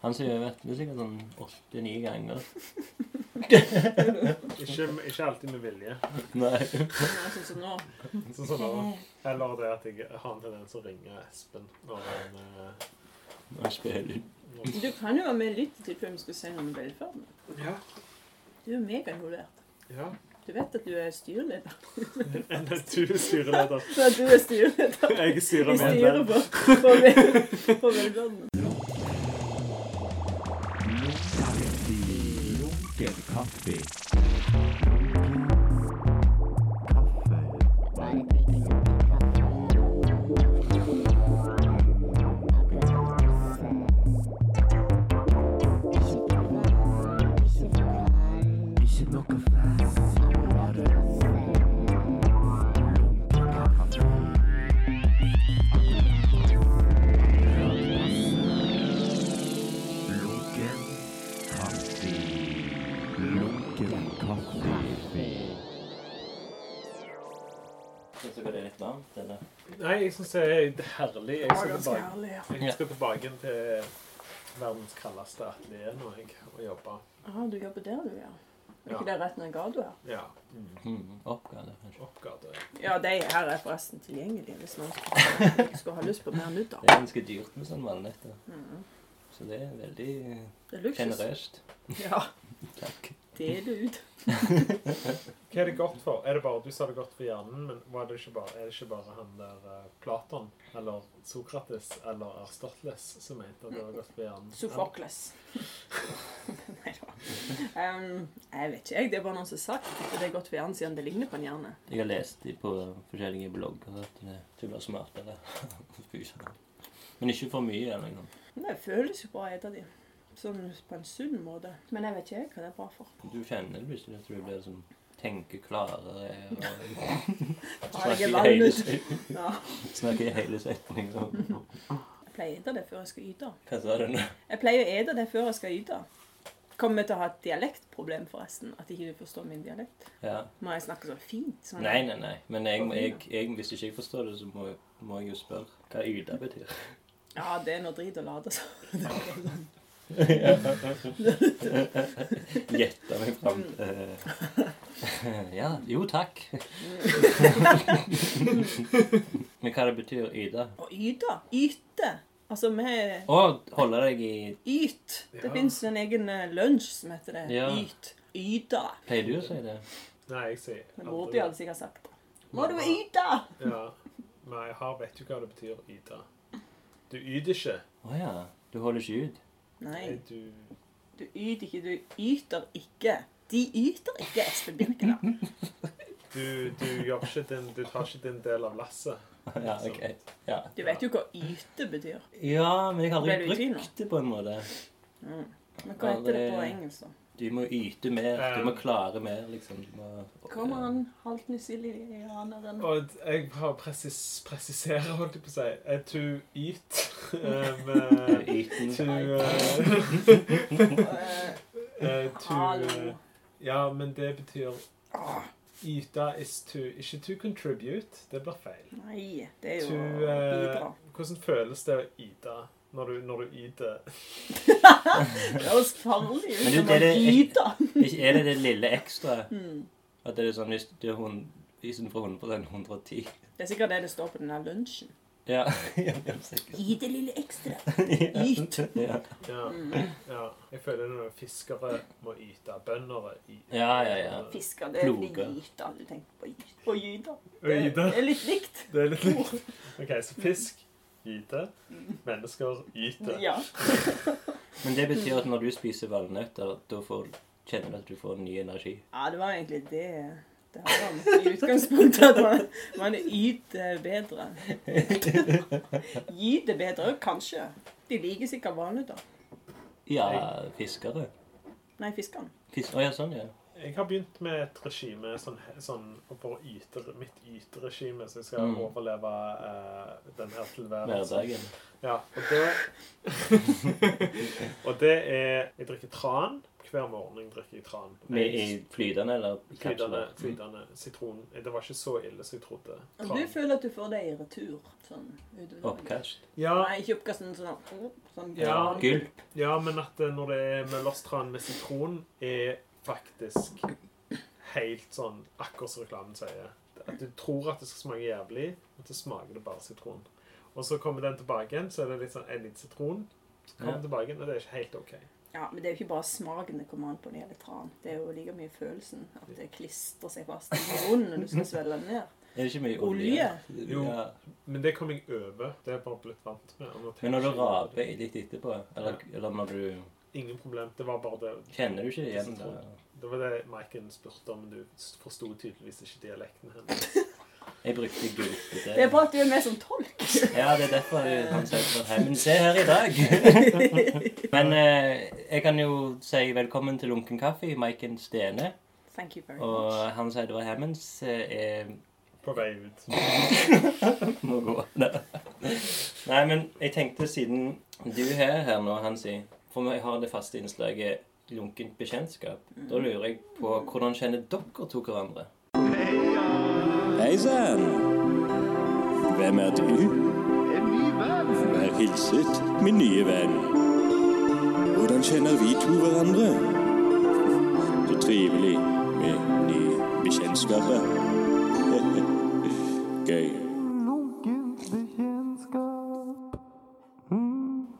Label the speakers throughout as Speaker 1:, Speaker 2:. Speaker 1: Han som jeg vet, det er sikkert sånn åtte-ni ganger.
Speaker 2: Ikke, ikke alltid med vilje.
Speaker 1: Nei.
Speaker 3: Men sånn som nå.
Speaker 2: Sånn som nå. Eller det at jeg har en tendens til å ringe Espen når han eh,
Speaker 1: Han spiller
Speaker 2: når,
Speaker 3: Du kan jo være med litt til før vi skal si noe om velferden.
Speaker 2: Ja.
Speaker 3: Du er megainvolvert.
Speaker 2: ja.
Speaker 3: Du vet at du er styreleder.
Speaker 2: Enn at du er styreleder.
Speaker 3: Så at du er styreleder.
Speaker 2: Jeg
Speaker 3: Vi
Speaker 2: styrer med
Speaker 3: styrer
Speaker 2: den.
Speaker 3: på, på, vel, på velferden.
Speaker 4: Lunken kaffe. Ikke noe fast. Bare lunken kaffe. Lunken kaffe. Lunken kaffe.
Speaker 1: Syns dere det er litt varmt, eller?
Speaker 2: Nei, jeg syns det er herlig. Jeg skal
Speaker 3: Ganske
Speaker 2: tilbake,
Speaker 3: herlig. ja.
Speaker 2: jeg skal tilbake til verdens kaldeste atelier nå, jeg, og jobbe.
Speaker 3: Ah, du jobber der, du, ja. Er
Speaker 2: Ja.
Speaker 3: ikke det rett ned gata her?
Speaker 2: Ja.
Speaker 1: Mm, Oppgave, kanskje.
Speaker 2: Oppgave.
Speaker 3: Ja, de her er forresten tilgjengelige hvis noen skulle, skulle ha lyst på mer nudder.
Speaker 1: Det er ganske dyrt med sånn vannlette.
Speaker 3: Mhm.
Speaker 1: Så det er veldig eh,
Speaker 3: Det er luksus.
Speaker 1: generøst.
Speaker 3: Ja,
Speaker 1: Takk.
Speaker 3: del ut.
Speaker 2: Hva er det godt for? Er det bare, Du sa det godt for hjernen, men var det ikke bare, er det ikke bare han der eh, Platon eller Sokrates eller Aristoteles som mente at det var godt for hjernen?
Speaker 3: Sofokles. Nei da. Um, jeg vet ikke, jeg. Det er bare noen som har sagt at det er godt for hjernen siden det ligner på en hjerne.
Speaker 1: Jeg har lest de på forskjellige blogger at det- du blir smartere. Fy søren. Men ikke for mye. eller noe.
Speaker 3: Men det føles jo bra å spise de. Sånn på en sunn måte. Men jeg vet ikke jeg hva det er bra for.
Speaker 1: Du kjenner det plutselig at du blir sånn tenker klarere og
Speaker 3: Ah, jeg
Speaker 1: snakker
Speaker 3: er
Speaker 1: i hele
Speaker 3: vannet.
Speaker 1: set-
Speaker 3: Ja.
Speaker 1: snakker i hele setninger.
Speaker 3: Jeg pleier å ete det før jeg skal yte.
Speaker 1: Hva sa du nå?
Speaker 3: Jeg pleier å ete det før jeg skal yte. Kommer jeg til å ha et dialektproblem, forresten? At ikke du forstår min dialekt?
Speaker 1: Ja.
Speaker 3: Må jeg snakke så fint? Sånn.
Speaker 1: Nei, nei, nei. Men jeg, jeg, jeg, hvis ikke jeg forstår det, så må, jeg- må jeg jo spørre hva yda betyr.
Speaker 3: Ja, det er noe drit å lade seg.
Speaker 1: Gjette meg fram til Ja. Jo, takk. Men hva det betyr yda?
Speaker 3: Å yte. Yte. Altså, vi
Speaker 1: Å, holde deg i
Speaker 3: Yt. Det
Speaker 2: Ja.
Speaker 3: finnes en egen eh, lunsj som heter det.
Speaker 1: Ja.
Speaker 3: Yt. Yte.
Speaker 1: Pleier du å si det?
Speaker 2: Nei, jeg sier
Speaker 3: Men
Speaker 2: aldri
Speaker 3: burde
Speaker 2: det.
Speaker 3: jo alle sikkert sagt det. Må du yte?
Speaker 2: Ja. Men jeg har, vet jo hva det betyr å yte. Du yter ikke.
Speaker 1: Å ja. Du holder ikke ut?
Speaker 3: Nei,
Speaker 2: Nei, Du,
Speaker 3: du yter ikke. Du yter ikke. De yter ikke, Espen Birkeland.
Speaker 2: du, du, gjør ikke din, du tar ikke din del av lasset.
Speaker 1: Ja, ok. Ja.
Speaker 3: Du vet jo hva yte betyr.
Speaker 1: Ja, men jeg har
Speaker 3: Ble du
Speaker 1: aldri
Speaker 3: i tvil nå?
Speaker 1: brukt det på en måte.
Speaker 3: Mm. Men hva heter det på engelsk, da?
Speaker 1: Du må yte mer. Du må
Speaker 2: Um,
Speaker 1: klare mer, liksom. Du må,
Speaker 3: Kom an, halvt nysilianeren.
Speaker 2: Og jeg har presis, presiserer, holdt jeg på å si. Eh, To yt. Um, to
Speaker 1: Yten.
Speaker 2: eh,
Speaker 3: Eh,
Speaker 2: eh, To
Speaker 3: Hallo.
Speaker 2: Ja, men det betyr Yte is to Ikke to contribute. Det blir feil.
Speaker 3: Nei, det er
Speaker 2: To
Speaker 3: jo
Speaker 2: eh,
Speaker 3: bidra.
Speaker 2: Hvordan føles det å yte når du, når du yter?
Speaker 3: Det høres farlig
Speaker 1: Men
Speaker 3: ut
Speaker 1: du,
Speaker 3: som
Speaker 1: det
Speaker 3: å
Speaker 1: er det-
Speaker 3: yte.
Speaker 1: Ikke er det det lille ekstra?
Speaker 3: Mm.
Speaker 1: At det er sånn hvis du er hun, istedenfor 100 110.
Speaker 3: Det er sikkert det det står på denne lunsjen.
Speaker 1: Ja. ja, ja, sikkert.
Speaker 3: Gi det lille ekstra.
Speaker 1: Ja.
Speaker 3: Yt.
Speaker 1: Ja.
Speaker 2: Ja.
Speaker 3: Mm.
Speaker 2: ja. Jeg føler når fiskere må yte. Bønder yter.
Speaker 1: ja, ja, ja.
Speaker 3: Fisker, det er
Speaker 1: Ploge.
Speaker 3: gyta. Du tenker på gyta. På gyta.
Speaker 2: Å yte.
Speaker 3: Det er litt likt.
Speaker 2: Det er litt likt. OK, så fisk yter. Mennesker yter.
Speaker 3: Ja.
Speaker 1: Men det betyr at når du spiser valnøtter, da får, kjenner du at du får ny energi.
Speaker 3: ja, det var egentlig det det handla om i utgangspunktet. At man, man yter bedre. Gyter bedre, kanskje. De liker sikkert valnøtter.
Speaker 1: Ja, fiskere.
Speaker 3: Nei, fiskene.
Speaker 1: Fisk, å ja, sånn, ja.
Speaker 2: Jeg har begynt med et regime sånn, sånn for yter, mitt yteregime, så jeg skal
Speaker 1: Mm.
Speaker 2: overleve eh, den her tilværelsen.
Speaker 1: Hverdagen.
Speaker 2: Ja, og det Og det er Jeg drikker tran hver morgen drikker jeg tran.
Speaker 1: Med i flytende eller
Speaker 2: Flytende,
Speaker 1: kapsler? Mm.
Speaker 2: flytende sitron. Det var ikke så ille som jeg trodde.
Speaker 3: Og du føler at du får det i retur? sånn utover dagen?
Speaker 1: Oppkast?
Speaker 2: Ja,
Speaker 3: Nei, ikke oppkast, men sånn, sånn
Speaker 2: Ja.
Speaker 1: Gulp?
Speaker 2: ja, men at eh, når det er møllerstran med sitron, er faktisk helt sånn akkurat som reklamen sier. At du tror at det skal smake jævlig, men så smaker det bare sitron. Og så kommer den tilbake igjen, så er det litt sånn en liten sitron. Så kommer
Speaker 1: Ja.
Speaker 2: den tilbake igjen, og det er ikke helt OK.
Speaker 3: Ja, men det er jo ikke bare smaken det kommer an på når det gjelder tran. Det er jo like mye følelsen. At det klistrer seg fast i munnen når du skal svelge den ned.
Speaker 1: Er det ikke mye olje?
Speaker 3: Olje?
Speaker 2: Jo.
Speaker 1: Ja.
Speaker 2: Men det kom jeg over. Det er jeg bare blitt vant med. og nå
Speaker 1: Men når du
Speaker 2: tenker jeg-
Speaker 1: raper litt etterpå, eller, eller når du
Speaker 2: Ingen problem. Det var bare det.
Speaker 1: Kjenner du ikke igjen det?
Speaker 2: Det var det Maiken spurte om, men du forsto tydeligvis ikke dialekten hennes.
Speaker 1: Jeg brukte gulp til
Speaker 3: Det er bra at du er med som tolk.
Speaker 1: Ja, det er derfor det- han sier sånn Hei, men se her i dag! men eh, jeg kan jo si velkommen til Lunken kaffe, Maiken Stene.
Speaker 3: Thank you very
Speaker 1: Og
Speaker 3: much.
Speaker 1: han sier det var Hammonds eh, er
Speaker 2: På vei ut.
Speaker 1: må gå. Nei. Nei, men jeg tenkte siden du er her nå, Hansi For jeg har det faste innslaget lunkent bekjentskap. Da lurer jeg på hvordan kjenner dere to hverandre?
Speaker 5: Hei sann! Hvem er du? Vær hilset, min nye venn. Hvordan kjenner vi to hverandre? Så trivelig med nye bekjentskaper. Gøy.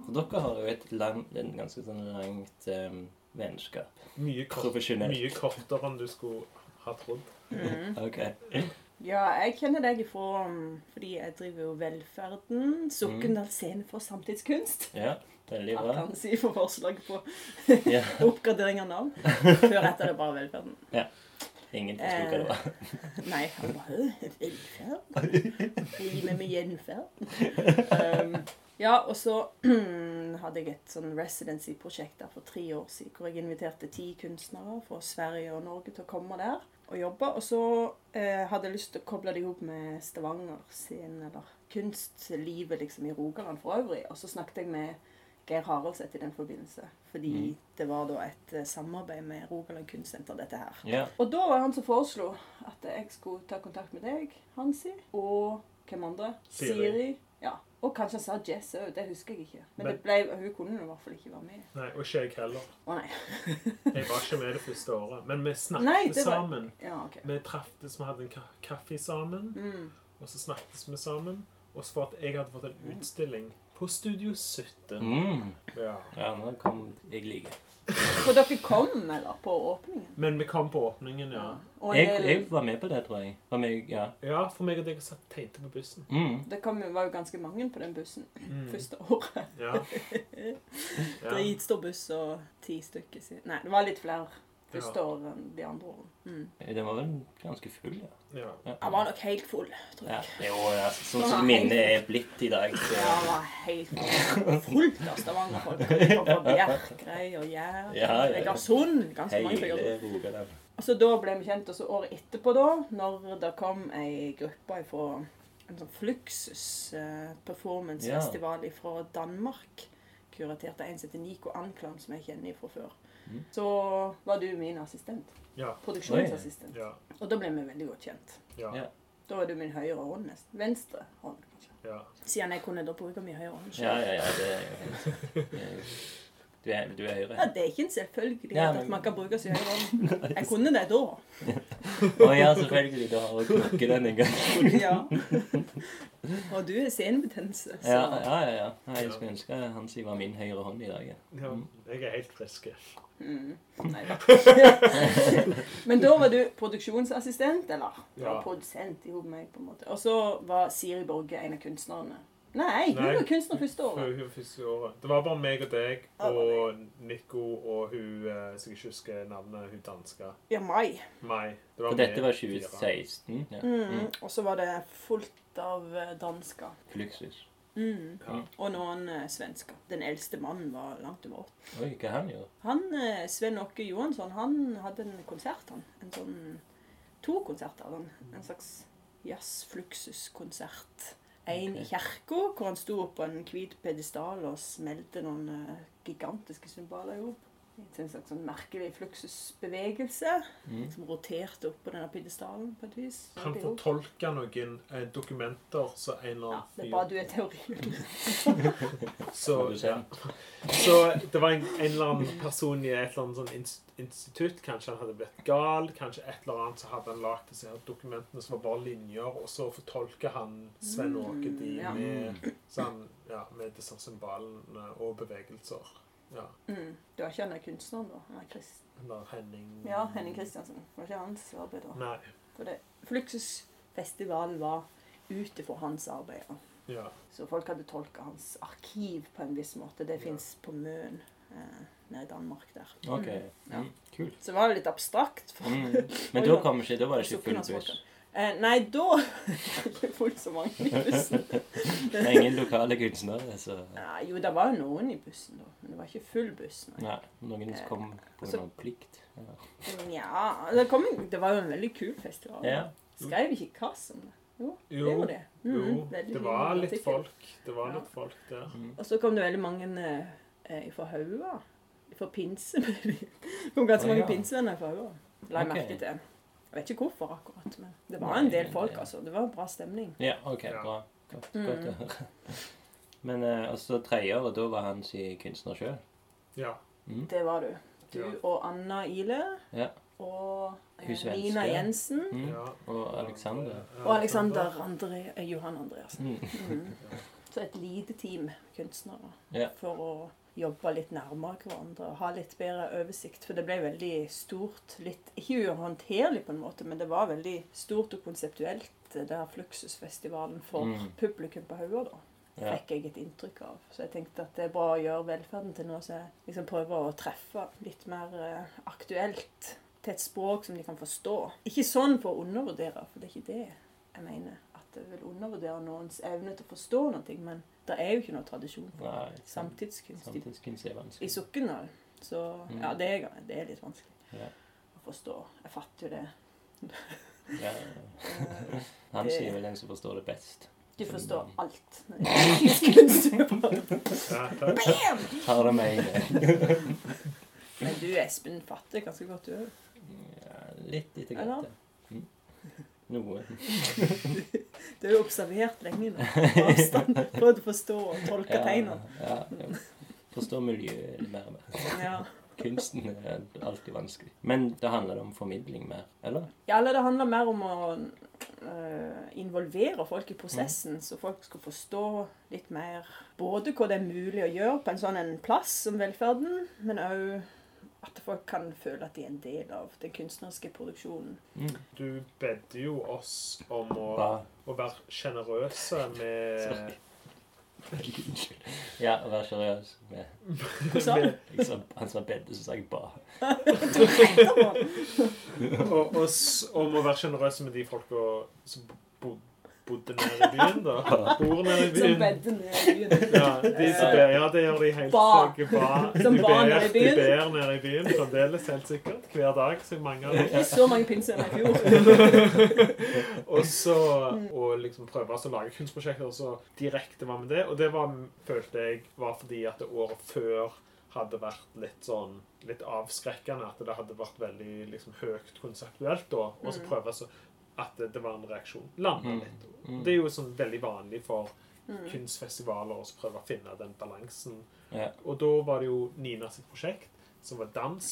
Speaker 1: For dere har jo et lang, en ganske sånn langt eh, vennskap.
Speaker 2: Mye, kort,
Speaker 1: Profesjonelt.
Speaker 2: mye kortere enn du skulle ha trodd.
Speaker 1: Ok.
Speaker 3: Ja, jeg kjenner deg ifra um, fordi jeg driver jo Velferden. Sokndal Scene for Samtidskunst.
Speaker 1: Mm. Ja, veldig
Speaker 3: Jeg
Speaker 1: bra.
Speaker 3: kan si for forslag på
Speaker 1: Ja.
Speaker 3: oppgradering av navn. Før etter det er bare Velferden.
Speaker 1: Ingen forsto hva det var.
Speaker 3: Nei, han bare «Hø, Velferd? Driver med gjenferd? Um, ja, og så hadde jeg et sånn residency-prosjekt der for tre år siden, hvor jeg inviterte ti kunstnere fra Sverige og Norge til å komme der og jobbe. Og så eh, hadde jeg lyst til å koble det ihop med Stavanger sin, eller kunstlivet liksom i Rogaland for øvrig. Og så snakket jeg med Geir Haraldseth i den forbindelse, fordi det var da et eh, samarbeid med Rogaland Kunstsenter, dette her.
Speaker 1: Ja.
Speaker 3: Og da var han som foreslo at jeg skulle ta kontakt med deg, Hansi, og hvem andre?
Speaker 2: Siri.
Speaker 3: Ja. Og kanskje han sa Jess òg, det husker jeg ikke.
Speaker 2: Men-
Speaker 3: Men det ble, hun kunne nå i hvert fall ikke være med.
Speaker 2: Nei, Og ikke jeg heller.
Speaker 3: Å nei.
Speaker 2: Jeg var ikke med det første året. Men vi snakket
Speaker 3: Nei, det var-
Speaker 2: sammen.
Speaker 3: Ja, OK.
Speaker 2: Vi traftes, vi hadde en ka- kaffe sammen,
Speaker 3: Mm.
Speaker 2: og så snakket vi sammen. Og så for at jeg hadde fått en utstilling på Studio 17.
Speaker 1: Mm.
Speaker 2: Ja.
Speaker 1: ja, nå kom jeg like.
Speaker 3: For dere kom, eller? På åpningen?
Speaker 2: Men vi kom på åpningen, ja.
Speaker 3: Og en
Speaker 1: Jeg,
Speaker 3: del,
Speaker 1: jeg var med på det, tror jeg. Var med, ja.
Speaker 2: Ja, for meg og deg satt teite på bussen.
Speaker 1: Mm.
Speaker 3: Det kom, jo- var jo ganske mange på den bussen
Speaker 2: Mm.
Speaker 3: første året.
Speaker 2: Ja. ja.
Speaker 3: Dritstor buss og ti stykker siden. Nei, det var litt flere første
Speaker 2: Ja.
Speaker 3: året enn de andre årene. Mm.
Speaker 1: Den var vel ganske full, ja.
Speaker 2: ja.
Speaker 3: Han var nok helt full, tror
Speaker 1: Ja,
Speaker 3: jeg.
Speaker 1: jo, altså, sånn som minnet er blitt i dag.
Speaker 3: Ja,
Speaker 1: Så.
Speaker 3: han var helt fullt av Stavanger-folk. Det kom fra Bjerkreim og Jær,
Speaker 1: Ja, ja.
Speaker 3: Egersund Ganske mange fra
Speaker 1: Hele
Speaker 3: Egersund.
Speaker 1: Rogaland.
Speaker 3: Og så da ble vi kjent, og så året etterpå, da, når det kom ei gruppe fra en sånn Fluxus eh, performancefestival fra Danmark, kuratert av en som heter Nico Anklam, som jeg kjenner fra før,
Speaker 1: Mhm.
Speaker 3: så var du min assistent.
Speaker 2: Ja.
Speaker 3: Produksjonsassistent.
Speaker 2: Ja.
Speaker 3: Og da ble vi veldig godt kjent.
Speaker 2: Ja.
Speaker 3: Da var du min høyre hånd, nesten. Venstre hånd, kanskje.
Speaker 2: ja.
Speaker 3: Siden jeg kunne da bruke min høyre hånd
Speaker 1: Ja,
Speaker 3: selv.
Speaker 1: ja, ja, det er jo helt sant. Det er jo- Du er, du er
Speaker 3: Ja,
Speaker 1: høyre.
Speaker 3: det er ikke en selvfølgelig
Speaker 1: Ja,
Speaker 3: at
Speaker 1: men-
Speaker 3: man kan bruke sin høyre hånd. Jeg kunne det da.
Speaker 1: Å ja, selvfølgelig. Du har å knokke den en gang.
Speaker 3: Ja. Og du er senebetennelse, så
Speaker 1: Ja, ja, ja. ja. Nei, Jeg skulle ønske han si var min høyre hånd i dag. ja.
Speaker 2: ja. Jeg er helt frisk.
Speaker 3: mm. Nei da. Men da var du produksjonsassistent, eller? Ja.
Speaker 2: Ja.
Speaker 3: Produsent i hodet meg, på en måte. Og så var Siri Borge en av kunstnerne. Nei, hun
Speaker 2: Nei.
Speaker 3: var kunstner første
Speaker 2: Hun-
Speaker 3: året.
Speaker 2: hun første året. Det var bare meg og deg
Speaker 3: Ja, det var
Speaker 2: og Nico og hun eh, som jeg ikke husker navnet, hun danska.
Speaker 3: Ja, mai.
Speaker 2: Mai. Det
Speaker 1: For
Speaker 2: vi
Speaker 1: dette var
Speaker 2: fire.
Speaker 1: 2016. Ja.
Speaker 3: Mm.
Speaker 1: Mm.
Speaker 3: Og så var det fullt av eh, dansker.
Speaker 1: Fluxus.
Speaker 3: Mm.
Speaker 2: Ja.
Speaker 3: Og noen eh, svensker. Den eldste mannen var langt over 80.
Speaker 1: Oi, hva han gjorde?
Speaker 3: Han, eh, Sven Åke Johansson, han hadde en konsert, han. En sånn, to konserter hadde han. En slags jazz-fluksuskonsert. En i
Speaker 1: Ok.
Speaker 3: kirka, hvor han sto på en hvit pedestal og smelte noen eh, gigantiske symboler i hop. til en slags sånn merkelig fluksusbevegelse
Speaker 1: Mm.
Speaker 3: som roterte opp på denne pidestallen på et vis.
Speaker 2: Han
Speaker 3: Det er jo-
Speaker 2: fortolker noen eh, dokumenter så en eller
Speaker 3: Ja,
Speaker 2: annen
Speaker 3: det er bare du er teorien.
Speaker 2: Så,
Speaker 1: Har du
Speaker 2: ja.
Speaker 1: sett?
Speaker 2: så det var en, en eller annen person i et eller annet sånn ins- institutt. Kanskje han hadde blitt gal. Kanskje et eller annet så hadde han lagd disse her dokumentene som var bare linjer, og så fortolker han Sven Åke de
Speaker 3: Mm, ja.
Speaker 2: med, sånn, ja, med disse symbolene og bevegelser. Ja.
Speaker 3: Mm. Det var ikke han der kunstneren, da. Han er krist.
Speaker 2: Eller Henning
Speaker 3: Ja, Henning Kristiansen. Det var ikke hans arbeid, da.
Speaker 2: Nei.
Speaker 3: For det, Fluxusfestivalen var ute for hans arbeid. da.
Speaker 2: Ja.
Speaker 3: Så folk hadde tolka hans arkiv på en viss måte. Det
Speaker 2: Ja.
Speaker 3: fins på Møn eh, nede i Danmark der.
Speaker 1: OK.
Speaker 3: Ja.
Speaker 1: Mm. Kult.
Speaker 3: Så det var jo litt abstrakt. For,
Speaker 1: Mm. Men da kom ikke, da var det
Speaker 3: for
Speaker 1: ikke full
Speaker 3: Sofias
Speaker 1: buss.
Speaker 3: folk. Eh, nei, da Det var ikke så mange i bussen.
Speaker 1: Det er ingen lokale kunstnere, så
Speaker 3: Nei, jo, det var jo noen i bussen, da. Men det var ikke full buss. Nei.
Speaker 1: Nei. Noen som kom på
Speaker 3: Eh, Så-
Speaker 1: noen plikt. Ja.
Speaker 3: Ja, det, kom, en- det var jo en veldig kul festival.
Speaker 1: ja.
Speaker 3: Skrev ikke Kass om det? Jo, det
Speaker 2: Jo.
Speaker 3: gjorde det. Mm,
Speaker 2: Jo,
Speaker 3: veldig
Speaker 2: det
Speaker 3: fin
Speaker 2: var litt
Speaker 3: artikkel.
Speaker 2: folk. Det var
Speaker 3: Ja.
Speaker 2: litt folk der.
Speaker 1: Mm.
Speaker 3: Og så kom det veldig mange eh, fra Haua. Fra pinse. det kom ganske
Speaker 1: Å,
Speaker 3: mange
Speaker 1: ja.
Speaker 3: pinsevenner fra Haua. La jeg
Speaker 1: Ok.
Speaker 3: merke til. Jeg vet ikke hvorfor akkurat, men det var
Speaker 1: Nei,
Speaker 3: en del
Speaker 1: men
Speaker 3: folk,
Speaker 1: det-
Speaker 3: altså. Det var en bra stemning.
Speaker 1: Ja, OK.
Speaker 2: Ja.
Speaker 1: Bra. Godt, godt
Speaker 3: Mm.
Speaker 1: å høre. Men eh, og så tredje året, da var han si kunstner sjøl.
Speaker 2: Ja.
Speaker 1: Mm.
Speaker 3: Det var du. Du
Speaker 2: Ja.
Speaker 3: og Anna Ile
Speaker 1: Ja.
Speaker 3: og eh,
Speaker 1: Hun svenske.
Speaker 3: Nina Jensen.
Speaker 1: Mm.
Speaker 2: ja.
Speaker 1: Og Alexander.
Speaker 3: Og Alexander André, eh, Johan Andreassen.
Speaker 1: Mm.
Speaker 3: Mm. Så et lite team kunstnere
Speaker 1: Ja.
Speaker 3: for å jobbe litt nærmere hverandre og ha litt bedre oversikt. For det ble veldig stort, litt ikke uhåndterlig på en måte, men det var veldig stort og konseptuelt, eh, det her Fluxusfestivalen for
Speaker 1: Mm.
Speaker 3: publikum på Haua, da.
Speaker 1: Ja.
Speaker 3: Fikk jeg et inntrykk av. Så jeg tenkte at det er bra å gjøre velferden til noe som jeg liksom prøver å treffe litt mer eh, aktuelt. Til et språk som de kan forstå. Ikke sånn for å undervurdere, for det er ikke det jeg mener. At jeg vil undervurdere noens evne til å forstå noe, men det er jo ikke noe tradisjon for det.
Speaker 1: Nei, sant.
Speaker 3: Samtidskunst i,
Speaker 1: Samtidskunst er vanskelig.
Speaker 3: i Sokndal. Så
Speaker 1: Mm.
Speaker 3: ja, det er, det er litt vanskelig
Speaker 1: Ja.
Speaker 3: å forstå. Jeg fatter jo det.
Speaker 1: Ja.
Speaker 3: Eh,
Speaker 1: Han
Speaker 3: Det-
Speaker 1: sier vel den som forstår det best.
Speaker 3: Du
Speaker 1: Så-
Speaker 3: forstår alt. når det er kunstkunst.
Speaker 2: Ja,
Speaker 3: Bam!
Speaker 1: Tar det med en gang.
Speaker 3: Men du, Espen, fatter ganske godt du òg.
Speaker 1: Ja, litt etter
Speaker 3: Eller?
Speaker 1: godt, ja. Mm. Noe.
Speaker 3: Du har jo observert lenge nå. på Avstand. Prøvd å forstå og tolke tegnene.
Speaker 1: Ja, ja. Forstår miljøet litt mer og mer.
Speaker 3: Ja.
Speaker 1: Kunsten er alltid vanskelig. Men da handler det om formidling mer, eller?
Speaker 3: ja, eller det handler mer om å øh, involvere folk i prosessen, så folk skal forstå litt mer både hva det er mulig å gjøre på en sånn en plass som velferden, men òg at folk kan føle at de er en del av den kunstneriske produksjonen.
Speaker 1: Mm.
Speaker 2: Du bedde jo oss om å,
Speaker 1: Bra.
Speaker 2: å være sjenerøse med,
Speaker 1: Sorry. Unnskyld. Ja, vær seriøs. med-
Speaker 3: Hva sa du?
Speaker 1: Jeg sa, han sa bedre, så sa jeg ba.
Speaker 3: Du retter på den.
Speaker 2: og, og, s- om å være sjenerøse med de folka som bo, bodde nede i byen, da. Bor nede i
Speaker 3: Som
Speaker 2: byen.
Speaker 3: bedde ned i byen.
Speaker 2: Ja, de som ber, ja, det gjør de helt
Speaker 3: Ba.
Speaker 2: sikkert. Ba.
Speaker 3: Som
Speaker 2: De
Speaker 3: ba
Speaker 2: ber-
Speaker 3: nede i
Speaker 2: De
Speaker 3: byen.
Speaker 2: ber nede i byen fremdeles, helt sikkert. Hver dag. Så mange av dem.
Speaker 3: Ikke så mange pinser enn i fjor.
Speaker 2: og så å liksom prøve å lage kunstprosjekter og så direkte var med det. Og det var, følte jeg var fordi at det året før hadde vært litt sånn litt avskrekkende. At det hadde vært veldig liksom høyt konseptuelt da. Og så
Speaker 3: Mm.
Speaker 2: prøve så at det, det var en reaksjon. Lande
Speaker 1: Mm.
Speaker 2: litt.
Speaker 1: Mm.
Speaker 2: Det er jo sånn veldig vanlig for
Speaker 3: Mm.
Speaker 2: kunstfestivaler å så prøve å finne den balansen.
Speaker 1: Ja.
Speaker 2: Og da var det jo Nina sitt prosjekt, som var dans,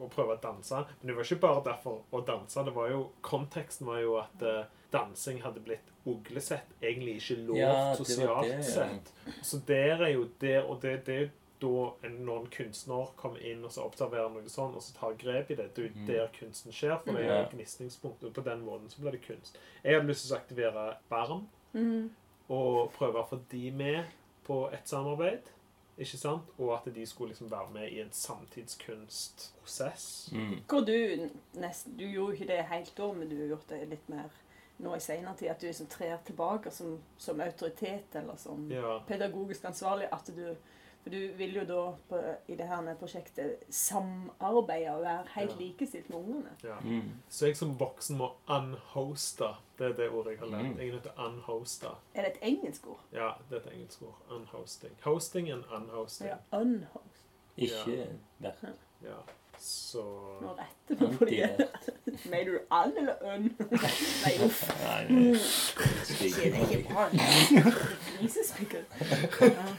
Speaker 2: å prøve å danse. Men det var ikke bare derfor å danse. det var jo, Konteksten var jo at eh, dansing hadde blitt uglesett, egentlig ikke lov
Speaker 1: Ja, det var
Speaker 2: sosialt
Speaker 1: det, ja.
Speaker 2: sett. Så der er jo der, og det, det er jo da en, når en kunstner kommer inn og så observerer noe sånn, og så tar grep i det. Det er jo
Speaker 1: Mhm.
Speaker 2: der kunsten skjer, for det er
Speaker 1: Ja.
Speaker 2: jo gnisningspunkt, og på den måten så blir det kunst. Jeg hadde lyst til å aktivere barn
Speaker 3: Mm.
Speaker 2: og prøve å få de med på et samarbeid. Ikke sant? Og at de skulle liksom være med i en samtidskunstprosess.
Speaker 1: Mm.
Speaker 3: Hvor du nesten Du gjorde ikke det helt da, men du har gjort det litt mer nå i senere tid. At du liksom trer tilbake som, som autoritet eller som
Speaker 2: Ja.
Speaker 3: pedagogisk ansvarlig. At du For du vil jo da på, i det her med prosjektet samarbeide og være helt
Speaker 2: Ja.
Speaker 3: likestilt med ungene.
Speaker 2: ja.
Speaker 1: Mm.
Speaker 2: Så jeg som voksen må unhoste. Det er det ordet jeg har lært.
Speaker 1: Mm.
Speaker 2: Jeg er nødt til å unhoste.
Speaker 3: Er det et engelsk ord?
Speaker 2: Ja, det er et engelsk ord. Unhosting. Hosting and unhosting.
Speaker 3: Ja. Unhost.
Speaker 1: Ikke vært.
Speaker 2: Ja. Så
Speaker 3: Nå retter vi på det. Mener du all eller ønn? Nei, uff.
Speaker 1: Nei, det
Speaker 3: Det er
Speaker 1: stiger.
Speaker 3: ikke bra. Grisesmykker. Ja.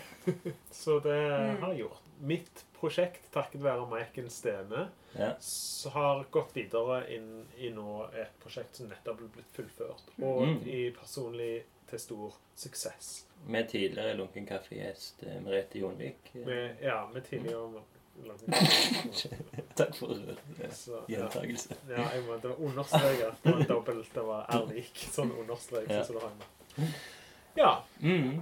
Speaker 2: Så det
Speaker 3: Mm.
Speaker 2: har jeg gjort. Mitt prosjekt, takket være Maiken Stene,
Speaker 1: Ja.
Speaker 2: s- har gått videre inn i nå et prosjekt som nettopp er blitt fullført. Og
Speaker 1: Mm.
Speaker 2: i personlig til stor suksess.
Speaker 1: Med tidligere lunken kaffegjest eh, Merete Jonvik.
Speaker 2: Med, ja, med tidligere langt-
Speaker 1: Takk for eh,
Speaker 2: Så, ja.
Speaker 1: gjentakelse.
Speaker 2: Ja, jeg må, det var understreket. Det var dobbelt, det var R lik. Sånn understrekelse
Speaker 1: Ja.
Speaker 2: som du har med. Ja.
Speaker 1: Mm.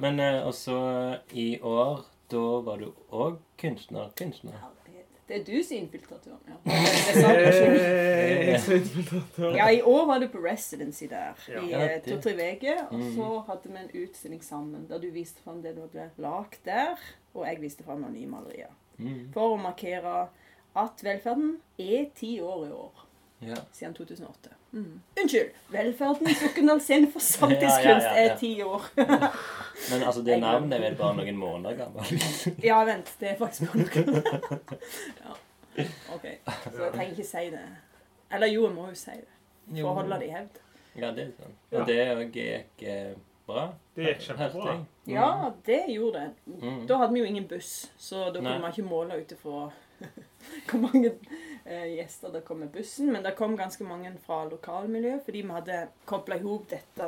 Speaker 1: Men eh, også i år, da var du òg kunstner. Kunstner.
Speaker 3: Herlighet. Det er du som er infiltratøren, ja. Det er sant, ikke?
Speaker 2: Eh,
Speaker 3: Ja, I år var du på residency der
Speaker 2: Ja.
Speaker 3: i
Speaker 1: Ja,
Speaker 3: eh,
Speaker 1: det-
Speaker 3: to-tre uker. Og
Speaker 1: Mm.
Speaker 3: så hadde vi en utstilling sammen der du viste fram det du hadde lagd der, og jeg viste fram noen nye malerier.
Speaker 1: Mm.
Speaker 3: For å markere at velferden er ti år i år.
Speaker 1: Ja.
Speaker 3: Siden 2008. Unnskyld! Velferdens Okendalscene for samtidskunst
Speaker 1: Ja, ja, ja, ja.
Speaker 3: er ti år.
Speaker 1: Men altså, det navnet er vel bare noen måneder gammelt.
Speaker 3: Ja, vent. Det er faktisk på noe. ja. OK. Så jeg trenger ikke si det. Eller jo, jeg må jo si det. For å holde det i hevd.
Speaker 1: Ja, det er sant.
Speaker 2: Ja.
Speaker 1: Og det òg gikk eh, bra.
Speaker 2: Det gikk kjempebra.
Speaker 1: Hørte jeg.
Speaker 3: Ja, det gjorde det.
Speaker 1: Mm.
Speaker 3: Da hadde vi jo ingen buss, så da
Speaker 1: Nei.
Speaker 3: kunne man ikke måle ut ifra hvor mange eh, gjester det kom med bussen. Men det kom ganske mange fra lokalmiljø, fordi vi hadde kobla i hop dette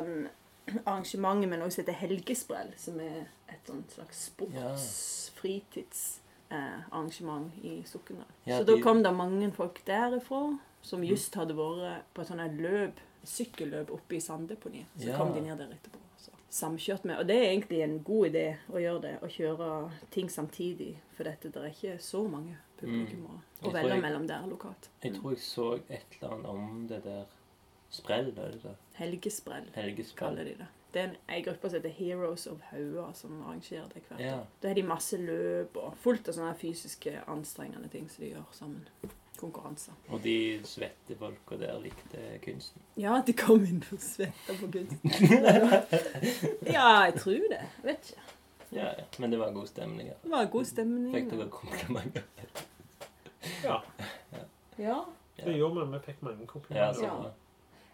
Speaker 3: arrangementet med noe som heter Helgesprell, som er et sånt slags
Speaker 1: Ja.
Speaker 3: sports-fritidsarrangement i Sokndal.
Speaker 1: Ja,
Speaker 3: så da
Speaker 1: de-
Speaker 3: kom det mange folk derifra som just hadde vært på et sånt her løp, sykkelløp oppe i Sanddeponiet. Så
Speaker 1: Ja.
Speaker 3: kom de ned der etterpå. Så samkjørt med. Og det er egentlig en god idé å gjøre det, å kjøre ting samtidig. For dette, det er ikke så mange publikummere
Speaker 1: Mm. Jeg
Speaker 3: å
Speaker 1: tror
Speaker 3: velge
Speaker 1: jeg-
Speaker 3: mellom der lokalt.
Speaker 1: Jeg tror jeg så et eller annet om det der sprell, er det det?
Speaker 3: Mm. Helgesprell
Speaker 1: Helgesprell.
Speaker 3: kaller de det. Det er en, ei gruppe som heter Heroes of Haua, som arrangerer det hvert år.
Speaker 1: Ja.
Speaker 3: Da har de masse løp og fullt av sånne fysiske anstrengende ting som de gjør sammen. Konkurranser.
Speaker 1: Og de svette folka der likte kunsten.
Speaker 3: Ja, at de kom inn og svetta på kunsten. ja, jeg tror det. Jeg vet ikke.
Speaker 1: Ja, ja. Men det var god stemning. Ja.
Speaker 3: Det var god stemning.
Speaker 1: Fikk dere komplimenter?
Speaker 2: Ja,
Speaker 3: Ja.
Speaker 2: det gjorde vi. Vi fikk mange
Speaker 1: Ja,
Speaker 2: komplimenter.
Speaker 1: så
Speaker 3: Ja.
Speaker 1: bra.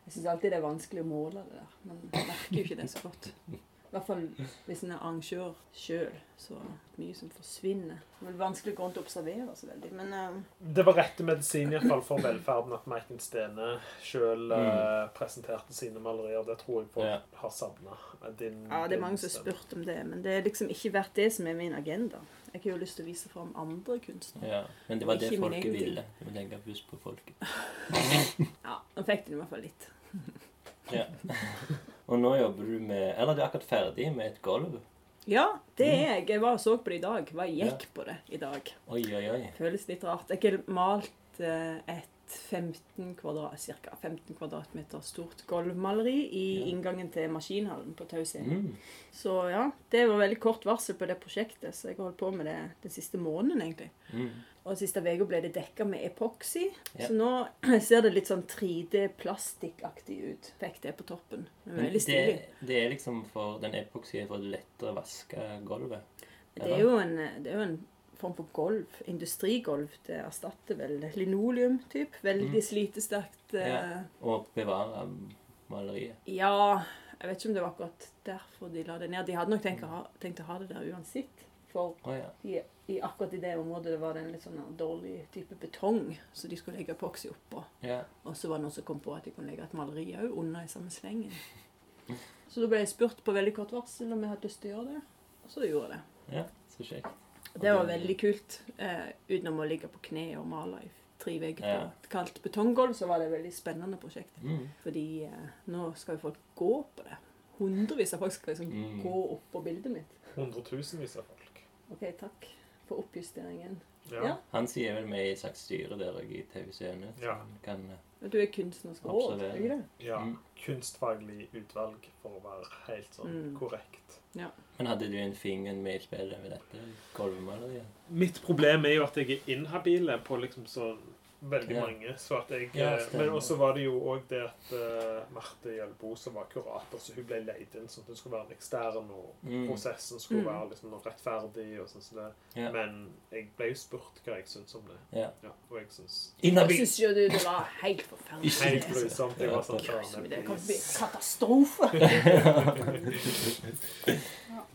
Speaker 3: Jeg syns alltid det er vanskelig å måle det der. Man merker jo ikke det så godt. I hvert fall hvis en er arrangør sjøl, så er det mye som forsvinner. Det er vanskelig å gå rundt og observere så veldig, men eh,
Speaker 2: Det var rett medisin i hvert fall for velferden at Maiken Stene sjøl eh, presenterte sine malerier. Det tror jeg folk
Speaker 1: Mm. Ja.
Speaker 2: har savna.
Speaker 3: ja, det er mange som har spurt om det. Men det er liksom ikke vært det som er min agenda. Jeg har jo lyst til å vise fram andre kunstnere.
Speaker 1: Ja. Men det var det
Speaker 3: Ikke min
Speaker 1: folket
Speaker 3: egen ting.
Speaker 1: ville. Du må legge buss på folket.
Speaker 3: Ja, nå fikk de i hvert fall litt.
Speaker 1: Ja. Og nå jobber du med Eller du er akkurat ferdig med et gulv.
Speaker 3: Ja, det er jeg. Jeg var og så på det i dag. Var og gikk på det i dag.
Speaker 1: Oi, oi, oi.
Speaker 3: Føles litt rart. Jeg har malt eh, et 15 kvadrat, cirka 15 kvadratmeter stort gulvmaleri i
Speaker 1: Ja.
Speaker 3: inngangen til maskinhallen på Tau scene.
Speaker 1: Mm.
Speaker 3: Så ja, det var veldig kort varsel på det prosjektet, så jeg har holdt på med det den siste måneden, egentlig.
Speaker 1: Mm.
Speaker 3: Og siste uka ble det dekka med epoksy,
Speaker 1: Ja.
Speaker 3: så nå ser det litt sånn 3D-plastikkaktig ut. Fikk det på toppen. Det er
Speaker 1: Men
Speaker 3: veldig stilig.
Speaker 1: det, det er liksom for den epoksy er for lettere å vaske gulvet.
Speaker 3: Det er jo en, det er jo en form for golv. Industrigolv. Det erstatter vel linoleum, typ. Veldig
Speaker 1: Mm.
Speaker 3: slitesterkt. eh,
Speaker 1: Og bevare maleriet.
Speaker 3: Ja, jeg vet ikke om det var akkurat derfor de la det ned. De hadde nok tenkt å ha, tenkt å ha det der uansett. For
Speaker 1: Å ja.
Speaker 3: i, i akkurat i det området det var det en litt sånn dårlig type betong, så de skulle legge epoksy oppå.
Speaker 1: ja.
Speaker 3: Og så var det noen som kom på at de kunne legge et maleri òg under i samme slengen. Så da ble jeg spurt på veldig kort varsel om jeg hadde lyst til å gjøre det, og så gjorde jeg det.
Speaker 1: Ja, så kjekt.
Speaker 3: Det var veldig kult. Eh, utenom å ligge på kne og male i tre uker på
Speaker 1: Ja.
Speaker 3: et kaldt betonggulv, så var det et veldig spennende prosjekt.
Speaker 1: Mm.
Speaker 3: Fordi eh, nå skal jo folk gå på det. Hundrevis av folk skal liksom
Speaker 1: Mm.
Speaker 3: gå opp på bildet mitt.
Speaker 2: Hundretusenvis av folk.
Speaker 3: OK, takk for oppjusteringen.
Speaker 2: Ja.
Speaker 3: Ja.
Speaker 1: Han sier vel med i slags styre der og i TV Scene. så
Speaker 2: Ja.
Speaker 1: han Kan, eh,
Speaker 3: Du er kunstnerisk råd, er du ikke det?
Speaker 2: ja.
Speaker 1: Mm.
Speaker 2: Kunstfaglig utvalg, for å være helt sånn
Speaker 3: Mm.
Speaker 2: korrekt.
Speaker 1: men hadde du en finger med i spillet med dette gulvmaleriet?
Speaker 2: Mitt problem er jo at jeg er inhabil på liksom sånn veldig
Speaker 1: Ja.
Speaker 2: mange. Så at jeg,
Speaker 1: Ja,
Speaker 2: eh,
Speaker 1: stemmer.
Speaker 2: men også var det jo òg det at eh, Marte Hjelbo, som var kurator, så hun ble leid inn sånn at hun skulle være en ekstern, og
Speaker 1: Mm.
Speaker 2: prosessen skulle
Speaker 3: Mm.
Speaker 2: være liksom rettferdig. og sånn som det.
Speaker 1: Ja.
Speaker 2: Men jeg ble jo spurt hva jeg syns om det.
Speaker 1: Ja.
Speaker 2: Ja, og jeg syns
Speaker 3: Jeg
Speaker 1: Mm. Inhabil!
Speaker 3: syns jo du, det var helt forferdelig.
Speaker 2: helt grusomt. Jeg var sånn
Speaker 3: Det var
Speaker 2: «Faen,
Speaker 3: som-
Speaker 2: jeg
Speaker 3: det kan bli
Speaker 2: blir-
Speaker 3: katastrofe.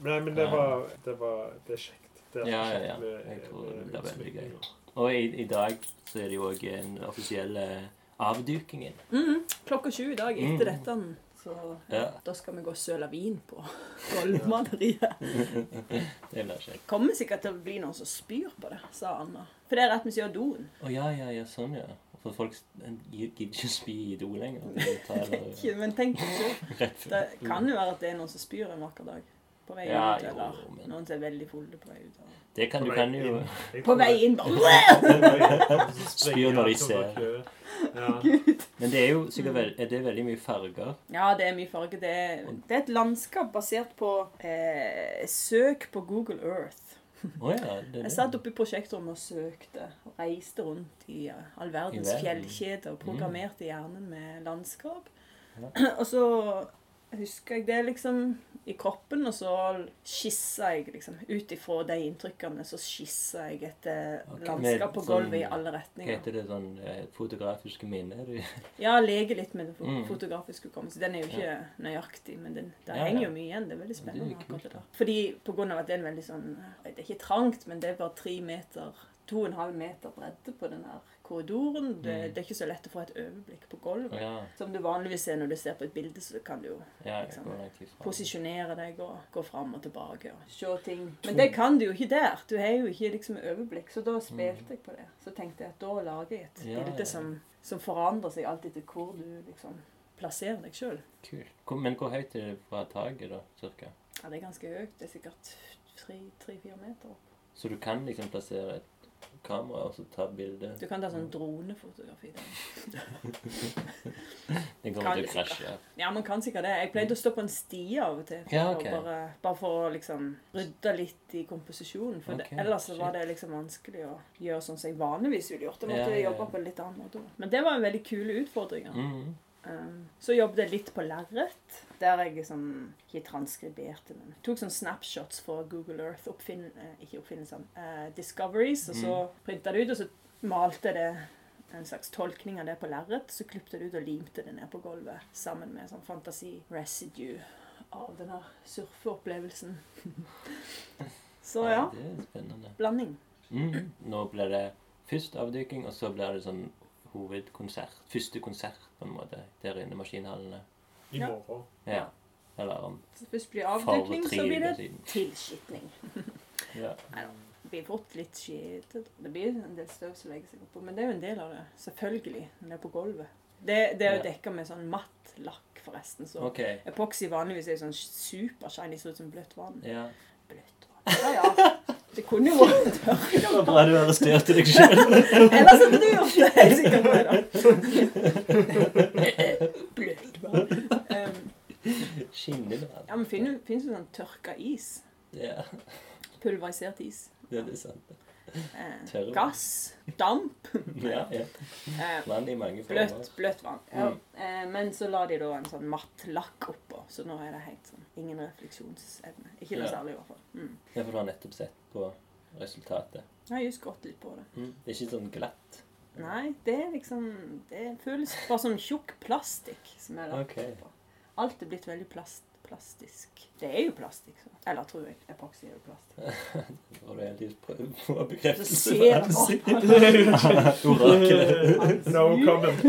Speaker 2: Nei, men det var Det, var, det er kjekt. Det er eh,
Speaker 1: Ja, ja,
Speaker 2: kjekt
Speaker 1: ja.
Speaker 2: med-
Speaker 1: Jeg tror det blir
Speaker 2: med
Speaker 1: veldig gøy.
Speaker 2: utsmykninger.
Speaker 1: Og i, i dag så er det jo òg den offisielle avdukingen.
Speaker 3: Mm, klokka sju i dag etter
Speaker 1: Mm.
Speaker 3: dette. Så
Speaker 1: Ja.
Speaker 3: da skal vi gå og søle vin på Golvmaleriet.
Speaker 1: Det blir kjekt.
Speaker 3: Kommer sikkert til å bli noen som spyr på det, sa Anna. For det er rett ved siden av doen.
Speaker 1: Å ja, ja, ja, sånn, ja. For folk s- en gir- gidder ikke å spy i do lenger. De tar det
Speaker 3: Ikke- Men tenk så.
Speaker 1: rett før.
Speaker 3: Det kan jo være at det er noen som spyr en vakker dag. På vei
Speaker 1: Mm. Ja,
Speaker 3: ut,
Speaker 1: jo,
Speaker 3: eller
Speaker 1: men-
Speaker 3: noen som er veldig fulle på vei ut. eller-
Speaker 1: Det kan du kan jo
Speaker 2: Jeg
Speaker 3: På
Speaker 2: tror
Speaker 3: vei
Speaker 2: det-
Speaker 3: inn, bare
Speaker 1: Spyr når de ser.
Speaker 2: Ja.
Speaker 1: Men det er jo sikkert
Speaker 3: Mm.
Speaker 1: vel- er det veldig mye farger.
Speaker 3: Ja, det er mye farge. Det er, det er et landskap basert på eh, søk på Google Earth.
Speaker 1: Å ja. Det,
Speaker 3: Jeg
Speaker 1: er
Speaker 3: satt
Speaker 1: det.
Speaker 3: oppe i prosjektrommet og søkte. og Reiste rundt i eh, all verdens
Speaker 1: I verden. Mm.
Speaker 3: fjellkjeder og programmerte hjernen med landskap. Og så husker jeg det liksom i kroppen, og så skissa jeg liksom Ut ifra de inntrykkene så skissa jeg et eh,
Speaker 1: Ok,
Speaker 3: landskap
Speaker 1: med
Speaker 3: på
Speaker 1: sånn-
Speaker 3: gulvet i alle
Speaker 1: Hva
Speaker 3: retninger.
Speaker 1: heter det sånn eh, fotografiske minner? Du-
Speaker 3: Ja, lege litt med det fo-
Speaker 1: Mm.
Speaker 3: fotografisk hukommelse. Den er jo ikke nøyaktig, men den, der
Speaker 1: Ja,
Speaker 3: henger
Speaker 1: ja.
Speaker 3: jo mye igjen. Det er veldig
Speaker 1: Ja, det er
Speaker 3: spennende.
Speaker 1: kult,
Speaker 3: akkurat det
Speaker 1: da.
Speaker 3: der. Fordi på grunn av at det er en veldig sånn Det er ikke trangt, men det er bare tre meter To og en halv meter bredde på den her korridoren. Det,
Speaker 1: Mm.
Speaker 3: det er ikke så lett å få et overblikk på
Speaker 1: Å
Speaker 3: gulvet.
Speaker 1: ja.
Speaker 3: Som du vanligvis ser når du ser på et bilde, så kan du jo
Speaker 1: Ja, jeg
Speaker 3: Liksom.
Speaker 1: går langt ifra.
Speaker 3: posisjonere deg og gå fram og tilbake og se ting. Men det kan du jo ikke der. Du har jo ikke liksom overblikk. Så da spilte jeg på det. Så tenkte jeg at da lager jeg et
Speaker 1: Ja, ja.
Speaker 3: bilde som, som forandrer seg alt etter hvor du liksom plasserer deg sjøl.
Speaker 1: Kult. Hvor- Men hvor høyt er det fra taket, da? Cirka?
Speaker 3: Ja, det er ganske høyt. Det er sikkert tre-fire meter opp.
Speaker 1: Så du kan liksom plassere et kamera og så ta bilde?
Speaker 3: Du kan ta sånn dronefotografi. der.
Speaker 1: Det
Speaker 3: kan
Speaker 1: kommer til å
Speaker 3: du
Speaker 1: krasje.
Speaker 3: Ja, man kan sikkert det. Jeg pleide å stå på en stie av og til. For
Speaker 1: Ja,
Speaker 3: å
Speaker 1: ok.
Speaker 3: bare, bare for å liksom rydde litt i komposisjonen. For
Speaker 1: Ok,
Speaker 3: det, ellers så
Speaker 1: shit.
Speaker 3: var det liksom vanskelig å gjøre sånn som jeg vanligvis ville gjort. Jeg
Speaker 1: Ja, ja,
Speaker 3: måtte
Speaker 1: ja.
Speaker 3: jobbe på en litt annen måte. Men det var en veldig kule utfordringer.
Speaker 1: Mhm.
Speaker 3: Um, så jobbet jeg litt på lerret, der jeg liksom ikke transkriberte, men tok sånn snapshots for Google Earth, oppfinn, eh, ikke oppfinnelsen, eh, Discoveries, og så printet det ut, og så malte jeg det en slags tolkning av det på lerret, så klippte det ut og limte det ned på gulvet, sammen med sånn fantasi-residue av denne surfeopplevelsen. så ja,
Speaker 1: Det er spennende.
Speaker 3: blanding.
Speaker 1: Mhm. Nå blir det først avduking, og så blir det sånn hovedkonsert. Første konsert, på en måte, der inne i maskinhallene.
Speaker 2: I
Speaker 3: Ja.
Speaker 2: morgen.
Speaker 1: Ja. Eller om
Speaker 3: Så først blir det
Speaker 1: for
Speaker 3: avdekning,
Speaker 1: tre
Speaker 3: så blir
Speaker 1: uker
Speaker 3: det
Speaker 1: siden.
Speaker 3: tilskitning.
Speaker 1: Ja.
Speaker 3: Det blir fort litt skitete. Det blir en del støv som legger seg oppå, men det er jo en del av det. Selvfølgelig. Når det er på gulvet. Det, det er jo
Speaker 1: Ja.
Speaker 3: dekka med sånn matt lakk, forresten. Så
Speaker 1: OK.
Speaker 3: epoksy vanligvis er jo sånn supershiny, ser ut som bløtt vann.
Speaker 1: Ja.
Speaker 3: Bløtt vann. Ja, ja. Det kunne jo vært
Speaker 1: Det var bra du arresterte deg sjøl.
Speaker 3: Ellers hadde du gjort det. Helt sikkert på det. Bløtt vann. Um, ja,
Speaker 1: Skinnende.
Speaker 3: men finnes, finnes jo sånn tørka is.
Speaker 1: Ja,
Speaker 3: Pulverisert is.
Speaker 1: det er sant.
Speaker 3: Eh,
Speaker 1: Tørre.
Speaker 3: gass. Damp.
Speaker 1: Ja, ja.
Speaker 3: Eh,
Speaker 1: Vann i mange former.
Speaker 3: Bløtt, bløtt vann. Ja.
Speaker 1: Mm.
Speaker 3: Eh, men så la de da en sånn matt lakk oppå, så nå er det helt sånn ingen refleksjonsevne. Ikke
Speaker 1: Ja.
Speaker 3: noe særlig, i hvert fall. Mm.
Speaker 1: Ja, for du har nettopp sett på resultatet.
Speaker 3: Jeg har just gått litt på det.
Speaker 1: Det er ikke sånn glatt.
Speaker 3: Nei, det er liksom Det føles bare som tjukk plastikk som er lagt
Speaker 1: Ok.
Speaker 3: oppå. Alt er blitt veldig plast, plastisk. Det er jo plastikk, så. Eller tror jeg. Epoksy er jo plastikk.
Speaker 1: Og du hele tiden prøver å få
Speaker 3: Så
Speaker 1: bekreftelse på
Speaker 3: ser
Speaker 1: ansiktet.
Speaker 3: man
Speaker 1: Orakelet.
Speaker 2: no comment.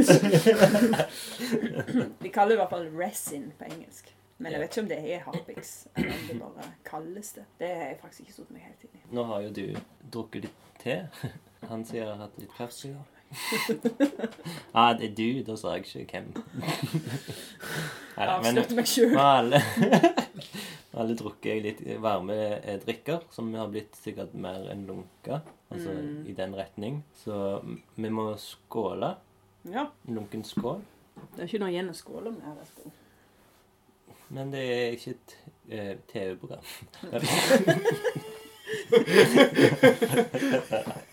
Speaker 3: De kaller det i hvert fall resin på engelsk. Men jeg vet ikke om det er harpiks, eller om det bare kalles det. Det har jeg faktisk ikke stått meg helt inn i.
Speaker 1: Nå har jo du drukket litt te. Han sier jeg har hatt litt kaffe. Ja, ah, det er du. Da sa jeg ikke hvem. Neida, men
Speaker 3: Avslørte meg sjøl.
Speaker 1: vi har alle, vi har alle drukket litt varme eh, drikker, som har blitt sikkert mer enn lunka. Altså
Speaker 3: Mm.
Speaker 1: i den retning. Så mm, vi må skåle.
Speaker 3: Ja.
Speaker 1: Lunken skål.
Speaker 3: Det er ikke noe igjen å skåle med. her, Espen.
Speaker 1: Men det er ikke et eh, TV-program.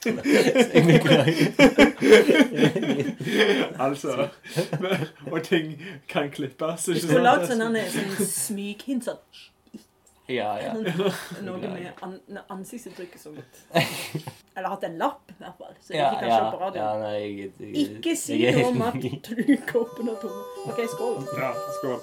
Speaker 1: Jeg beklager.
Speaker 2: Altså Og ting kan klippes,
Speaker 3: Du
Speaker 2: ikke
Speaker 3: skulle lagd
Speaker 2: sant?
Speaker 3: sånn her, sånn smyghint sånn
Speaker 1: Ja, ja.
Speaker 3: Noe med an ansiktsuttrykket så godt. Eller hatt en lapp, i hvert fall. Så jeg
Speaker 1: Ja,
Speaker 3: ikke kan
Speaker 1: ja,
Speaker 3: se på
Speaker 1: ja,
Speaker 3: radioen.
Speaker 1: nei, jeg, jeg,
Speaker 3: Ikke si
Speaker 1: jeg-
Speaker 3: noe om at du koppen er tomme. OK, skål.
Speaker 2: Ja, skål.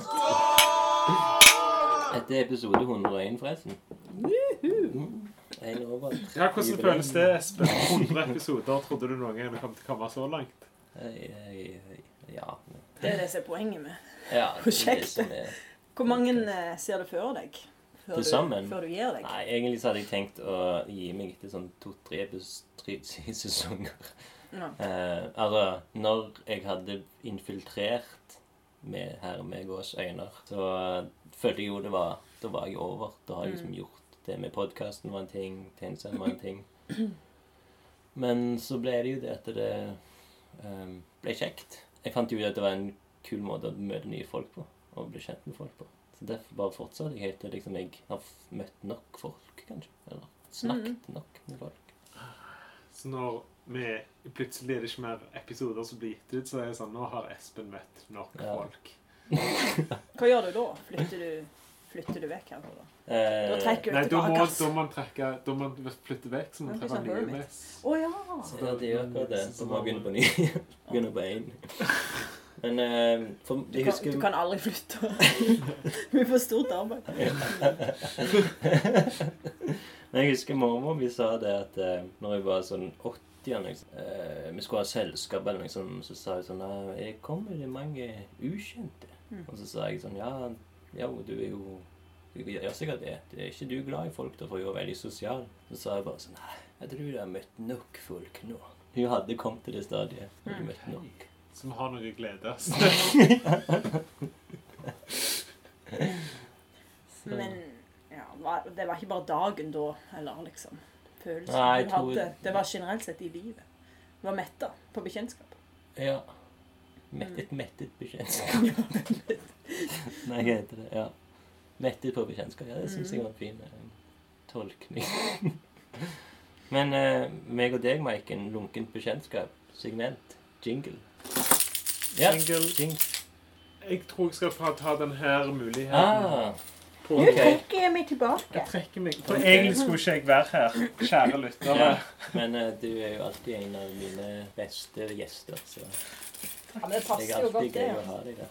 Speaker 1: Dette er episode 101, forresten. Mm, En over.
Speaker 2: Ja, Hvordan føles det, Espen? 100 episoder, trodde du noen gang kom til å komme så langt?
Speaker 1: Hei, hei, hei. Ja.
Speaker 3: Det er det som er poenget med.
Speaker 1: ja det er det
Speaker 3: Prosjektet.
Speaker 1: som er.
Speaker 3: Hvor mange eh, ser du før deg? Før
Speaker 1: Til sammen?
Speaker 3: Du, før du gir deg?
Speaker 1: Nei, egentlig så hadde jeg tenkt å gi meg etter sånn to-tre epis- tre sesonger.
Speaker 3: Nei.
Speaker 1: Eh, altså, når jeg hadde infiltrert med herre med gåseøyner, så eh, følte jeg jo det var Da var jeg over. Da har jeg
Speaker 3: Mm.
Speaker 1: liksom gjort det med podkasten var en ting, tegneserien var en ting. Men så ble det jo det at det eh, ble kjekt. Jeg fant jo ut at det var en kul måte å møte nye folk på, og bli kjent med folk på. Så derfor bare fortsatte jeg helt til liksom jeg har f- møtt nok folk, kanskje. Eller snakket
Speaker 3: Mm.
Speaker 1: nok med folk.
Speaker 2: Så når vi plutselig er det ikke mer episoder som blir gitt ut, så er det sånn Nå har Espen møtt nok
Speaker 1: Ja.
Speaker 2: folk.
Speaker 3: Hva gjør du da? Flytter du, flytter du vekk herfra da? Da
Speaker 1: Eh,
Speaker 3: trekker du
Speaker 2: Nei, da
Speaker 3: tilbake.
Speaker 2: må,
Speaker 3: ass.
Speaker 2: da må man trekke Da må man flytte vekk, så man
Speaker 3: Men
Speaker 2: treffer
Speaker 3: du sa
Speaker 2: nye
Speaker 3: hermit.
Speaker 2: med.
Speaker 3: Å ja!
Speaker 2: Så
Speaker 1: Ja,
Speaker 2: da-
Speaker 1: det gjør akkurat det.
Speaker 2: så-
Speaker 1: Så må vi begynne på ny. begynne på én. Men eh, for,
Speaker 3: Du
Speaker 1: jeg
Speaker 3: kan,
Speaker 1: husker
Speaker 3: du kan aldri flytte. Vi får stort arbeid.
Speaker 1: Men jeg husker mormor vi sa det at eh, når jeg var sånn 80 eller noe sånt, eh, Vi skulle ha selskap eller noe sånt, så sa hun sånn «Nei, Jeg kommer det mange ukjente.
Speaker 3: Mm.
Speaker 1: Og så sa jeg sånn Ja, ja du er jo du gjør sikkert det. Det er ikke du glad i folk, da, for hun er veldig sosial. Så sa jeg bare sånn Nei, jeg tror du har møtt nok folk nå. Hun hadde kommet til det stadiet. Hun hadde møtt nok.
Speaker 2: Så vi har noe å glede oss
Speaker 3: Men ja, hva- det var ikke bare dagen da heller, liksom. Følelsen
Speaker 1: Nei, jeg
Speaker 3: du
Speaker 1: tror-
Speaker 3: hadde. Det var generelt sett i livet. Du var metta på bekjentskap.
Speaker 1: Ja. Mett,
Speaker 3: Mm.
Speaker 1: et mettet bekjentskap. Nei, hva heter det? Ja. Mettet på bekjentskap. Ja, det syns
Speaker 3: Mm.
Speaker 1: jeg var en fin eh, tolkning. Men eh, meg og deg, Maiken, lunkent bekjentskap. Segment. Jingle. Ja.
Speaker 2: Jingle.
Speaker 1: Jing
Speaker 2: Jeg tror jeg skal få ta den her muligheten.
Speaker 1: ah,
Speaker 2: på-
Speaker 3: Nå
Speaker 1: Ok.
Speaker 3: trekker jeg meg tilbake.
Speaker 2: Jeg trekker meg. For egentlig skulle ikke jeg være her, kjære lyttere.
Speaker 1: ja. Men eh, du er jo alltid en av mine beste gjester, så
Speaker 3: Ja, men det
Speaker 1: jeg
Speaker 3: passer
Speaker 1: er
Speaker 3: jo
Speaker 1: alltid
Speaker 3: godt, det. altså.
Speaker 1: gøy å ha deg der.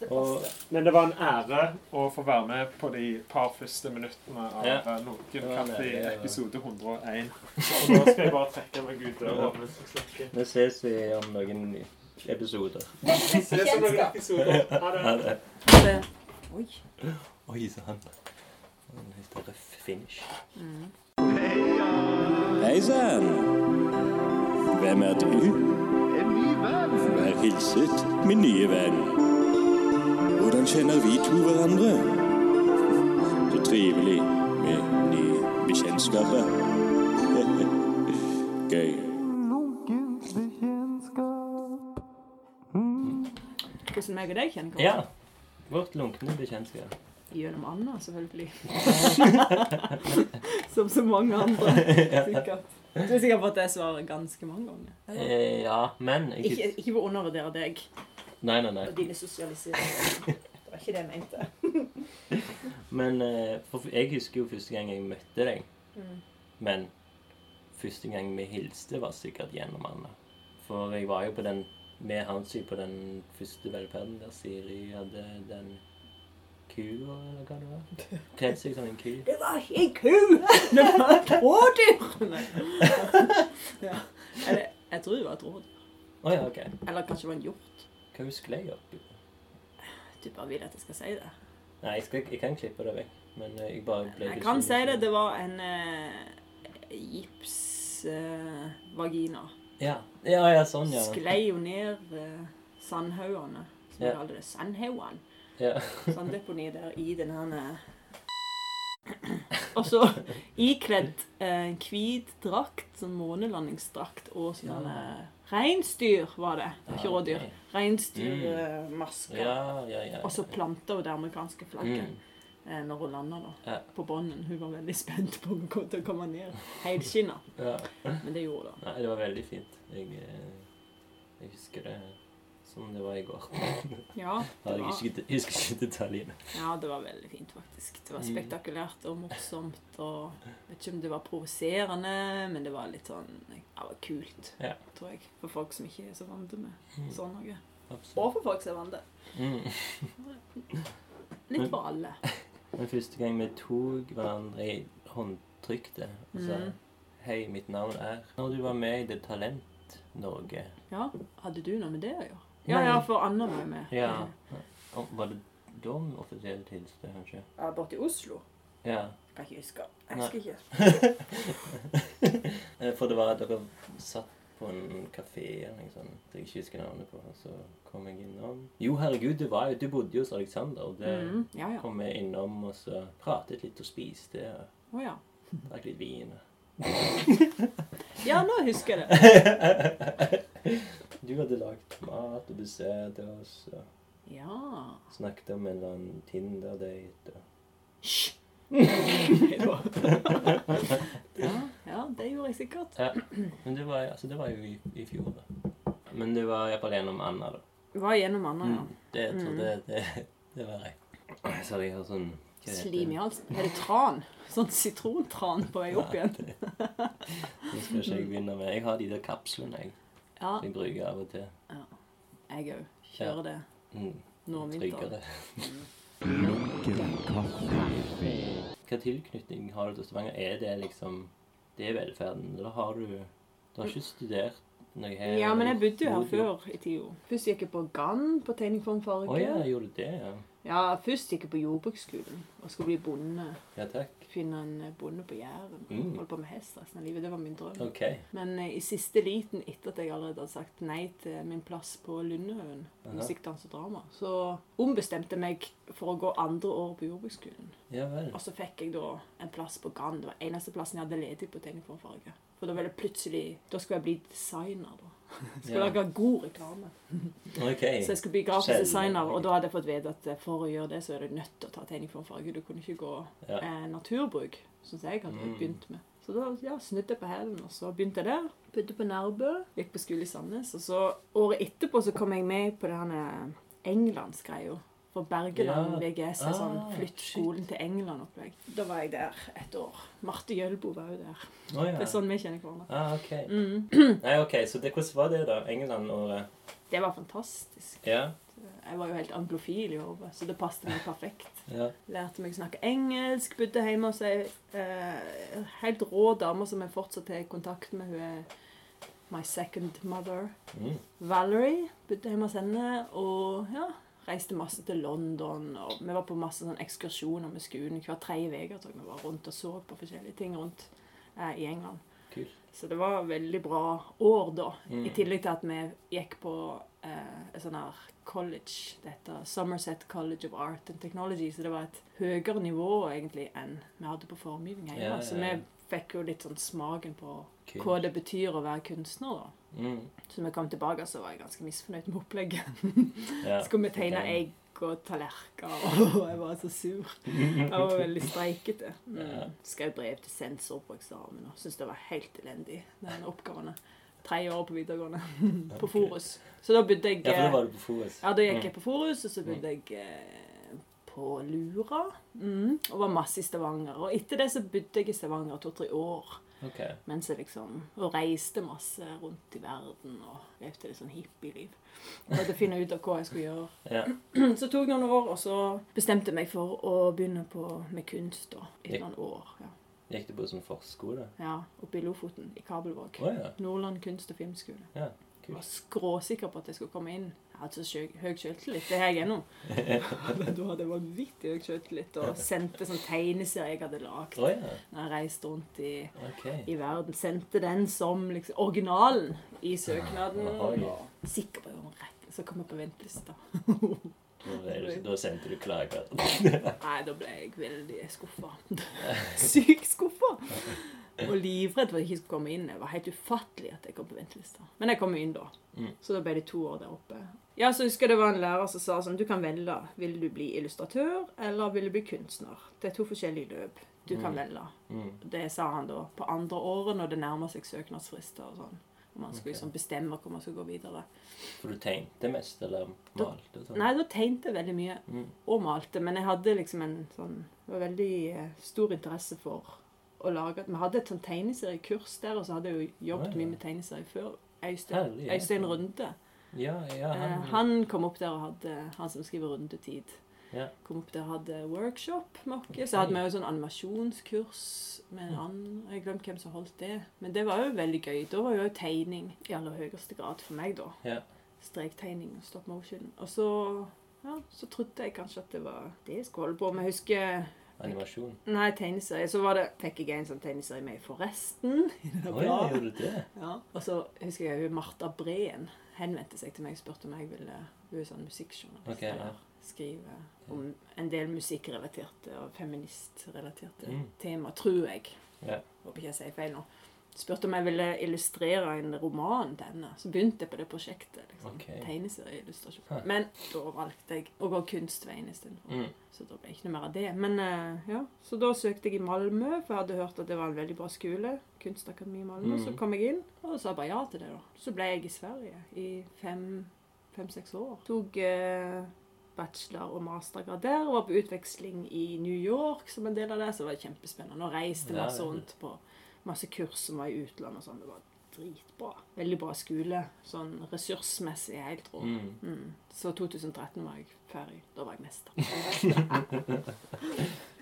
Speaker 3: det
Speaker 1: Og-
Speaker 3: passer.
Speaker 2: Men det var en ære å få være med på de par første minuttene av
Speaker 1: Ja.
Speaker 2: eh, Noen
Speaker 1: var en
Speaker 2: kaffe i
Speaker 1: ære, ja.
Speaker 2: episode 101. Og nå skal jeg bare trekke meg ut
Speaker 1: Ja.
Speaker 2: døra mens vi snakker.
Speaker 1: Vi ses vi om noen episoder.
Speaker 2: Det er som en episode. Ha det.
Speaker 1: Ha det.
Speaker 3: Det- Oi.
Speaker 1: Oi sann. En litt røff finish.
Speaker 5: Hei sann! Hvem er du? Vær hilset, min nye venn. Hvordan kjenner vi to hverandre? Så trivelig med nye bekjentskaper. Gøy.
Speaker 3: Hvordan meg og deg kjenner hverandre?
Speaker 1: Ja. Vårt lunkne bekjentskap.
Speaker 3: Gjennom Anna, selvfølgelig. Som så mange andre, sikkert. Jeg tror sikkert på at det svaret ganske mange ganger. Eller?
Speaker 1: Eh, ja, men
Speaker 3: Ikke,
Speaker 1: ikke,
Speaker 3: ikke for å undervurdere deg
Speaker 1: Nei, nei, nei.
Speaker 3: og dine sosialiseringer. Det var ikke det jeg mente.
Speaker 1: Men eh, for jeg husker jo første gang jeg møtte deg. Men første gang vi hilste, var sikkert gjennom Anna. For jeg var jo på den med Hansi på den første velferden der Siri hadde den kua, eller hva det var. Kledd seg som en ku.
Speaker 3: Det var ikke en ku! Det var et rådyr! ja. Eller, jeg tror det var et rådyr.
Speaker 1: Å ja, OK.
Speaker 3: Eller kanskje det var en hjort.
Speaker 1: Hva husker jeg opp?
Speaker 3: Du bare vil at jeg skal si det.
Speaker 1: Nei, jeg, skal, jeg kan klippe det vekk. Men eh, jeg bare ble
Speaker 3: Jeg kan si det.
Speaker 1: bekymret.
Speaker 3: Det var en eh, gipsvagina.
Speaker 1: Ja, ja, ja sånn, ja.
Speaker 3: Sklei jo ned eh, sandhaugene. Som
Speaker 1: Ja.
Speaker 3: vi kaller det. Sandhaugan.
Speaker 1: ja.
Speaker 3: Sanddeponi der i den her eh, Og så ikledd eh, en hvit drakt, sånn månelandingsdrakt, og
Speaker 1: Ja.
Speaker 3: sånn eh, reinsdyr var det. Det var Ikke rådyr.
Speaker 1: ok.
Speaker 3: Reinsdyrmasker.
Speaker 1: Ah, Ja, ja, ja.
Speaker 3: Og så planta hun det amerikanske flagget
Speaker 1: Mm.
Speaker 3: eh, når hun landa da,
Speaker 1: Ja.
Speaker 3: på bånden. Hun var veldig spent på om hun kom til å komme ned helskinna,
Speaker 1: ja.
Speaker 3: men det gjorde hun.
Speaker 1: Nei, det var veldig fint. Jeg, eh, Jeg husker det som det var i går.
Speaker 3: Ja, det
Speaker 1: Jeg
Speaker 3: var,
Speaker 1: husker ikke, husker ikke detaljene.
Speaker 3: ja, det var veldig fint, faktisk. Det var
Speaker 1: Mm.
Speaker 3: spektakulært og morsomt. og jeg Vet ikke om det var provoserende, men det var litt sånn ja, det var kult,
Speaker 1: Ja.
Speaker 3: tror jeg. For folk som ikke er så vant med sånn noe.
Speaker 1: Mm, Absolutt.
Speaker 3: Og for folk som er vant.
Speaker 1: Mm.
Speaker 3: Litt for alle.
Speaker 1: Men første gang vi tok hverandre i håndtrykte og sa
Speaker 3: Mhm.
Speaker 1: Hei, mitt navn er Når du var med i The Talent Norge
Speaker 3: Ja, Hadde du noe med det å gjøre? Ja, ja, for Anna var jo med.
Speaker 1: Ja. Og Var det da vi offisielt hilste, kanskje?
Speaker 3: Ja, Borte i Oslo.
Speaker 1: Ja.
Speaker 3: Kan ikke huske.
Speaker 1: Jeg husker
Speaker 3: ikke.
Speaker 1: Eh, For det var at dere satt på en kafé eller noe sånt som jeg ikke husker navnet på. og Så kom jeg innom. Jo, herregud, det var jo Du bodde jo hos Alexander, og det
Speaker 3: Mm, ja, ja.
Speaker 1: kom jeg innom, og så pratet litt og spiste og
Speaker 3: Å ja.
Speaker 1: drakk litt vin. og-
Speaker 3: Ja, nå husker jeg det.
Speaker 1: Du hadde lagd mat og dessert til oss. og...
Speaker 3: Ja.
Speaker 1: Snakket om en eller annen Tinder-date. og-
Speaker 3: Hysj! ja, ja, det gjorde jeg sikkert.
Speaker 1: Ja. Men det var, altså, det var jo i, i fjor, da. Men det var iallfall gjennom Anna, da.
Speaker 3: Var gjennom Anna, ja.
Speaker 1: Mm, Det jeg tror det, det, det var rett. Så jeg har sånn hva heter
Speaker 3: Slim i halsen. Er det tran? Sånn sitrontran på vei opp igjen.
Speaker 1: Det skal ikke jeg begynne med. Jeg har de der kapslene jeg,
Speaker 3: Ja,
Speaker 1: jeg bruker av og til.
Speaker 3: jeg òg. Kjører det
Speaker 1: Mm,
Speaker 3: nå om vinteren. Mm.
Speaker 1: tryggere.
Speaker 4: Lunken kaffe.
Speaker 1: Hva tilknytning har du til Stavanger? Er det liksom Det er velferden? Eller har du Du har ikke studert noe her?
Speaker 3: Ja, men jeg bodde jo her
Speaker 1: Eh, Bodde du-
Speaker 3: før i tida. Først gikk jeg på Gann på tegning for en
Speaker 1: Å
Speaker 3: farge.
Speaker 1: ja, gjorde du det? Ja.
Speaker 3: Ja, først gikk jeg på jordbruksskolen og skulle bli bonde.
Speaker 1: ja takk.
Speaker 3: Finne en eh, bonde på Jæren.
Speaker 1: Mm.
Speaker 3: Holde på med hest resten av livet. Det var min drøm.
Speaker 1: OK.
Speaker 3: Men eh, i siste liten, etter at jeg allerede hadde sagt nei til min plass på Lundehaugen,
Speaker 1: Aha.
Speaker 3: musikk, dans og drama, så ombestemte jeg meg for å gå andre året på jordbruksskolen.
Speaker 1: Ja vel.
Speaker 3: Og så fikk jeg da en plass på Gann. Det var eneste plassen jeg hadde ledig på tegning for en farge. For da ville jeg plutselig Da skulle jeg bli designer, da. Skulle
Speaker 1: Ja.
Speaker 3: lage god reklame.
Speaker 1: OK.
Speaker 3: Så jeg skulle bli grafisk
Speaker 1: Selv-
Speaker 3: designer, og da hadde jeg fått vite at eh, for å gjøre det, så er du nødt til å ta tegning for en farge. Du kunne ikke gå
Speaker 1: Ja.
Speaker 3: eh, naturbruk, som jeg hadde
Speaker 1: Mm.
Speaker 3: begynt med. Så da ja, snudde jeg på hælen, og så begynte jeg der. Bodde på Nærbø, gikk på skole i Sandnes. Og så året etterpå så kom jeg med på den eh, Englandsgreia. For Bergeland
Speaker 1: Ja.
Speaker 3: VGS er sånn
Speaker 1: Ah,
Speaker 3: flytt
Speaker 1: shit.
Speaker 3: skolen til England-opplegg. Da var jeg der et år. Marte Gjølbo var jo der.
Speaker 1: Å, ja.
Speaker 3: Det er sånn Mm. vi kjenner hverandre.
Speaker 1: Ah, ok. Nei, ok, Så det, hvordan var det, da? England-året?
Speaker 3: Det var fantastisk.
Speaker 1: Ja.
Speaker 3: Jeg var jo helt anglofil i hodet, så det passet meg perfekt.
Speaker 1: ja.
Speaker 3: Lærte meg å snakke engelsk, bodde hjemme hos ei eh, helt rå dame som jeg fortsatt har kontakt med. Hun er my second mother.
Speaker 1: Mm.
Speaker 3: Valerie bodde hjemme hos henne. Og ja, reiste masse til London. Og vi var på masse sånne ekskursjoner med skolen hver tredje uke. tror jeg Vi var rundt og så på forskjellige ting rundt eh, i England.
Speaker 1: Kult.
Speaker 3: Så det var veldig bra år da.
Speaker 1: Mm.
Speaker 3: I tillegg til at vi gikk på eh, et sånn her college. Det heter Somerset College of Art and Technology. Så det var et høyere nivå egentlig enn vi hadde på formgivning hjemme.
Speaker 1: Ja, ja,
Speaker 3: Så
Speaker 1: ja.
Speaker 3: vi fikk jo litt sånn smaken på
Speaker 1: Kult.
Speaker 3: hva det betyr å være kunstner, da.
Speaker 1: Mm.
Speaker 3: Så når vi kom tilbake, så var jeg ganske misfornøyd med opplegget.
Speaker 1: Ja.
Speaker 3: Så skulle vi tegne
Speaker 1: ok.
Speaker 3: egg og tallerkener, og jeg var så sur. Jeg var veldig streikete.
Speaker 1: Ja.
Speaker 3: Mm. Skrev brev til sensor på eksamen og syntes det var helt elendig, den oppgaven. Tre år på videregående. På Forus. Så da bodde jeg eh,
Speaker 1: Ja, for da var du på Forus.
Speaker 3: ja, da gikk
Speaker 1: Mm.
Speaker 3: jeg på Forus, og så bodde jeg eh, på Lura. Mm. Og var masse i Stavanger. Og etter det så bodde jeg i Stavanger to-tre år.
Speaker 1: Ok.
Speaker 3: Mens jeg liksom Og reiste masse rundt i verden og levde litt sånn hippieliv. For å finne ut av hva jeg skulle gjøre.
Speaker 1: Ja.
Speaker 3: Så tok det noen år, og så bestemte jeg meg for å begynne på, med kunst da, etter noen år. Ja.
Speaker 1: Gikk du på sånn forskole?
Speaker 3: ja, Oppe i Lofoten, i Kabelvåg.
Speaker 1: Å ja.
Speaker 3: Nordland kunst- og filmskole.
Speaker 1: Ja,
Speaker 3: Jeg
Speaker 1: kult.
Speaker 3: var skråsikker på at jeg skulle komme inn. Jeg hadde så sjø- høy selvtillit. Det er jeg ennå. da hadde jeg vanvittig høy selvtillit og sendte sånn tegneserie jeg hadde lagd.
Speaker 1: Å ja.
Speaker 3: Når jeg reiste rundt i,
Speaker 1: Ok.
Speaker 3: i verden. Sendte den som liksom, originalen i søknaden.
Speaker 1: Oi.
Speaker 3: Og sikker på at jeg var rett. Så kom jeg på ventelista.
Speaker 1: Da er du- Da sendte du klager.
Speaker 3: Nei, da ble jeg veldig skuffa. Sykt skuffa! Og livredd for at jeg ikke skulle komme inn. Det var helt ufattelig at jeg kom på ventelista. Men jeg kom jo inn da.
Speaker 1: Mm.
Speaker 3: Så da ble det to år der oppe. Ja, så husker jeg det var en lærer som sa sånn Du kan velge. Vil du bli illustratør, eller vil du bli kunstner? Det er to forskjellige løp. Du kan
Speaker 1: Mm.
Speaker 3: velge.
Speaker 1: Mm.
Speaker 3: Det sa han da på andre året, når det nærmer seg søknadsfrister og sånn. Og man skulle liksom bestemme hvor man skulle gå videre.
Speaker 1: For du tegnte mest, eller malte? Sånn.
Speaker 3: Nei, da tegnte jeg veldig mye.
Speaker 1: Mm.
Speaker 3: Og malte. Men jeg hadde liksom en sånn Det var veldig eh, stor interesse for å lage Vi hadde et sånn tegneseriekurs der, og så hadde jeg jo jobbet
Speaker 1: Oi.
Speaker 3: mye med tegneserier før. Øystein,
Speaker 1: Herlig, ja.
Speaker 3: Øystein Runde.
Speaker 1: Ja, ja,
Speaker 3: Eh,
Speaker 1: han,
Speaker 3: han kom opp der og hadde Han som skriver Rundetid.
Speaker 1: Ja.
Speaker 3: Kom opp der og hadde workshop med oss. Så hadde vi jo sånn animasjonskurs med en annen. Jeg har glemt hvem som holdt det. Men det var jo veldig gøy. Da var jo tegning i aller høyeste grad for meg, da.
Speaker 1: Ja.
Speaker 3: Strektegning og stop motion. Og så ja, så trodde jeg kanskje at det var det jeg skulle holde på med. Jeg husker
Speaker 1: animasjon.
Speaker 3: Nei, tegneserie. Så var det, fikk jeg en sånn tegneserie med i Forresten. i det der
Speaker 1: Oi,
Speaker 3: bladet.
Speaker 1: gjorde du det?
Speaker 3: Ja. Og så husker jeg hun Marta Breen henvendte seg til meg og spurte om jeg ville Hun er sånn musikkjournalist.
Speaker 1: Ok, ja.
Speaker 3: eller Skrive om en del musikkrelaterte og feministrelaterte
Speaker 1: Mm.
Speaker 3: tema, tror jeg.
Speaker 1: Ja.
Speaker 3: Håper ikke jeg sier feil nå. Spurte om jeg ville illustrere en roman til henne. Så begynte jeg på det prosjektet. liksom.
Speaker 1: Ok.
Speaker 3: Tegneserieillustrasjon.
Speaker 1: Hæ.
Speaker 3: Men da valgte jeg å gå kunstveien istedenfor.
Speaker 1: Mm.
Speaker 3: Så da ble jeg ikke noe mer av det. Men eh, ja, Så da søkte jeg i Malmö, for jeg hadde hørt at det var en veldig bra skole. Kunstakademi i Malmö.
Speaker 1: Mhm.
Speaker 3: Så kom jeg inn og sa bare ja til det. da. Så ble jeg i Sverige i fem-seks år. Tok eh, bachelor- og mastergrad der. Var på utveksling i New York som en del av det, så det var kjempespennende. Og reiste
Speaker 1: Ja,
Speaker 3: masse
Speaker 1: ja.
Speaker 3: rundt på masse kurs som var i utlandet og sånn. Det var dritbra. Veldig bra skole. Sånn ressursmessig helt rå.
Speaker 1: Mm.
Speaker 3: Mm. Så 2013 var jeg ferdig. Da var jeg mester.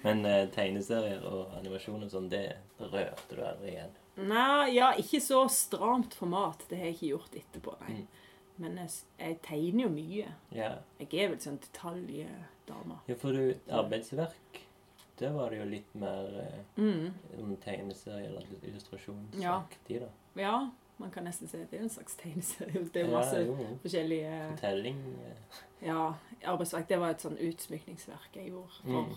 Speaker 1: Men eh, tegneserier og animasjon og sånn, det rørte du aldri igjen.
Speaker 3: Nei, ja, ikke så stramt format. Det har jeg ikke gjort etterpå, nei.
Speaker 1: Mm.
Speaker 3: Men jeg, s- jeg tegner jo mye.
Speaker 1: Ja,
Speaker 3: Jeg er vel sånn detaljdame.
Speaker 1: ja for du, arbeidsverk, det var det jo litt mer eh,
Speaker 3: Mm.
Speaker 1: om tegneserie eller
Speaker 3: Ja.
Speaker 1: illustrasjonsaktig, da.
Speaker 3: Ja, man kan nesten si at det er en slags tegneserie. Det er
Speaker 1: Ja,
Speaker 3: masse
Speaker 1: jo, jo.
Speaker 3: forskjellige
Speaker 1: Fortelling eh,
Speaker 3: Ja, arbeidsverk. Det var et sånn utsmykningsverk jeg gjorde for
Speaker 1: Mm.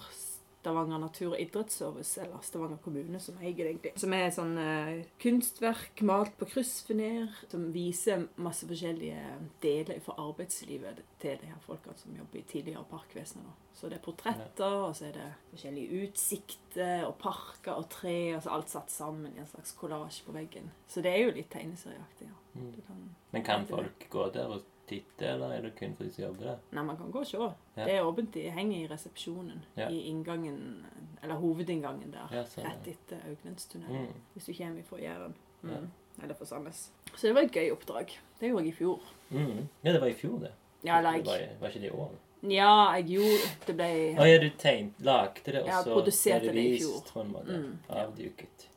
Speaker 3: Stavanger Natur- og Idrettsservice, eller Stavanger kommune, som eier det egentlig. Som er et sånn eh, kunstverk malt på kryssfiner, som viser masse forskjellige eh, deler fra arbeidslivet til de her folkene som jobber i tidligere parkvesenet. Da. Så det er portretter, og så er det forskjellige utsikter og parker og tre, og så alt satt sammen i en slags kollasj på veggen. Så det er jo litt tegneserieaktig, ja.
Speaker 1: Mm.
Speaker 3: Du kan
Speaker 1: Men kan folk gå der og titte, eller er det kun for de som jobber der?
Speaker 3: Nei, man kan gå og se.
Speaker 1: Ja.
Speaker 3: Det er åpent. De henger i resepsjonen.
Speaker 1: Ja.
Speaker 3: I inngangen, eller hovedinngangen der.
Speaker 1: Ja, så-
Speaker 3: Ah, Rett etter Augnenstunnelen.
Speaker 1: Mm.
Speaker 3: Hvis du kommer fra Jæren. Mm.
Speaker 1: Ja.
Speaker 3: Eller fra Sandnes. Så det var et gøy oppdrag. Det gjorde jeg i fjor.
Speaker 1: Mm. Ja, det var i fjor, det.
Speaker 3: Ja, eller
Speaker 1: Det var,
Speaker 3: jeg
Speaker 1: i- var ikke det i år?
Speaker 3: Ja, jeg gjorde Det ble
Speaker 1: Å ja, du tegn, lagde det, og
Speaker 3: Ja,
Speaker 1: så
Speaker 3: produserte
Speaker 1: ble
Speaker 3: det i
Speaker 1: vist
Speaker 3: fjor.
Speaker 1: på en måte.
Speaker 3: Mm, ja.
Speaker 1: Avduket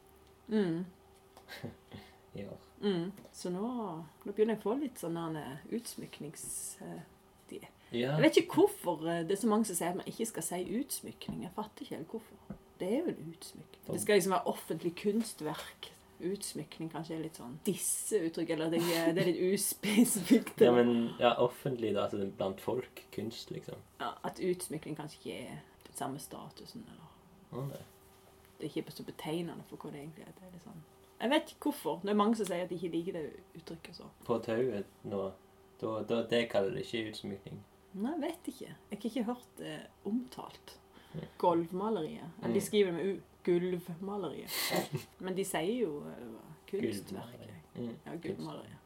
Speaker 3: mm,
Speaker 1: i år.
Speaker 3: mm. Så nå, nå begynner jeg å få litt sånn der, eh, utsmyknings... eh,
Speaker 1: Ja.
Speaker 3: Jeg vet ikke hvorfor eh, det er så mange som sier at man ikke skal si utsmykning. Jeg fatter ikke helt hvorfor. Det er jo en utsmykning. Det skal liksom være offentlig kunstverk. Utsmykning kanskje er litt sånn disse uttrykk, eller det er, det er litt uspesifikt.
Speaker 1: Ja, men ja, offentlig, da. Altså det er blant folk. Kunst, liksom.
Speaker 3: Ja, at utsmykning kanskje ikke er den samme statusen, eller
Speaker 1: Å, nei.
Speaker 3: det er ikke så betegnende for hva det egentlig er. Det er litt sånn. Jeg vet ikke hvorfor. Det er mange som sier at de ikke liker det uttrykket så.
Speaker 1: På tauet nå da, da, Det kaller det ikke utsmykning.
Speaker 3: Nei, jeg vet ikke. Jeg har ikke hørt det omtalt.
Speaker 1: Mm.
Speaker 3: Gulvmaleriet. Eller
Speaker 1: Mm.
Speaker 3: De skriver med U. Gulvmaleriet. Men de sier jo eh, kunstverket.
Speaker 1: Gulvmaleri. Mm.
Speaker 3: Ja, gulvmaleriet.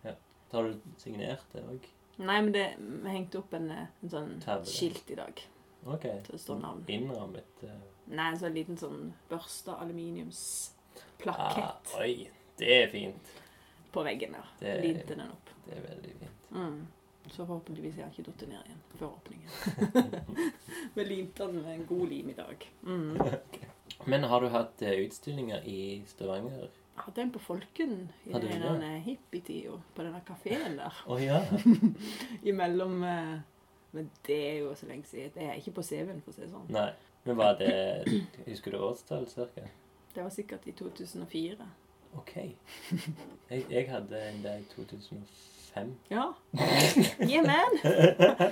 Speaker 1: Så Har du signert det òg?
Speaker 3: Nei, men det vi hengte opp en, eh, en sånn
Speaker 1: Tavle.
Speaker 3: skilt i dag.
Speaker 1: OK.
Speaker 3: Til det står navn.
Speaker 1: Innrammet eh,
Speaker 3: Nei, en sånn liten sånn børsta aluminiumsplakett
Speaker 1: Ah, oi. Eh. Det er fint.
Speaker 3: på veggen der.
Speaker 1: Det-
Speaker 3: Limte den opp.
Speaker 1: Det er veldig fint.
Speaker 3: Mm. Så forhåpentligvis har han ikke datt ned igjen før åpningen. Vi limte den med en god lim i dag. Mm.
Speaker 1: Men har du hatt eh, utstillinger i Stavanger?
Speaker 3: Jeg hadde en på Folken i
Speaker 1: Hadde du
Speaker 3: den
Speaker 1: det?
Speaker 3: derne hippietida. På denne kafeen der.
Speaker 1: Å ja.
Speaker 3: Imellom eh, Men det er jo så lenge siden. Det er ikke på CV-en, for å si det sånn.
Speaker 1: Nei. Men var det Husker du årstall, cirka?
Speaker 3: Det var sikkert i 2004.
Speaker 1: OK. Jeg, jeg hadde en der i 2005.
Speaker 3: Ja. Yeah, man!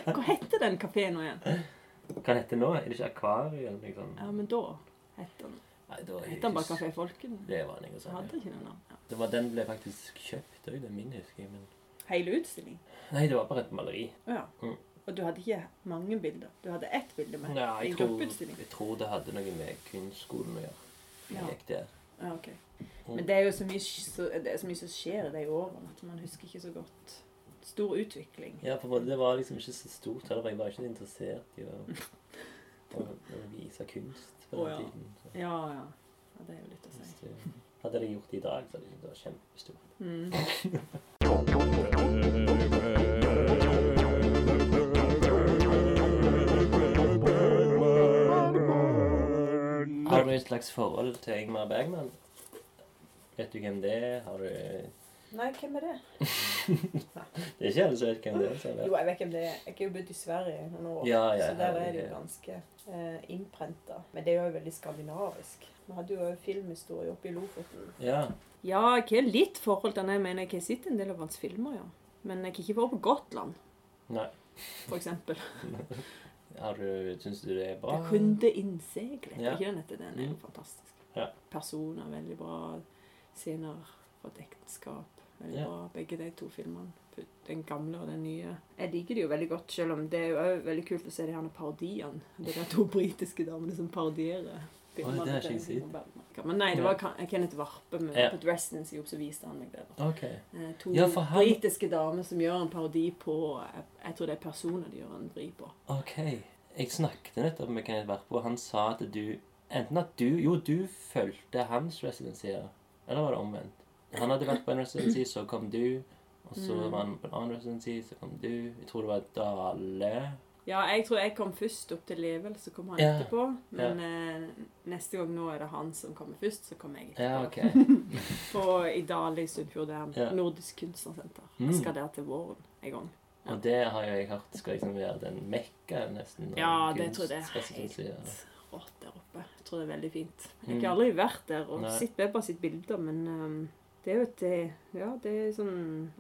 Speaker 3: Hva heter den kafeen nå igjen?
Speaker 1: Hva heter det nå? Er det ikke Akvarium? Liksom?
Speaker 3: Ja, men da het den
Speaker 1: Nei, da er jeg
Speaker 3: het den bare
Speaker 1: ikke-
Speaker 3: Kafé Folken.
Speaker 1: Det var den, ikke
Speaker 3: Så hadde
Speaker 1: sant?
Speaker 3: jeg ikke noe navn. Ja.
Speaker 1: Det var, den ble faktisk kjøpt òg, den min, husker jeg. Men...
Speaker 3: Hele utstilling?
Speaker 1: Nei, det var bare et maleri.
Speaker 3: Å ja.
Speaker 1: Mm.
Speaker 3: Og du hadde ikke mange bilder? Du hadde ett bilde med
Speaker 1: Nei,
Speaker 3: i
Speaker 1: jeg tror,
Speaker 3: gruppeutstilling?
Speaker 1: jeg tror det hadde noe med kunstskolen å gjøre. Jeg
Speaker 3: Ja.
Speaker 1: gikk der. Mm.
Speaker 3: Ja, ok. Men det er jo så mye, så, det er så mye som skjer i de årene at man husker ikke så godt. Stor utvikling.
Speaker 1: Ja, for både, det var liksom ikke så stort heller, for jeg var ikke så interessert i å, å, å vise kunst på den
Speaker 3: Å, ja.
Speaker 1: tiden. Så,
Speaker 3: Ja, ja. ja det er jo litt å si.
Speaker 1: hvis det, hadde jeg gjort det i dag, så hadde det vært kjempestort.
Speaker 3: Mm. Mm.
Speaker 1: Har du et slags forhold til Ingmar Bergman? Vet du hvem det er? Har du...
Speaker 6: Nei, hvem er det?
Speaker 1: Det er ikke alle som vet hvem det er. Så
Speaker 6: Jo,
Speaker 1: det.
Speaker 6: jeg vet hvem det er. Jeg har jo bodd i Sverige i noen år,
Speaker 1: Ja, ja,
Speaker 6: så der
Speaker 1: ja,
Speaker 6: er det jo
Speaker 1: ja.
Speaker 6: ganske eh, innprenta. Men det er jo veldig skandinavisk. Vi hadde jo filmhistorie oppe i Lofoten.
Speaker 1: Ja,
Speaker 3: Ja, jeg har litt forhold til han. Jeg mener, jeg har sett en del av hans filmer, ja. Men jeg har ikke vært på Gotland,
Speaker 1: nei.
Speaker 3: for eksempel.
Speaker 1: Har du... Synes du det er bra?
Speaker 3: Det kunne innseglet.
Speaker 1: Ja. Mm.
Speaker 3: Ikke den heter den. er jo fantastisk.
Speaker 1: Ja.
Speaker 3: Personer, veldig bra. Scener fra et ekteskap. Veldig
Speaker 1: Ja.
Speaker 3: bra, begge de to filmene. Den gamle og den nye. Jeg liker de jo veldig godt, selv om det er jo også veldig kult å se de her parodiene. Det er de to britiske damene som parodierer
Speaker 1: Oi, det har jeg
Speaker 3: til
Speaker 1: ikke sett.
Speaker 3: Ingmar Bergman. Men nei, det var Ken- Kenneth Varpe med,
Speaker 1: Ja.
Speaker 3: på et residency jobb, så viste han meg det. da.
Speaker 1: Ok.
Speaker 3: Eh, To
Speaker 1: Ja, for han-
Speaker 3: britiske damer som gjør en parodi på Jeg, jeg tror det er personer de gjør en vri på.
Speaker 1: Ok. Jeg snakket nettopp med Kenneth Varpo, og han sa at du Enten at du Jo, du fulgte hans residensier. Eller var det omvendt? Han hadde vært på en residency, så kom du. Og så
Speaker 3: Mm.
Speaker 1: var han på en annen residency, så kom du. Jeg tror det var Dale.
Speaker 3: Ja, jeg tror jeg kom først opp til Level, så kom han
Speaker 1: Ja.
Speaker 3: etterpå. Men eh, neste gang nå er det han som kommer først, så kommer jeg
Speaker 1: Ja,
Speaker 3: etterpå.
Speaker 1: ok.
Speaker 3: På I Dale i Sunnfjord, det er
Speaker 1: Ja.
Speaker 3: Nordisk kunstsenter.
Speaker 1: Mm.
Speaker 3: Jeg skal der til våren en gang.
Speaker 1: Og det har jo jeg hørt skal liksom være den mekka nesten. av
Speaker 3: Ja, det tror jeg det er
Speaker 1: kunstresidensier.
Speaker 3: helt rått der oppe. Jeg tror det er veldig fint.
Speaker 1: Mm.
Speaker 3: Jeg har aldri vært der og
Speaker 1: Nei.
Speaker 3: sett bare sitt bilder, men ehm, det er jo et eh, ja, det er sånn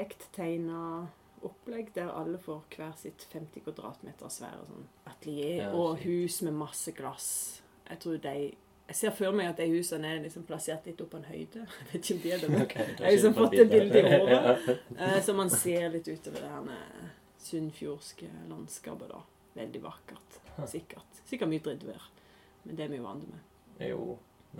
Speaker 3: arkitekttegna opplegg der alle får hver sitt 50 kvadratmeter svære sånn atelier
Speaker 1: Ja,
Speaker 3: og
Speaker 1: fint.
Speaker 3: hus med masse glass. Jeg tror de jeg ser for meg at de husene er liksom plassert litt opp på en høyde. Jeg vet ikke om de er det, men
Speaker 1: Ok, da
Speaker 3: Jeg har liksom
Speaker 1: skjønner
Speaker 3: fått et
Speaker 1: bildet.
Speaker 3: bilde i hodet. Eh, Så man ser litt utover det her eh, sunnfjordske landskapet, da. Veldig vakkert. Sikkert. Sikkert mye drittvær. Men det er vi jo vant med.
Speaker 1: Jo,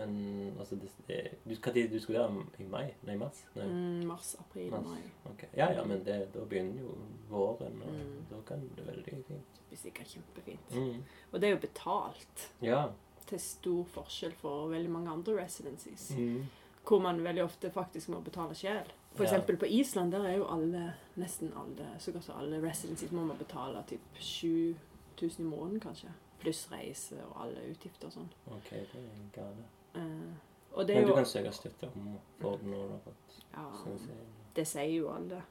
Speaker 1: men altså det, det, du, hva tid du skulle være i mai? Nei, mars? Nei.
Speaker 3: Mm, mars, april,
Speaker 1: Mars.
Speaker 3: mai.
Speaker 1: ok. Ja, ja, men det, da begynner jo våren, og
Speaker 3: Mm.
Speaker 1: da kan det bli veldig fint.
Speaker 3: Det blir sikkert kjempefint.
Speaker 1: Mm.
Speaker 3: Og det er jo betalt.
Speaker 1: Ja.
Speaker 3: Til stor forskjell for veldig mange andre residencies.
Speaker 1: Mm.
Speaker 3: Hvor man veldig ofte faktisk må betale sjel. For
Speaker 1: Ja.
Speaker 3: eksempel på Island der er jo alle, nesten alle, så godt som alle residencies må man betale typ 7000 i måneden, kanskje. Pluss reise og alle utgifter og sånn.
Speaker 1: Ok, det er en gale.
Speaker 3: Eh, og det
Speaker 1: Men
Speaker 3: er
Speaker 1: du
Speaker 3: jo
Speaker 1: kan
Speaker 3: Ah.
Speaker 1: søke støtte om for den når du har fått
Speaker 3: ja,
Speaker 1: sensering.
Speaker 3: Det sier jo alle.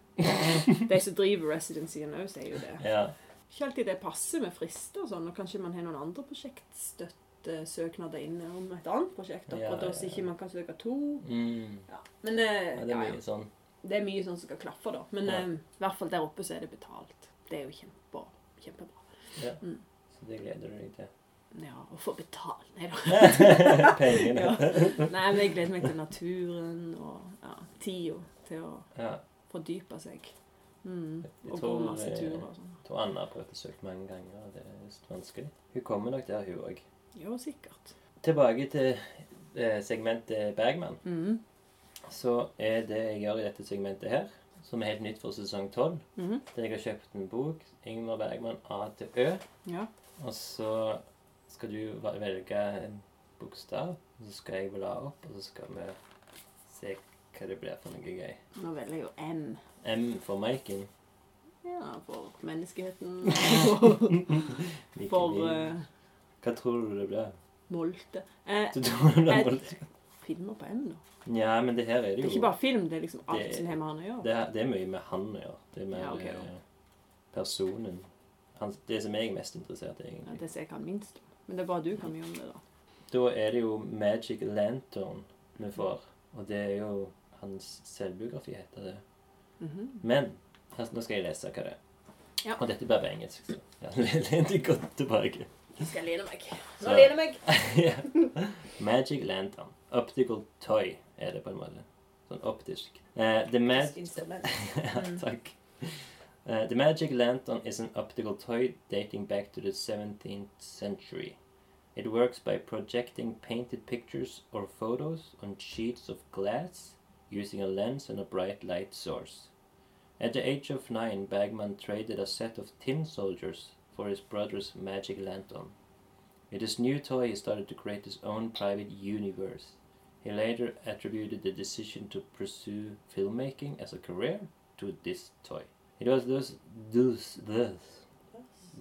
Speaker 3: De som driver residencyen òg, sier jo det.
Speaker 1: Ja.
Speaker 3: Ikke alltid det passer med frister og sånn, og kanskje man har noen andre prosjektstøttesøknader inne om et annet prosjekt,
Speaker 1: Ja,
Speaker 3: akkurat da så
Speaker 1: ja,
Speaker 3: ikke
Speaker 1: ja.
Speaker 3: man kan søke to.
Speaker 1: Mm.
Speaker 3: Ja. Men eh,
Speaker 1: ja. Det er
Speaker 3: ja,
Speaker 1: mye
Speaker 3: ja.
Speaker 1: sånn.
Speaker 3: det er mye sånn som skal klaffe, da. Men
Speaker 1: Ja.
Speaker 3: eh, i hvert fall der oppe så er det betalt. Det er jo kjempebra. Kjempebra.
Speaker 1: Ja.
Speaker 3: Mm.
Speaker 1: Så det gleder du deg til.
Speaker 3: Ja, å få betalt Nei da.
Speaker 1: Pengene.
Speaker 3: Ja. Nei, men jeg gleder meg til naturen og ja, tida til å
Speaker 1: Ja.
Speaker 3: fordype seg. Mm.
Speaker 1: Jeg
Speaker 3: Og gå
Speaker 1: tror,
Speaker 3: masse
Speaker 1: eh,
Speaker 3: turer og sånn.
Speaker 1: Jeg tror Anna har prøvd å søke mange ganger, og det er vanskelig. Hun kommer nok der, hun òg.
Speaker 3: Jo, sikkert.
Speaker 1: Tilbake til eh, segmentet Bergman.
Speaker 3: Mm.
Speaker 1: Så er det jeg gjør i dette segmentet her, som er helt nytt for sesong 12,
Speaker 3: Mhm.
Speaker 1: der jeg har kjøpt en bok, Ingmar Bergman A til Ø,
Speaker 3: Ja.
Speaker 1: og så skal du va- velge en bokstav, og så skal jeg bla opp, og så skal vi se hva det blir for noe gøy.
Speaker 3: Nå velger jeg jo M.
Speaker 1: M for Maiken.
Speaker 3: Ja, for menneskeheten. For,
Speaker 1: Like
Speaker 3: for
Speaker 1: min.
Speaker 3: eh,
Speaker 1: Hva tror du det blir?
Speaker 3: Molte. Eh,
Speaker 1: Du tror det blir
Speaker 3: jeg-
Speaker 1: Molde?
Speaker 3: filmer på M, da.
Speaker 1: Ja, men det her er
Speaker 3: Det
Speaker 1: det
Speaker 3: er
Speaker 1: jo
Speaker 3: ikke bare film, det er liksom alt
Speaker 1: Det-
Speaker 3: som har med han å gjøre.
Speaker 1: Det, er- det er mye med han å gjøre. Det er mer
Speaker 3: Ja, ok, da.
Speaker 1: eh, personen. Han, det som jeg er mest interessert i,
Speaker 3: Ja,
Speaker 1: egentlig.
Speaker 3: det som jeg kan minst om. Men det er bare du kan mye om det, da.
Speaker 1: Da er det jo Magic Lantern vi får. Og det er jo hans selvbiografi, heter det.
Speaker 3: Mhm.
Speaker 1: Men her, nå skal jeg lese hva det er.
Speaker 3: Ja.
Speaker 1: Og dette blir på engelsk. Så. Ja, len deg godt tilbake.
Speaker 3: Skal jeg lene meg?
Speaker 1: Så.
Speaker 3: Nå lener jeg meg!
Speaker 1: Ja. Magic Lantern. Optical toy er det på en måte. Sånn optisk. Eh, the mag...
Speaker 6: Et instrument.
Speaker 1: Ja, Takk. Uh, the Magic Lantern is an optical toy dating back to the 17th century. It works by projecting painted pictures or photos on sheets of glass using a lens and a bright light source. At the age of nine, Bagman traded a set of tin soldiers for his brother's magic lantern. With his new toy, he started to create his own private universe. He later attributed the decision to pursue filmmaking as a career to this toy. It was thus, thus, thus,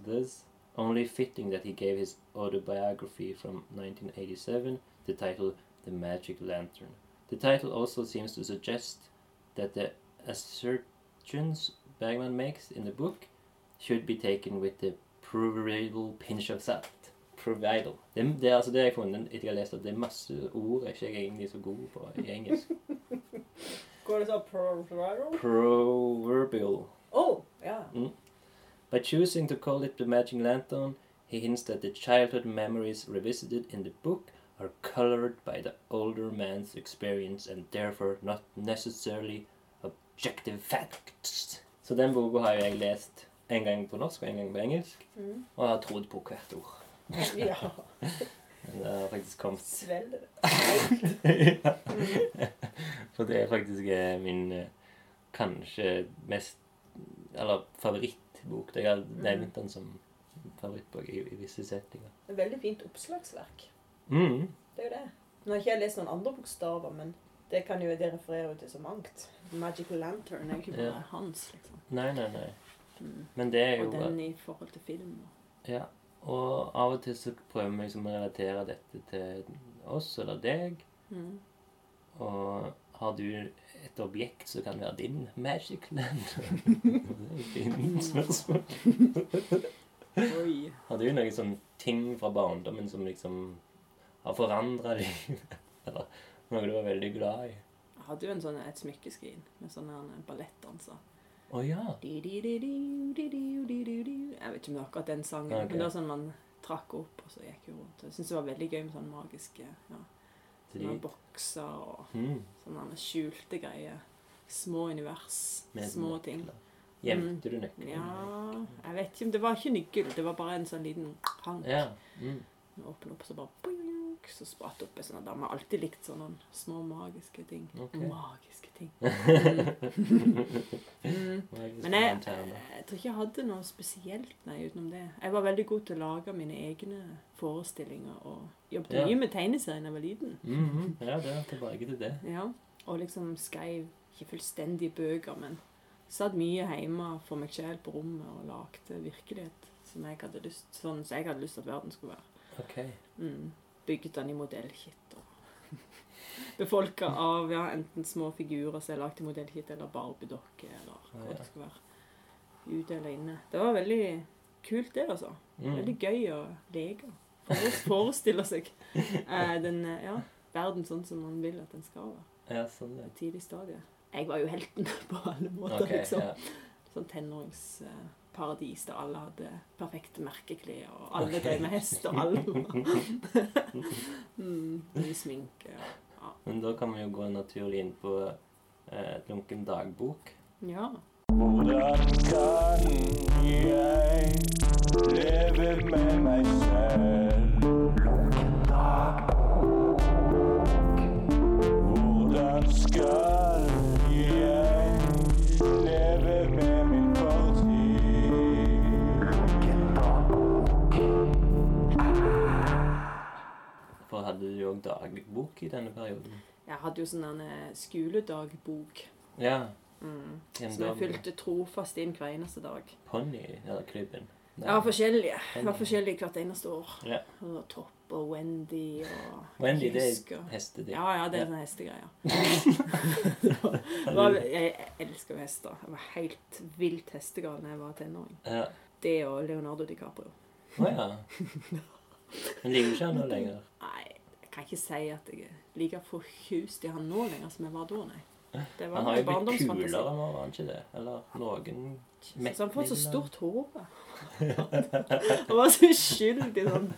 Speaker 1: thus only fitting that he gave his autobiography from 1987 the title The Magic Lantern. The title also seems to suggest that the assertions Bagman makes in the book should be taken with the providal pinch of salt. Providal. Det, det er altså det jeg har funnet etter jeg har lest at det er masse ord jeg ikke er egentlig så god på i engelsk.
Speaker 6: Går det sånn pro-viral?
Speaker 1: Proverbial.
Speaker 6: Oh, ja.
Speaker 1: By choosing to call it the Magic Lantern, he hints that the childhood memories revisited in the book are colored by the older man's experience and therefore not necessarily objective facts. Så den boka har jo jeg lest en gang på norsk og en gang på engelsk,
Speaker 6: Mm.
Speaker 1: og har trodd på hvert ord.
Speaker 6: Ja.
Speaker 1: Men det har faktisk kommet.
Speaker 6: Svelg det.
Speaker 1: ja. For det er faktisk eh, min eh, kanskje mest Eller favorittbok. Jeg har nevnt den som favorittbok i, i visse settinger.
Speaker 6: Det er Veldig fint oppslagsverk.
Speaker 1: Mm.
Speaker 6: Det er jo det. Nå har ikke jeg lest noen andre bokstaver, men det kan jo det refererer jo til så mangt. Magical Lantern.
Speaker 3: Turn er ikke
Speaker 1: Ja.
Speaker 3: bare hans, liksom.
Speaker 1: Nei, nei, nei.
Speaker 3: Mm.
Speaker 1: Men det er jo
Speaker 3: Og den i forhold til film.
Speaker 1: Ja. Og av og til så prøver vi liksom å relatere dette til oss eller deg.
Speaker 3: Mm.
Speaker 1: Og har du et objekt som kan være din magic lantern? Det er et fint spørsmål.
Speaker 3: Oi.
Speaker 1: Har du noen sånn ting fra barndommen som liksom har forandra livet? Eller noe du var veldig glad i?
Speaker 3: Jeg hadde jo en sånn, et smykkeskrin med sånn her en altså. ballettdanser.
Speaker 1: Å ja.
Speaker 3: Di, di, di, di, di, di, di, di, di. Jeg vet ikke om det er akkurat den sangen,
Speaker 1: Ok.
Speaker 3: men det var sånn man trakk opp, og så gikk jo rundt. Jeg synes det var veldig gøy med sånn magiske ja, sånne
Speaker 1: Drit.
Speaker 3: bokser og
Speaker 1: Mm.
Speaker 3: sånne skjulte greier. Små univers,
Speaker 1: Med
Speaker 3: små ting. Mm.
Speaker 1: nøkler. Gjemte du nøkkelen?
Speaker 3: Ja, jeg vet ikke om det var ikke nøkkel, det var bare en sånn liten hank.
Speaker 1: ja. Mm.
Speaker 3: Den åpnet opp, så bare boing, så spratt opp en sånn dame. Jeg har alltid likt sånne små magiske ting.
Speaker 1: Ok.
Speaker 3: Magiske ting. Mm. mm.
Speaker 1: Magisk
Speaker 3: Men jeg,
Speaker 1: lanterne.
Speaker 3: jeg tror ikke jeg hadde noe spesielt nei, utenom det. Jeg var veldig god til å lage mine egne forestillinger og jobbet
Speaker 1: Ja.
Speaker 3: mye med tegneserier da jeg var liten.
Speaker 1: Mhm, Ja, det er tilbake til det.
Speaker 3: Ja. Og liksom skrev ikke fullstendige bøker, men satt mye hjemme for meg sjøl på rommet og lagde virkelighet som jeg hadde lyst, sånn som jeg hadde lyst til at verden skulle være.
Speaker 1: Ok.
Speaker 3: Mm. Bygget den i modellkit og befolka av ja, enten små figurer som jeg lagde i modellkit, eller barbiedokker, eller
Speaker 1: Ja,
Speaker 3: hva
Speaker 1: ja.
Speaker 3: det skulle være. Ute eller inne. Det var veldig kult, det, altså. Veldig
Speaker 1: Mm.
Speaker 3: gøy å leke. Fore- Forestille seg eh, den eh, ja, verden sånn som man vil at den skal være.
Speaker 1: Ja, sånn
Speaker 3: På
Speaker 1: det.
Speaker 3: et tidlig stadie. Jeg var jo helten på alle måter,
Speaker 1: Ok,
Speaker 3: liksom.
Speaker 1: ja.
Speaker 3: Sånn tenåringsparadis der alle hadde perfekte merkeklær, og alle drev med hest, og alle var mm, Mye sminke. og-
Speaker 1: Men da kan vi jo gå naturlig inn på eh, et lunken dagbok.
Speaker 3: Ja.
Speaker 4: Hvordan kan jeg leve med meg selv? Lunken dagbok. Hvordan skal jeg leve med min fortid? Lunken dagbok.
Speaker 1: For hadde du òg dagbok i denne perioden?
Speaker 3: Jeg hadde jo sånn en eh, skoledagbok
Speaker 1: Ja.
Speaker 3: mm,
Speaker 1: En
Speaker 3: som jeg
Speaker 1: dag
Speaker 3: fylte trofast inn hver eneste dag.
Speaker 1: Ponni, eller klubben. Nei.
Speaker 3: Ja, forskjellige. Det var forskjellige hvert eneste år.
Speaker 1: Ja.
Speaker 3: Og Topp og Wendy og
Speaker 1: Wendy, det
Speaker 3: Husker.
Speaker 1: er hestedikt.
Speaker 3: Ja, ja, det er
Speaker 1: Ja.
Speaker 3: sånne hestegreier. Det var- det var- jeg elsker jo hester. Jeg var helt vilt hestegal da jeg var tenåring.
Speaker 1: Ja.
Speaker 3: Det og Leonardo DiCaprio.
Speaker 1: Å ja. Men liker ikke han nå lenger.
Speaker 3: Nei, jeg kan ikke si at jeg er like forkjust i han nå lenger som jeg var da, nei. Det var
Speaker 1: Han har jo
Speaker 3: en
Speaker 1: blitt
Speaker 3: barndomsfantasi.
Speaker 1: kulere nå, var han ikke det? Eller noen
Speaker 3: Jesus, han får så
Speaker 1: Mettmidler.
Speaker 3: stort hode. Han var så uskyldig sånn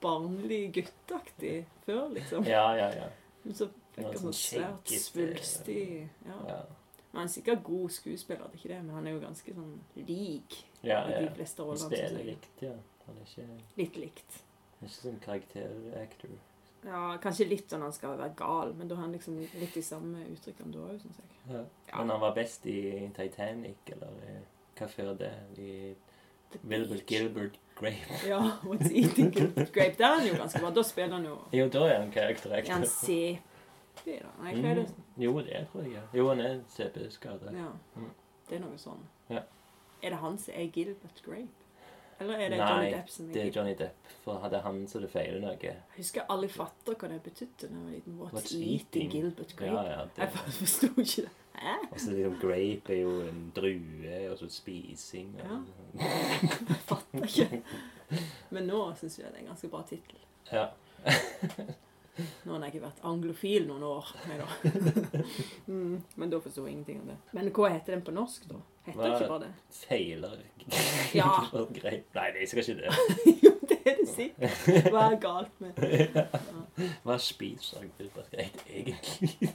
Speaker 3: barnlig guttaktig før, liksom.
Speaker 1: Ja, ja, ja.
Speaker 3: Men så
Speaker 1: Ja,
Speaker 3: fikk han
Speaker 1: sånn
Speaker 3: sånn svært
Speaker 1: skjeggete-
Speaker 3: svulstig ja.
Speaker 1: Ja,
Speaker 3: Men han er sikkert god skuespiller, det er ikke det, men han er jo ganske sånn lik
Speaker 1: ja.
Speaker 3: i
Speaker 1: ja.
Speaker 3: de fleste
Speaker 1: Han
Speaker 3: rollene. synes
Speaker 1: spiller
Speaker 3: jeg.
Speaker 1: likt, ja. Han er ikke
Speaker 3: Litt likt.
Speaker 1: Ikke sånn karakter-actor.
Speaker 3: Ja, Kanskje litt sånn han skal være gal, men da har han liksom litt de samme uttrykkene da òg, syns jeg.
Speaker 1: Ja.
Speaker 3: Ja.
Speaker 1: Men han var best i Titanic, eller i, hva før det? I Wilbert Gilbert Grape.
Speaker 3: Ja, What's Eating Grape. Der er han jo ganske bra. Da spiller han jo
Speaker 1: Jo, da er han
Speaker 3: Er han
Speaker 1: karakter-actor.
Speaker 3: CP, da? Nei, hva er det?
Speaker 1: Jo, det tror jeg. Jo, han er CP-skada.
Speaker 3: Ja.
Speaker 1: Mm.
Speaker 3: Det er noe sånn.
Speaker 1: Ja.
Speaker 3: Er det han som er Gilbert Grape? Eller er det
Speaker 1: Nei,
Speaker 3: Johnny Depp som er
Speaker 1: Det er
Speaker 3: Gilbert?
Speaker 1: Johnny Depp, for hadde han så det feiler noe.
Speaker 3: Jeg husker alle fatter hva det betydde da jeg var liten. What's,
Speaker 1: What's
Speaker 3: eating,
Speaker 1: eating?
Speaker 3: Gilbert
Speaker 1: Ja,
Speaker 3: Grape?
Speaker 1: ja, det.
Speaker 3: Jeg bare forsto ikke det. Hæ?
Speaker 1: Og så liksom grape er jo en drue, og så spising og ja.
Speaker 3: Jeg fatter ikke. Men nå syns jeg det er en ganske bra tittel.
Speaker 1: ja.
Speaker 3: Nå har jeg ikke vært anglofil noen år. Nei da. mm, men da forsto jeg ingenting av det. Men hva heter den på norsk, da? Heter det
Speaker 1: Hva-
Speaker 3: ikke bare det?
Speaker 1: Feiler.
Speaker 3: Ja.
Speaker 1: Og grape. Nei, jeg skal ikke det.
Speaker 3: jo, det er det sikkert. Hva er galt med
Speaker 1: Hva spiser Gilbert Grape egentlig?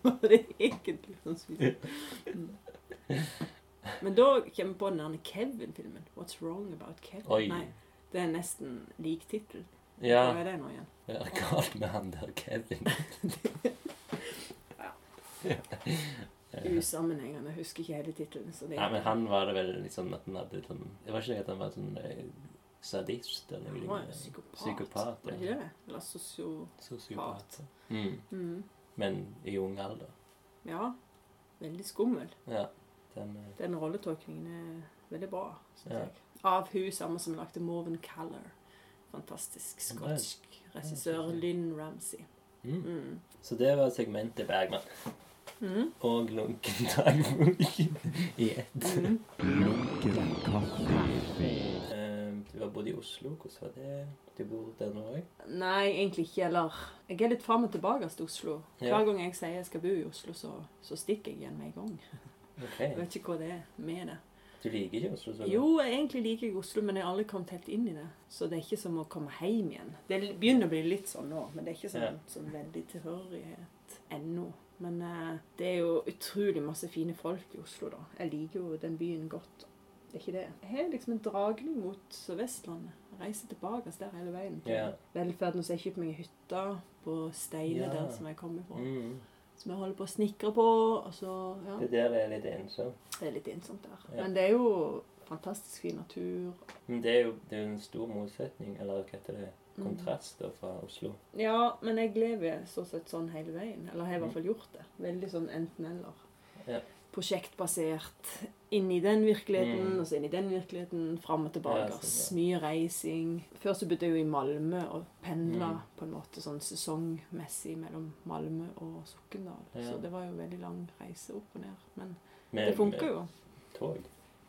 Speaker 3: Hva er det egentlig sånn som spiser? Mm. Men da kommer vi på den der Kevin-filmen. What's Wrong About Kevin?
Speaker 1: Oi.
Speaker 3: Nei, det er nesten lik tittel.
Speaker 1: Ja,
Speaker 3: Hva er det nå igjen?
Speaker 1: det er galt med han der Kevin.
Speaker 3: Usammenhengende. Jeg Husker ikke hele tittelen. så det er-
Speaker 1: Nei, men han var det vel liksom at han hadde sånn Det var ikke det at han var sånn eh, sadist eller noe
Speaker 3: Han var jo
Speaker 1: lignende.
Speaker 3: psykopat.
Speaker 1: Psykopat,
Speaker 3: Var det
Speaker 1: ja.
Speaker 3: ikke det? Eller sosio...
Speaker 1: Sosiopat. Mm.
Speaker 3: Mm.
Speaker 1: Men i ung alder.
Speaker 3: Ja. Veldig skummel.
Speaker 1: Ja. Den, eh,
Speaker 3: Den rolletolkningen er veldig bra, synes
Speaker 1: Ja.
Speaker 3: jeg. Av hun samme som lagde Morven Callar. Fantastisk
Speaker 1: Ja, det er-
Speaker 3: skotsk regissør Lynn Ramsey.
Speaker 1: mm.
Speaker 3: Mm.
Speaker 1: Så det var segmentet Bergman.
Speaker 3: Mm.
Speaker 1: og lunken dagbok i ett.
Speaker 3: Mm.
Speaker 1: Ehm, Du har bodd i Oslo. Hvordan var det? Du bor der nå òg?
Speaker 3: Nei, egentlig ikke. Eller jeg er litt fram og tilbake til Oslo. Hver
Speaker 1: Ja.
Speaker 3: gang jeg sier jeg skal bo i Oslo, så, så stikker jeg igjen med en gang. Jeg
Speaker 1: Ok.
Speaker 3: vet ikke hva det er med det.
Speaker 1: Du liker ikke Oslo så godt?
Speaker 3: Jo, jeg egentlig liker jeg Oslo, men jeg har aldri kommet helt inn i det. Så det er ikke som å komme hjem igjen. Det begynner å bli litt sånn nå, men det er ikke sånn,
Speaker 1: Ja.
Speaker 3: sånn veldig tilhørighet ennå. Men eh, det er jo utrolig masse fine folk i Oslo, da. Jeg liker jo den byen godt. Det er ikke det. Jeg har liksom en dragning mot Sør-Vestlandet. Jeg Reiser tilbake der hele veien.
Speaker 1: Ja.
Speaker 3: Velferden, så jeg kjøper meg ei hytte på Steine,
Speaker 1: Ja.
Speaker 3: der som jeg kommer fra.
Speaker 1: Mm.
Speaker 3: Som jeg holder på å snikre på. og så, ja.
Speaker 1: Det der er litt ensomt.
Speaker 3: Det er litt ensomt der.
Speaker 1: Ja.
Speaker 3: Men det er jo fantastisk fin natur.
Speaker 1: Men det er jo det er jo en stor motsetning, eller hva heter det,
Speaker 3: Mm.
Speaker 1: kontrast da fra Oslo.
Speaker 3: Ja, men jeg lever stort sett sånn hele veien. Eller har i hvert fall gjort det. Veldig sånn enten-eller.
Speaker 1: Mm. Ja.
Speaker 3: Prosjektbasert. Inn i den virkeligheten,
Speaker 1: Mm.
Speaker 3: og så inn i den virkeligheten. Fram og tilbake.
Speaker 1: Ja, sånn, ja.
Speaker 3: Mye reising. Før så bodde jeg jo i Malmö og pendla
Speaker 1: Mm.
Speaker 3: på en måte sånn sesongmessig mellom Malmö og Sokndal.
Speaker 1: Ja.
Speaker 3: Så det var jo veldig lang reise opp og ned. Men
Speaker 1: Med,
Speaker 3: det funker jo.
Speaker 1: Med tog.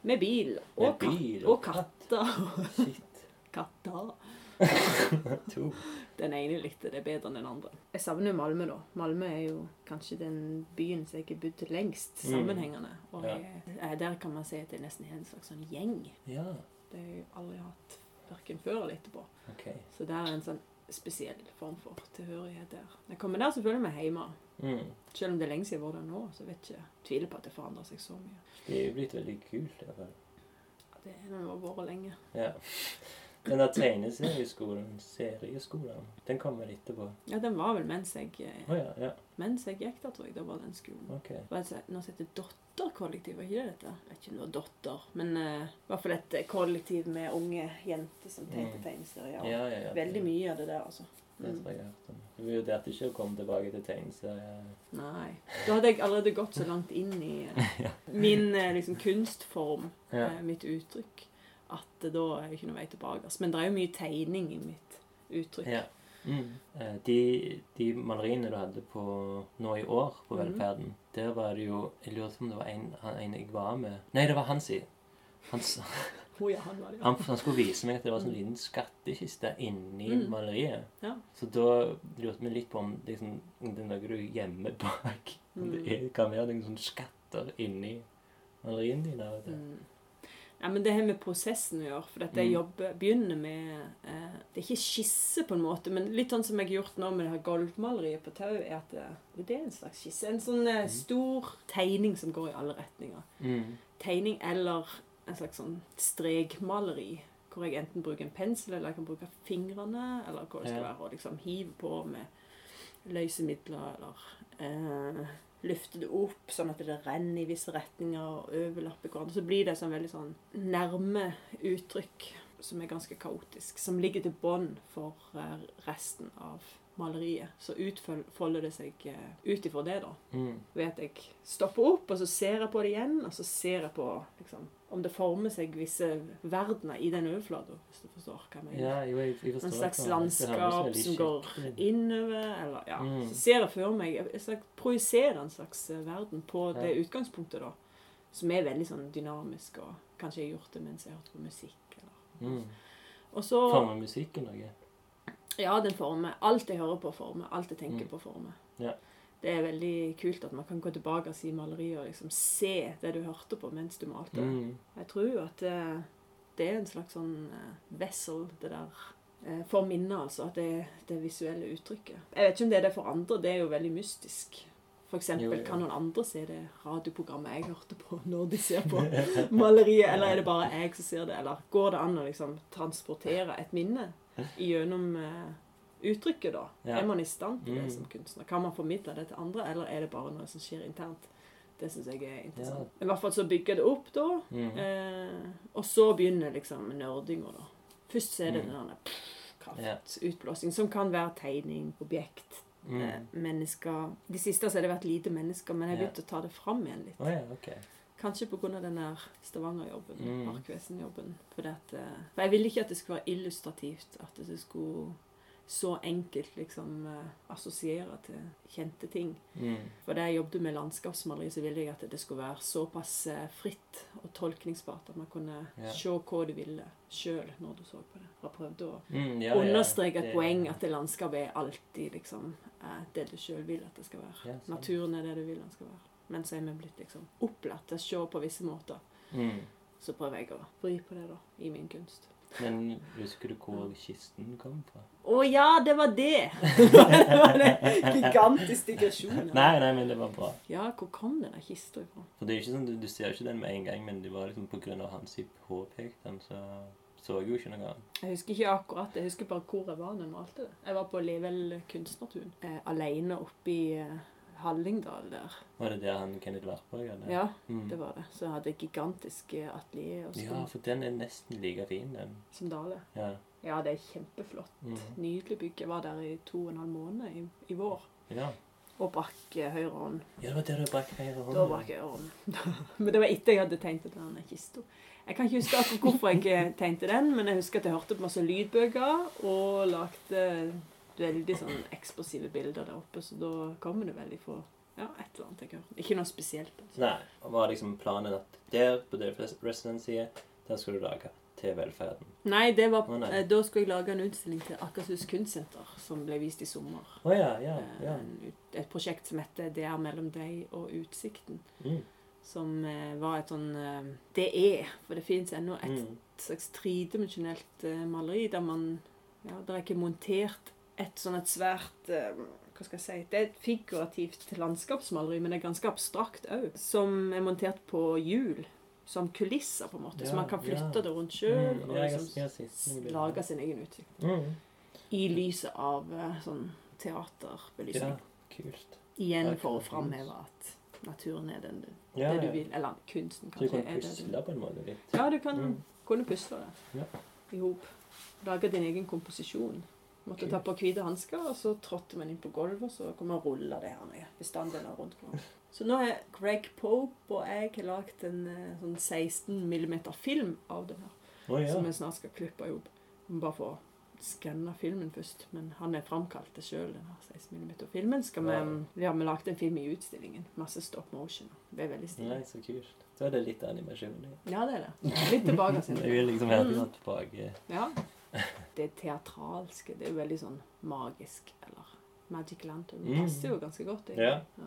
Speaker 3: Med bil. Og,
Speaker 1: Med bil Ah,
Speaker 3: katt, og katter.
Speaker 1: Shit.
Speaker 3: katter.
Speaker 1: To.
Speaker 3: Den ene likte det bedre enn den andre. Jeg savner Malmö, da. Malmö er jo kanskje den byen som jeg har bodd lengst
Speaker 1: Mm.
Speaker 3: sammenhengende. Og
Speaker 1: Ja.
Speaker 3: jeg, eh, der kan man si at det er nesten en slags sånn gjeng.
Speaker 1: Ja,
Speaker 3: Det har jeg aldri hatt verken før eller etterpå.
Speaker 1: OK.
Speaker 3: Så det er en sånn spesiell form for tilhørighet der. Jeg kommer der selvfølgelig med hjemme.
Speaker 1: Mm.
Speaker 3: Selv om det er lenge siden jeg har vært der nå, så vet jeg ikke. Tviler på at det forandrer seg så mye.
Speaker 1: Det er jo blitt veldig kult. i hvert fall.
Speaker 3: Ja, Det er den har vært lenge.
Speaker 1: Ja. Den der tegneserieskolen, serieskolen, den kommer etterpå.
Speaker 3: Ja, den var vel mens jeg, eh,
Speaker 1: Å ja, ja.
Speaker 3: mens jeg gikk der, tror jeg. Da var den skolen.
Speaker 1: OK.
Speaker 3: Hva er det som heter- altså, noe som heter Dotterkollektiv, er ikke det dette? Jeg vet ikke om det var dotter, men eh, i hvert fall et kollektiv med unge jenter som tegnte
Speaker 1: Mm.
Speaker 3: tegneserier.
Speaker 1: Ja, ja, ja. det-
Speaker 3: Veldig mye av det der, altså.
Speaker 1: Det
Speaker 3: Mm.
Speaker 1: tror jeg jeg har hørt om. Vi vurderte ikke å komme tilbake til tegneserier.
Speaker 3: Nei. Da hadde jeg allerede gått så langt inn i eh, min eh, liksom, kunstform,
Speaker 1: Ja.
Speaker 3: eh, mitt uttrykk, at det da er det ikke noe vei tilbake. Altså. Men det er jo mye tegning i mitt uttrykk.
Speaker 1: Ja. Eh, De, de maleriene du hadde på, nå i år på
Speaker 3: Mhm.
Speaker 1: Velferden, der var det jo Jeg lurer på om det var en, han- en jeg var med Nei, det var han sin. Han, s-
Speaker 3: Å ja, han var det, ja.
Speaker 1: han, han skulle vise meg at det var en sånn liten skattkiste inni
Speaker 3: Mm.
Speaker 1: maleriet.
Speaker 3: Ja. Så
Speaker 1: Så da lurte vi litt på om liksom, om det er noe du gjemmer bak. Om det
Speaker 3: Mm.
Speaker 1: er, kan være noen sånne skatter inni maleriene dine. Vet du.
Speaker 3: Mm. Ja, men Det har med prosessen å gjøre. for at jeg
Speaker 1: Mm.
Speaker 3: jobber, begynner med eh, Det er ikke skisse, på en måte, men litt sånn som jeg har gjort nå med det her gulvmaleriet på tau, er at det, det er en slags skisse. En sånn eh, stor tegning som går i alle retninger.
Speaker 1: Mm.
Speaker 3: Tegning eller en slags sånn strekmaleri hvor jeg enten bruker en pensel, eller jeg kan bruke fingrene, eller hva det skal
Speaker 1: Ja.
Speaker 3: være, og liksom hive på med løse midler, eller eh, løfte det opp sånn at det renner i visse retninger og overlapper hverandre. Så blir det sånn veldig sånn nærme uttrykk som er ganske kaotisk, som ligger til bånd for eh, resten av maleriet. Så utfolder det seg eh, ut ifra det, da
Speaker 1: Mm.
Speaker 3: vet jeg stopper opp, og så ser jeg på det igjen, og så ser jeg på liksom, om det former seg visse verdener i den overflata, hvis du forstår hva jeg mener.
Speaker 1: Ja, jo, jeg, jeg forstår
Speaker 3: En slags
Speaker 1: hva- det høres
Speaker 3: landskap
Speaker 1: veldig
Speaker 3: som går
Speaker 1: skikkelig ut.
Speaker 3: innover, eller ja.
Speaker 1: Mm.
Speaker 3: Så ser jeg for meg Jeg jeg projiserer en slags eh, verden på
Speaker 1: Ja.
Speaker 3: det utgangspunktet, da. Som er veldig sånn dynamisk, og kanskje jeg har gjort det mens jeg har hørt på musikk. Eller.
Speaker 1: mm.
Speaker 3: Og så
Speaker 1: Former musikken noe?
Speaker 3: Ja, den former. Alt jeg hører på, former. Alt jeg tenker
Speaker 1: Mm.
Speaker 3: på, former.
Speaker 1: Ja.
Speaker 3: Det er veldig kult at man kan gå tilbake i maleriet og liksom se det du hørte på mens du malte.
Speaker 1: Mm.
Speaker 3: Jeg tror jo at eh, det er en slags sånn eh, vessel, det der. eh, For minnet, altså. At det er det visuelle uttrykket. Jeg vet ikke om det er det for andre. Det er jo veldig mystisk. For eksempel,
Speaker 1: Jo, jo.
Speaker 3: kan noen andre se det radioprogrammet jeg hørte på, når de ser på maleriet? Eller er det bare jeg som ser det? Eller går det an å liksom transportere et minne gjennom eh, uttrykket, da?
Speaker 1: Ja.
Speaker 3: Er man i stand til det
Speaker 1: Mm.
Speaker 3: som kunstner? Kan man formidle det til andre, eller er det bare noe som skjer internt? Det syns jeg er interessant. I hvert fall så bygger jeg det opp, da.
Speaker 1: Mm.
Speaker 3: Eh, og så begynner liksom nerdinga, da. Først så er det
Speaker 1: Mm.
Speaker 3: den denne pff, kraftutblåsing, som kan være tegning, objekt, eh,
Speaker 1: Mm.
Speaker 3: mennesker De siste så har det vært lite mennesker, men jeg har
Speaker 1: Ja.
Speaker 3: begynt å ta det fram igjen litt.
Speaker 1: Å ja, ok.
Speaker 3: Kanskje pga. den der Stavanger-jobben,
Speaker 1: Mm.
Speaker 3: Parkvesenjobben. For, at, eh, for jeg ville ikke at det skulle være illustrativt, at det skulle så enkelt liksom eh, assosiere til kjente ting.
Speaker 1: Mm.
Speaker 3: For da jeg jobbet med landskapsmaleri, så ville jeg at det skulle være såpass eh, fritt og tolkningsbart at man kunne
Speaker 1: Ja.
Speaker 3: se hva du ville sjøl når du så på det. Og jeg prøvde å
Speaker 1: Mm, ja, ja,
Speaker 3: understreke et
Speaker 1: det-
Speaker 3: poeng at det landskapet er alltid liksom eh, det du sjøl vil at det skal være.
Speaker 1: Ja, sant.
Speaker 3: Naturen er det du vil den skal være. Men så er vi blitt liksom opplært til å se på visse måter.
Speaker 1: Mm.
Speaker 3: Så prøver jeg å vri på det, da, i min kunst.
Speaker 1: Men husker du hvor kisten kom fra?
Speaker 3: Å ja, det var det! det var en gigantisk digresjon.
Speaker 1: Nei, nei, men det var bra.
Speaker 3: Ja, hvor kom den der kista ifra?
Speaker 1: For det er jo ikke sånn, du, du ser jo ikke den med en gang, men det var liksom på grunn av hans påpekten, så så jeg jo ikke noe annet.
Speaker 3: Jeg husker ikke akkurat, jeg husker bare hvor jeg var når jeg malte det. Jeg var på Level kunstnertun, eh, alene oppe i eh, Hallingdal der.
Speaker 1: Var det der han Kenneth Warburg hadde?
Speaker 3: Ja,
Speaker 1: Mm.
Speaker 3: det var det. Så jeg hadde et gigantisk eh, atelier og
Speaker 1: ja,
Speaker 3: sånn,
Speaker 1: for den er nesten like fin, den.
Speaker 3: som Dale.
Speaker 1: Ja.
Speaker 3: Ja, det er kjempeflott.
Speaker 1: Mm.
Speaker 3: Nydelig bygg. Jeg var der i to og en halv måned i, i vår.
Speaker 1: ja.
Speaker 3: Og brakk eh, høyre hånd.
Speaker 1: Ja, det var der du brakk høyre hånd.
Speaker 3: Da brakk jeg høyre hånd. men det var etter jeg hadde tegnet den der kista. Jeg kan ikke huske akkurat hvorfor jeg eh, tegnte den, men jeg husker at jeg hørte på masse lydbøker og lagde veldig sånn eksplosive bilder der oppe, så da kommer det veldig få ja, et eller annet jeg hører. Ikke noe spesielt. altså.
Speaker 1: Nei, og var liksom planen at der, på det residencyet, der skulle du lage til velferden.
Speaker 3: Nei, det var,
Speaker 1: Å, nei.
Speaker 3: eh, da skulle jeg lage en utstilling til Akershus kunstsenter som ble vist i sommer.
Speaker 1: Å ja, ja,
Speaker 3: Eh,
Speaker 1: ja.
Speaker 3: en ut- Et prosjekt som heter 'Det er mellom deg og utsikten'.
Speaker 1: Mm.
Speaker 3: Som eh, var et sånn eh, Det er, for det fins ennå et
Speaker 1: Mm.
Speaker 3: et slags tredimensjonelt eh, maleri der man ja, Der er ikke montert et sånn et svært eh, Hva skal jeg si Det er et figurativt landskapsmaleri, men det er ganske abstrakt òg. Som er montert på hjul. Som kulisser, på en måte. så
Speaker 1: Ja,
Speaker 3: man kan flytte
Speaker 1: ja.
Speaker 3: det rundt sjøl
Speaker 1: Mm.
Speaker 3: og
Speaker 1: Ja, jeg
Speaker 3: liksom
Speaker 1: har- jeg har sett den
Speaker 3: s-
Speaker 1: bildet.
Speaker 3: lage sin egen utsikt.
Speaker 1: Mm.
Speaker 3: I lyset av eh, sånn teaterbelysning.
Speaker 1: Ja, kult.
Speaker 3: Igjen
Speaker 1: Ja,
Speaker 3: for å
Speaker 1: kult.
Speaker 3: framheve at naturen er den du,
Speaker 1: Ja,
Speaker 3: det du
Speaker 1: ja.
Speaker 3: vil. Eller kunsten,
Speaker 1: Så du
Speaker 3: kanskje.
Speaker 1: kan
Speaker 3: er det du
Speaker 1: pusle på en måte litt.
Speaker 3: Ja, du kan
Speaker 1: Mm.
Speaker 3: kunne pusle det
Speaker 1: Ja.
Speaker 3: i hop. Lage din egen komposisjon. Måtte ta på hvite hansker, og så trådte man inn på gulvet, og så kom man og rulla det her ned. Bestanddeler rundt hverandre. Så nå er Greg Pope og jeg har lagd en eh, sånn 16 mm film av det her,
Speaker 1: Å ja.
Speaker 3: som vi snart skal klippe i hop. Vi må Bare få skanna filmen først. Men han er framkalt det sjøl, den her 16 mm-filmen. Skal vi, vi har lagd en film i utstillingen. Masse stop motion. Det er veldig stilig.
Speaker 1: Nei, så kult. Da er det litt animasjon. ja.
Speaker 3: Ja, det er det. Mm. Litt tilbake
Speaker 1: Det
Speaker 3: sin.
Speaker 1: er jo liksom helt sånn tilbake.
Speaker 3: Ja. Det teatralske, det er jo veldig sånn magisk, eller Magic Lantern
Speaker 1: Mm.
Speaker 3: passer jo ganske godt. egentlig.
Speaker 1: Ja.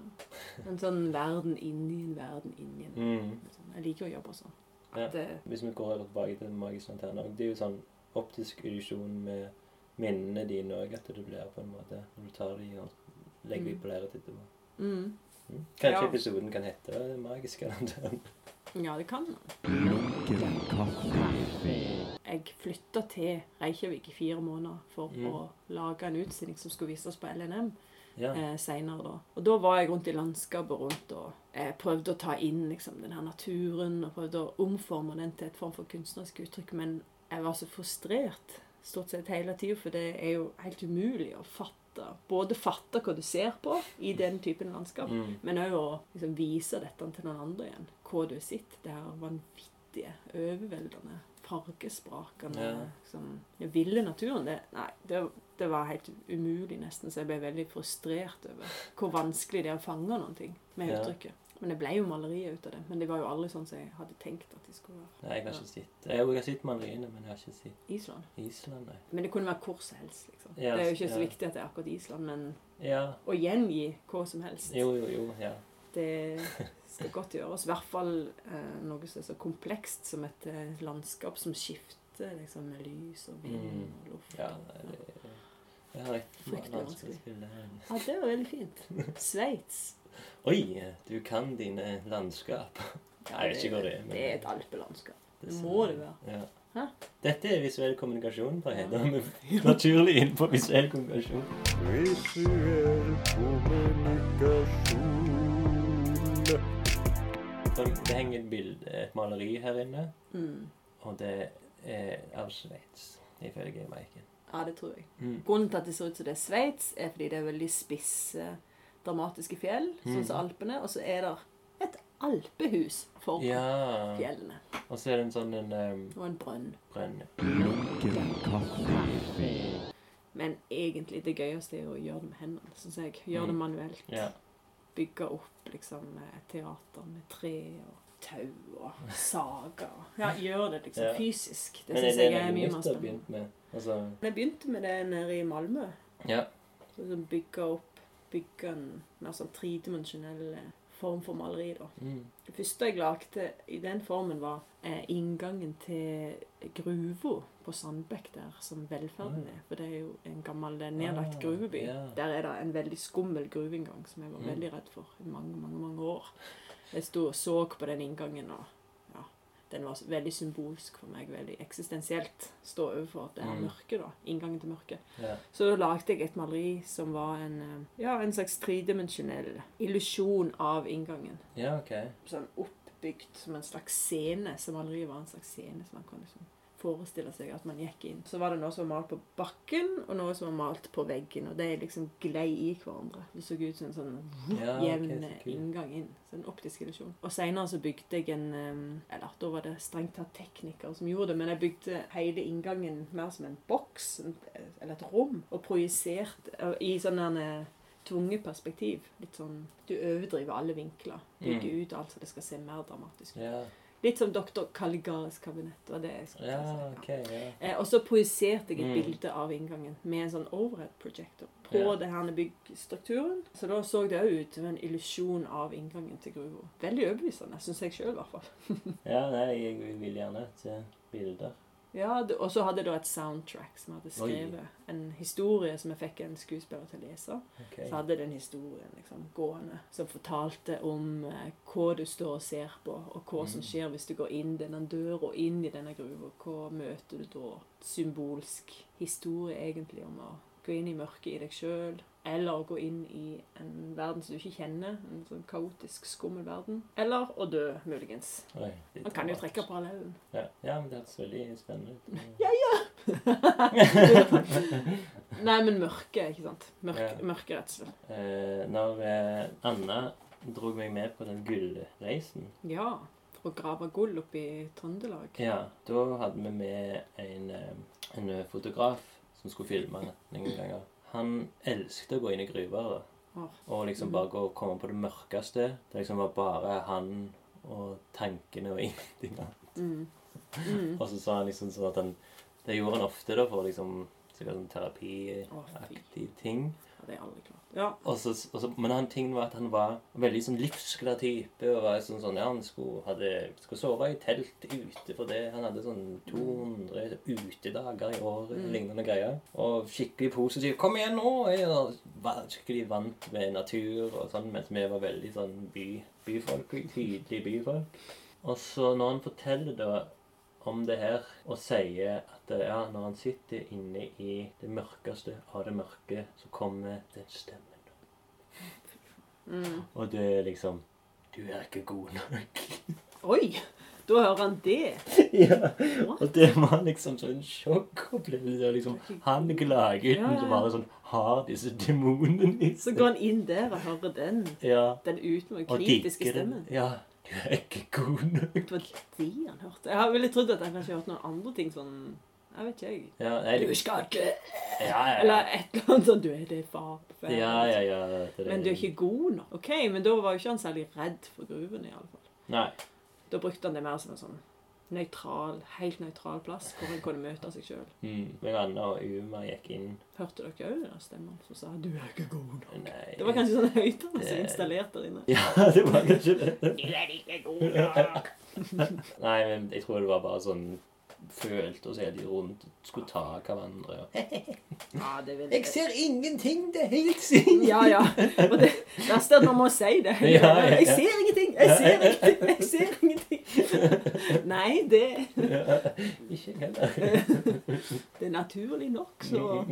Speaker 3: En sånn verden inni en verden inni en.
Speaker 1: Mm.
Speaker 3: Sånn, Jeg liker å jobbe sånn. At
Speaker 1: Ja.
Speaker 3: det-
Speaker 1: Hvis vi går tilbake til magisk lanterne, og det er jo sånn optisk illusjon med minnene dine òg, at det blir på en måte Når du tar de og legger de
Speaker 3: Mm.
Speaker 1: på lerret etterpå.
Speaker 3: mm.
Speaker 1: Mm. Kanskje
Speaker 3: Ja.
Speaker 1: episoden kan hete Det magiske lanternen.
Speaker 3: Ja, det kan man. jeg flytta til Reykjavik i fire måneder for
Speaker 1: Mm.
Speaker 3: å lage en utstilling som skulle vises på LNM
Speaker 1: Ja.
Speaker 3: eh, senere da. Og da var jeg rundt i landskapet rundt og eh, prøvde å ta inn liksom, den her naturen og prøvde å omforme den til et form for kunstnerisk uttrykk. Men jeg var så frustrert stort sett hele tida, for det er jo helt umulig å fatte. Både fatte hva du ser på i den typen landskap,
Speaker 1: Mm.
Speaker 3: men òg å liksom, vise dette til noen andre igjen. Hva du sitter. Det her vanvittige, overveldende, fargesprakende
Speaker 1: Ja.
Speaker 3: liksom, Den ville naturen. Det, nei, det, det var helt umulig, nesten. Så jeg ble veldig frustrert over hvor vanskelig det er å fange noen ting med
Speaker 1: Ja.
Speaker 3: uttrykket. Men det ble jo malerier ut av det. Men det var jo aldri sånn som jeg hadde tenkt at de skulle være.
Speaker 1: Nei, jeg har ikke sett Jeg har sett maleriene, men jeg har ikke sett
Speaker 3: Island.
Speaker 1: Island, nei.
Speaker 3: Men det kunne være hvor som helst. liksom.
Speaker 1: Ja,
Speaker 3: det er jo ikke så
Speaker 1: ja.
Speaker 3: viktig at det er akkurat Island, men
Speaker 1: Ja.
Speaker 3: å gjengi hva som helst.
Speaker 1: Jo, jo, jo. Ja.
Speaker 3: Det skal godt gjøres. I hvert fall eh, noe som er så komplekst som et eh, landskap som skifter liksom, med lys og vind
Speaker 1: Mm.
Speaker 3: og luft.
Speaker 1: ja nei, det, jeg har et
Speaker 3: Fryktelig
Speaker 1: vanskelig
Speaker 3: vanskelig.
Speaker 1: bilde her.
Speaker 3: Ja, det var veldig fint. Sveits.
Speaker 1: Oi, du kan dine landskap.
Speaker 3: Ja,
Speaker 1: Nei, jeg vet ikke hva det er, men-
Speaker 3: Det er et alpelandskap. Det må det være.
Speaker 1: Ja.
Speaker 3: Hæ?
Speaker 1: Dette er visuell kommunikasjon. Da
Speaker 3: Ja.
Speaker 1: heter vi naturlig inn på visuell kommunikasjon.
Speaker 4: Visuell kommunikasjon.
Speaker 1: Så Det henger et, bilde, et maleri her inne,
Speaker 3: Mm.
Speaker 1: og det er av Sveits, ifølge Maiken.
Speaker 3: Ja, det tror jeg.
Speaker 1: Mm.
Speaker 3: Grunnen til at det ser ut som det er Sveits, er fordi det er veldig spisse, dramatiske fjell, sånn som
Speaker 1: Mm.
Speaker 3: Alpene. Og så er det et alpehus for
Speaker 1: Ja.
Speaker 3: fjellene.
Speaker 1: Og så er det en sånn en em,
Speaker 3: Og en brønn.
Speaker 1: brønn.
Speaker 3: Men egentlig det gøyeste er jo å gjøre det med hendene, synes jeg. Gjøre det
Speaker 1: Mm.
Speaker 3: manuelt.
Speaker 1: Ja.
Speaker 3: Bygge opp liksom et teater med tre og tau og sager. Ja, gjør det liksom
Speaker 1: Ja.
Speaker 3: fysisk. Det
Speaker 1: Men er
Speaker 3: synes
Speaker 1: det
Speaker 3: jeg er
Speaker 1: noe
Speaker 3: mye
Speaker 1: nytt
Speaker 3: mer
Speaker 1: du har
Speaker 3: spennende.
Speaker 1: begynt med? Altså,
Speaker 3: Jeg begynte med det nede i Malmø.
Speaker 1: ja.
Speaker 3: Liksom bygge opp bygge en mer sånn tredimensjonell eh, form for maleri, da.
Speaker 1: Mm.
Speaker 3: Det første jeg lagde i den formen, var eh, inngangen til gruva på Sandbekk der, som velferden
Speaker 1: Ah.
Speaker 3: er. For det er jo en gammel eh, nedlagt
Speaker 1: Ah,
Speaker 3: gruveby.
Speaker 1: ja.
Speaker 3: Der er det en veldig skummel gruveinngang som jeg var
Speaker 1: Mm.
Speaker 3: veldig redd for i mange, mange mange år. Jeg sto og så på den inngangen, og ja, den var veldig symbolsk for meg. Veldig eksistensielt. Stå overfor det her
Speaker 1: Mm.
Speaker 3: mørket, da. Inngangen til mørket.
Speaker 1: ja.
Speaker 3: Så da lagde jeg et maleri som var en, eh, ja, en slags tredimensjonell illusjon av inngangen.
Speaker 1: Ja, OK.
Speaker 3: Sånn oppbygd som en slags scene, som aldri var en slags scene som man kan liksom forestille seg at man gikk inn. Så var det noe som var malt på bakken, og noe som var malt på veggen, og de liksom glei i hverandre. Det så ut som en sånn
Speaker 1: Ja, Ah, ok,
Speaker 3: jevn
Speaker 1: så kult.
Speaker 3: inngang inn. Så en optisk illusjon. Og seinere så bygde jeg en eh, Eller da var det strengt tatt teknikere som gjorde det, men jeg bygde hele inngangen mer som en boks, en- eller et rom, og projisert eh, i sånn en eh, tvunget perspektiv. Litt sånn Du overdriver alle vinkler. Bygger
Speaker 1: Mm.
Speaker 3: ut alt så det skal se mer dramatisk ut.
Speaker 1: Ja,
Speaker 3: Litt som doktor Kaligaris kabinett. Det var det jeg skulle
Speaker 1: ja
Speaker 3: til å si. ja.
Speaker 1: OK. Ja.
Speaker 3: Eh, og så projiserte jeg et
Speaker 1: Mm.
Speaker 3: bilde av inngangen med en sånn overhead-projektor på
Speaker 1: Ja.
Speaker 3: det her byggstrukturen. Så da så det òg ut som en illusjon av inngangen til gruva. Veldig overbevisende, syns jeg sjøl i hvert fall.
Speaker 1: ja, nei, jeg vil gjerne se bilder.
Speaker 3: Ja, det- Og så hadde jeg da et soundtrack som jeg hadde skrevet. En historie som jeg fikk en skuespiller til å lese.
Speaker 1: OK.
Speaker 3: Så hadde den historien liksom gående som fortalte om eh, hva du står og ser på, og hva som
Speaker 1: Mm.
Speaker 3: skjer hvis du går inn denne døra og inn i denne gruva. Hva møter du da? Symbolsk historie egentlig om å gå inn i mørket i deg sjøl. Eller å gå inn i en verden som du ikke kjenner. En sånn kaotisk, skummel verden. Eller å dø, muligens.
Speaker 1: Oi, litt
Speaker 3: Man kan jo
Speaker 1: rart.
Speaker 3: trekke parallellen.
Speaker 1: Ja, ja men det hørtes veldig spennende ut.
Speaker 3: Nei, men mørket, ikke sant. Mørk,
Speaker 1: Ja.
Speaker 3: Mørkeredsel.
Speaker 1: Eh, når eh, Anna dro meg med på den gullreisen,
Speaker 3: Ja. For å grave gull oppe i Trøndelag.
Speaker 1: ja, da hadde vi med en, eh, en fotograf som skulle filme noen ganger. Han elsket å gå inn i gruver da.
Speaker 3: Åh.
Speaker 1: og liksom bare gå og komme på det mørkeste. Det liksom var bare han og tankene og ingenting annet.
Speaker 3: Mm. Mm.
Speaker 1: Og så sa han liksom sånn at han Det gjorde han ofte da for liksom sikkert sånn terapiaktige ting.
Speaker 3: Ja, det er aldri klart. Ja.
Speaker 1: Og så, og så, men han tingen var at han var veldig sånn livsglad type. og var sånn, sånn, ja, Han skulle, hadde, skulle sove i telt ute for det. Han hadde sånn 200 utedager i året
Speaker 3: Mm.
Speaker 1: lignende greier. Og skikkelig positiv. 'Kom igjen nå!' Jeg var skikkelig vant med natur og sånn, mens vi var veldig sånn by, byfolk. Tydelige byfolk. Og så når han forteller da om det her og sier at eh, ja, når han sitter inne i det mørkeste av det mørke, så kommer den stemmen.
Speaker 3: Mm.
Speaker 1: Og det er liksom Du er ikke god nok.
Speaker 3: Oi! Da hører han det.
Speaker 1: ja.
Speaker 3: What?
Speaker 1: Og det var liksom sånn sjokkopplevelse. det er Liksom, han
Speaker 3: Ja,
Speaker 1: gladgutten
Speaker 3: ja,
Speaker 1: som
Speaker 3: ja.
Speaker 1: bare sånn har disse demonene i
Speaker 3: Så
Speaker 1: seg.
Speaker 3: går han inn der og hører den.
Speaker 1: Ja.
Speaker 3: Den uten den
Speaker 1: Og
Speaker 3: kritiske
Speaker 1: digger den.
Speaker 3: stemmen.
Speaker 1: Ja. Du er ikke god nok.
Speaker 3: Det var det han hørte. Jeg har ville trodd at han kanskje hørte noen andre ting sånn Jeg vet ikke, jeg.
Speaker 1: Ja,
Speaker 3: Du
Speaker 1: jeg,
Speaker 3: skal ikke
Speaker 1: ja, ja, ja.
Speaker 3: Eller et eller annet sånn Du er det far. far.
Speaker 1: Ja, ja, ja. det
Speaker 3: Men du er ikke god nok. OK, men da var jo ikke han særlig redd for gruvene, iallfall.
Speaker 1: Nei.
Speaker 3: Da brukte han det mer som en sånn nøytral, helt nøytral plass hvor han kunne møte seg sjøl.
Speaker 1: Mm. Min Anna og Uma gikk inn.
Speaker 3: Hørte dere òg den der stemmen som sa 'du er ikke god nok'?
Speaker 1: Nei.
Speaker 3: Det var kanskje sånn høyttaler som
Speaker 1: Det-
Speaker 3: installert der inne.
Speaker 1: Ja, det var kanskje det. Nei, men jeg tror det var bare sånn Følte oss hele tiden rundt, skulle ta hverandre og
Speaker 3: Ja, det vil
Speaker 1: ingenting! Det er helt sykt!
Speaker 3: Ja, ja. Og det verste er at man må si det.
Speaker 1: Ja, ja, ja.
Speaker 3: Jeg ser ingenting! Jeg ser ingenting! Jeg ser ingenting! Nei, det,
Speaker 1: Ikke jeg heller.
Speaker 3: det er naturlig nok, så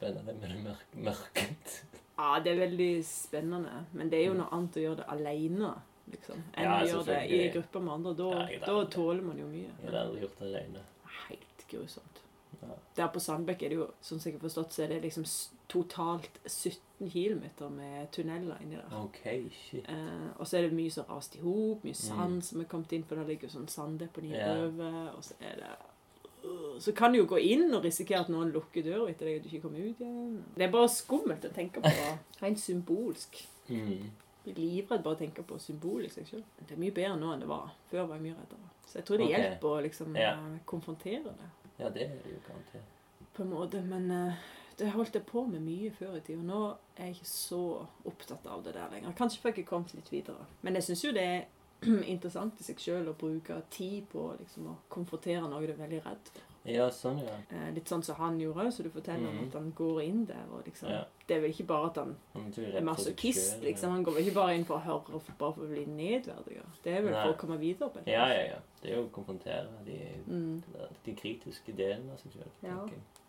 Speaker 1: Spennende med det mørk mørket.
Speaker 3: Ja, det er veldig spennende. Men det er jo noe annet å gjøre det alene, liksom, enn
Speaker 1: Ja,
Speaker 3: å gjøre det i
Speaker 1: selvfølgelig.
Speaker 3: grupper med andre. Da,
Speaker 1: Ja, jeg vet
Speaker 3: da
Speaker 1: det.
Speaker 3: tåler man jo mye.
Speaker 1: Jeg hadde aldri gjort det alene.
Speaker 3: Helt grusomt.
Speaker 1: Ja.
Speaker 3: Der på Sandbekk er det jo, som jeg har forstått, så er det liksom s- totalt 17 km med tunneler inni der.
Speaker 1: OK, shit.
Speaker 3: Eh, og så er det mye som rast i hop, mye sand
Speaker 1: Mm.
Speaker 3: som er kommet inn, for der ligger jo sånn sanddeponi
Speaker 1: Ja.
Speaker 3: over. Og så er det Øh, Så kan du jo gå inn og risikere at noen lukker døra etter deg, og du ikke kommer ut igjen. Det er bare skummelt å tenke på. Rent symbolsk.
Speaker 1: Mm.
Speaker 3: Jeg er livredd bare å tenke på symbol i seg sjøl. Det er mye bedre nå enn det var. Før var jeg mye reddere. Så jeg tror det
Speaker 1: Ok.
Speaker 3: hjelper å liksom
Speaker 1: Ja.
Speaker 3: eh, konfrontere det
Speaker 1: Ja, det er det jo garantert.
Speaker 3: på en måte, men eh, det holdt jeg på med mye før i tida. Nå er jeg ikke så opptatt av det der lenger. Kanskje fikk jeg kommet litt videre. Men jeg syns jo det er interessant i seg sjøl å bruke tid på liksom, å konfrontere noe du er veldig redd for.
Speaker 1: Ja, sånn, ja.
Speaker 3: Eh, litt sånn som han gjorde, så du forteller om
Speaker 1: Mhm.
Speaker 3: at han går inn der og liksom
Speaker 1: Ja.
Speaker 3: Det er vel ikke bare at han
Speaker 1: Men du er
Speaker 3: er
Speaker 1: redd for deg
Speaker 3: masochist,
Speaker 1: selv, ja.
Speaker 3: liksom. Han går vel ikke bare inn for å høre og for, bare for å bli nedverdiga. Det er vel for
Speaker 1: Nei.
Speaker 3: å komme videre på et
Speaker 1: Ja,
Speaker 3: vis.
Speaker 1: ja, ja. Det er jo å konfrontere de,
Speaker 3: Mm,
Speaker 1: de kritiske delene av seg sjøl.
Speaker 3: Ja.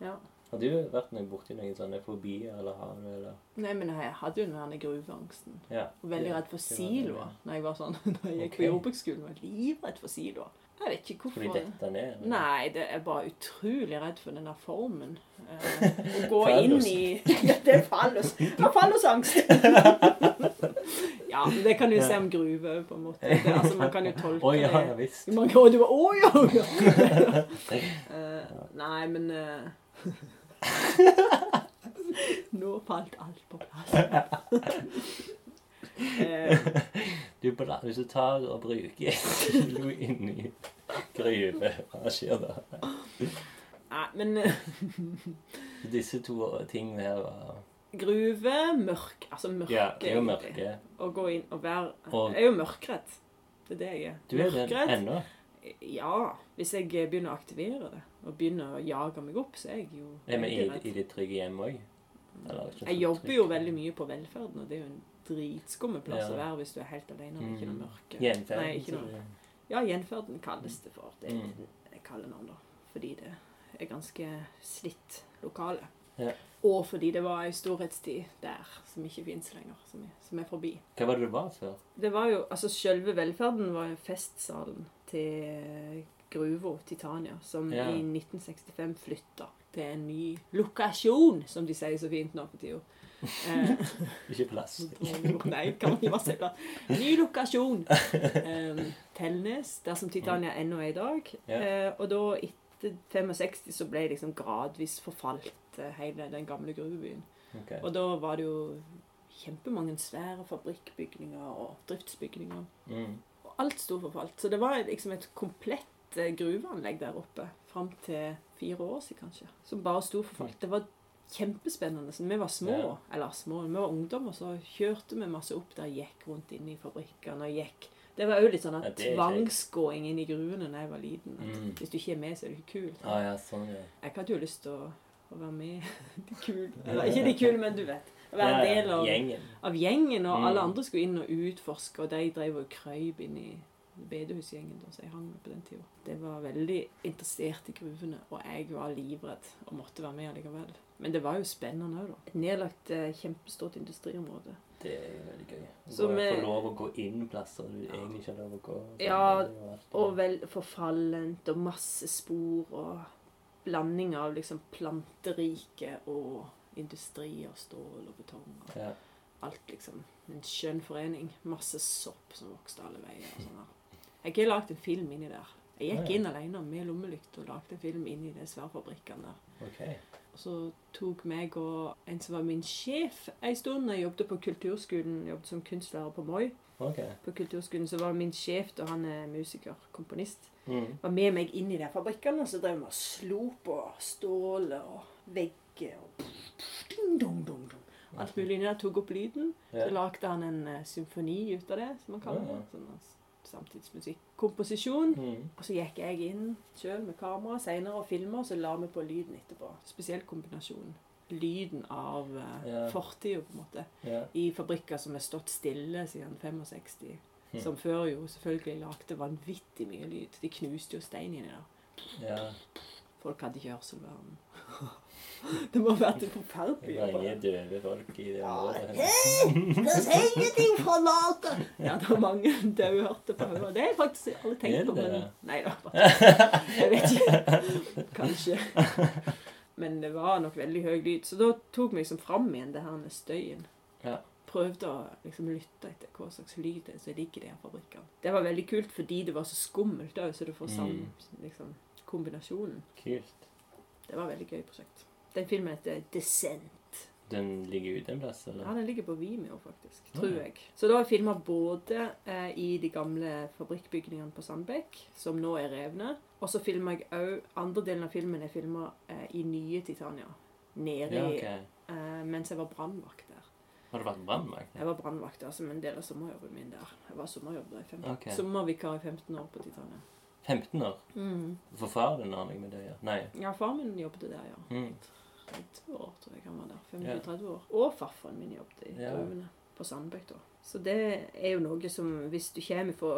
Speaker 3: ja.
Speaker 1: Har du vært noe borti noen sånne fobier, eller har du eller?
Speaker 3: Nei, men jeg hadde jo den derne gruveangsten.
Speaker 1: Ja.
Speaker 3: Og veldig
Speaker 1: Ja,
Speaker 3: redd for
Speaker 1: det var det,
Speaker 3: siloer når jeg var sånn, når jeg gikk på
Speaker 1: Ok.
Speaker 3: jordbruksskolen. var jeg Livredd for siloer. Jeg vet ikke
Speaker 1: Fordi
Speaker 3: hvorfor.
Speaker 1: dette ned? eller?
Speaker 3: Nei, det er bare utrolig redd for den der formen. Eh, å gå inn
Speaker 1: Fallos.
Speaker 3: i Ja, det er fallos. Det var fallosangst. ja, men det kan du se om gruve, på en måte. Det, altså, man kan jo tolke
Speaker 1: Å ja, ja
Speaker 3: det.
Speaker 1: visst.
Speaker 3: Man kan, og du var Å ja! å, ja. Eh, nei, men eh, Nå falt alt på plass. Eh,
Speaker 1: Du, bla- hvis du tar og bruker et kilo inni gruve, hva skjer da?
Speaker 3: Nei, men eh,
Speaker 1: Disse to tingene her var
Speaker 3: gruve, mørk Altså mørke,
Speaker 1: Ja, det er jo
Speaker 3: egentlig.
Speaker 1: mørke.
Speaker 3: Å gå inn og være
Speaker 1: Og-
Speaker 3: Jeg er jo mørkredd. Det er det jeg er.
Speaker 1: Du er det
Speaker 3: Mørkredd?
Speaker 1: ennå.
Speaker 3: Ja. Hvis jeg begynner å aktivere det, og begynner å jage meg opp, så er jeg jo
Speaker 1: Er vi i,
Speaker 3: veldig redd.
Speaker 1: i ditt trygge hjem òg?
Speaker 3: Jeg jobber jo veldig mye på velferden, og det er jo en dritskummel plass
Speaker 1: Ja. Mm.
Speaker 3: å være hvis du er helt alene og ikke noe mørke.
Speaker 1: Gjenferd.
Speaker 3: Nei, ikke noe. Ja, gjenferden kalles det for. Det er
Speaker 1: Mm.
Speaker 3: et kallenavn, da. Fordi det er ganske slitt lokale.
Speaker 1: Ja.
Speaker 3: Og fordi det var ei storhetstid der som ikke fins lenger, som er, som er forbi.
Speaker 1: Hva var det du var før?
Speaker 3: Det var jo, altså Selve velferden var jo festsalen til gruva Titania, som
Speaker 1: Ja.
Speaker 3: i 1965 flytta til en ny lokasjon, som de sier så fint nå på tida. Eh,
Speaker 1: Ikke plass.
Speaker 3: Nei, kan man ikke bare si det. Ny lokasjon. Um, Telnes, der som Titania ennå er i dag.
Speaker 1: Ja.
Speaker 3: Eh, og da, etter 65, så ble liksom gradvis forfalt eh, hele den gamle gruvebyen.
Speaker 1: Ok.
Speaker 3: Og da var det jo kjempemange svære fabrikkbygninger og driftsbygninger.
Speaker 1: Mm.
Speaker 3: Og alt sto forfalt. Så det var liksom et komplett eh, gruveanlegg der oppe fram til fire år siden, kanskje. Som bare sto forfalt. Det var kjempespennende. Så vi var små,
Speaker 1: Mm. Ja.
Speaker 3: eller små, vi var ungdommer, så kjørte vi masse opp der, gikk rundt inne i fabrikkene og gikk Det var òg litt sånn
Speaker 1: Ja,
Speaker 3: at
Speaker 1: det er kjekt.
Speaker 3: tvangsgåing inn i gruvene da jeg var liten. At
Speaker 1: Mm.
Speaker 3: Hvis du ikke er med, så er du ikke kul.
Speaker 1: Ah, ja, sånn, ja.
Speaker 3: Jeg hadde jo lyst til å, å være med de kule. Eller ikke de kule, men du vet. Å være
Speaker 1: Ja, ja,
Speaker 3: en del av
Speaker 1: Gjengen.
Speaker 3: av gjengen, og
Speaker 1: Mm.
Speaker 3: alle andre skulle inn og utforske, og de drev og krøyp inn i bedehusgjengen da, som jeg hang med på den tida. De var veldig interessert i gruvene, og jeg var livredd og måtte være med allikevel. Men det var jo spennende òg, da. Et nedlagt eh, kjempestort industriområde.
Speaker 1: Det er jo veldig gøy. Du
Speaker 3: Så
Speaker 1: får
Speaker 3: vi-
Speaker 1: lov å gå inn plasser du egentlig ikke har lov å gå.
Speaker 3: Ja,
Speaker 1: og alt.
Speaker 3: Og vel forfallent, og masse spor, og blanding av liksom planterike og industri og stål og betong. Og
Speaker 1: ja.
Speaker 3: alt liksom. En skjønn forening. Masse sopp som vokste alle veier. og sånn der. Jeg har lagd en film inni der. Jeg
Speaker 1: Ah,
Speaker 3: gikk
Speaker 1: ja.
Speaker 3: inn alene med lommelykt og lagde en film inni de sværfabrikkene der.
Speaker 1: OK.
Speaker 3: Og så tok meg og en som var min sjef en stund Jeg jobbet på kulturskolen, jobbet som kunstlærer på Moi.
Speaker 1: ok.
Speaker 3: På kulturskolen så var det min sjef, da han er musiker, komponist,
Speaker 1: Mm.
Speaker 3: var med meg inn i de fabrikkene. og Så drev vi og slo på stålet og vegger og ding, dong, dong, dong. Alt mulig inni der. Tok opp lyden.
Speaker 1: Ja.
Speaker 3: Så lagde han en eh, symfoni ut av det, som man kaller det.
Speaker 1: Ja.
Speaker 3: Sånn eh, samtidsmusikk. Komposisjon.
Speaker 1: Mm.
Speaker 3: Og så gikk jeg inn sjøl med kamera seinere og filma, og så la vi på lyden etterpå. Spesielt kombinasjonen. Lyden av eh,
Speaker 1: Ja.
Speaker 3: fortida, på en måte.
Speaker 1: Ja.
Speaker 3: I fabrikker som har stått stille siden 65.
Speaker 1: Hm.
Speaker 3: Som før jo selvfølgelig lagde vanvittig mye lyd. De knuste jo stein inni der.
Speaker 1: ja.
Speaker 3: Folk hadde ikke hørselvern. det må ha vært en forferdelig jobb.
Speaker 1: Mange døve folk i det sånn området.
Speaker 3: Ja, det var mange dauhørte på hodet. Det har jeg faktisk aldri
Speaker 1: Er det
Speaker 3: tenkt på. Men...
Speaker 1: det?
Speaker 3: Nei da. bare- Jeg vet ikke. Kanskje. Men det var nok veldig høy lyd. Så da tok vi liksom fram igjen det her med støyen.
Speaker 1: Ja.
Speaker 3: Prøvde å liksom lytte etter hva slags lyd det er som ligger i de her fabrikkene. Det var veldig kult fordi det var så skummelt òg, så du får sammen
Speaker 1: Mm.
Speaker 3: liksom, kombinasjonen.
Speaker 1: Kult.
Speaker 3: Det var et veldig gøy prosjekt. Den filmen heter Descent.
Speaker 1: Den ligger ute en plass,
Speaker 3: Ja,
Speaker 1: eller?
Speaker 3: den ligger på Vimeo, faktisk.
Speaker 1: Ja.
Speaker 3: Tror jeg. Så da har jeg filma både eh, i de gamle fabrikkbygningene på Sandbekk, som nå er revne, og så filma jeg òg Andre delen av filmen er filma eh, i nye Titania. Nede
Speaker 1: Ja,
Speaker 3: i-
Speaker 1: ok.
Speaker 3: eh, mens jeg var brannvakt der.
Speaker 1: Har det vært brannvakt?
Speaker 3: Jeg var brannvakt der som en del av sommerjobben min der. Jeg var sommerjobb der i 15.
Speaker 1: Ok.
Speaker 3: Sommervikar i 15 år på Titania.
Speaker 1: 15 år? For far din har jeg med det, ja. Nei.
Speaker 3: Ja, far min jobbet der, ja.
Speaker 1: Mm.
Speaker 3: 30 år, tror jeg han var der. 25-30 år. Og farfaren min jobbet i
Speaker 1: Ja.
Speaker 3: gruvene på Sandbøk da. Så det er jo noe som Hvis du kommer fra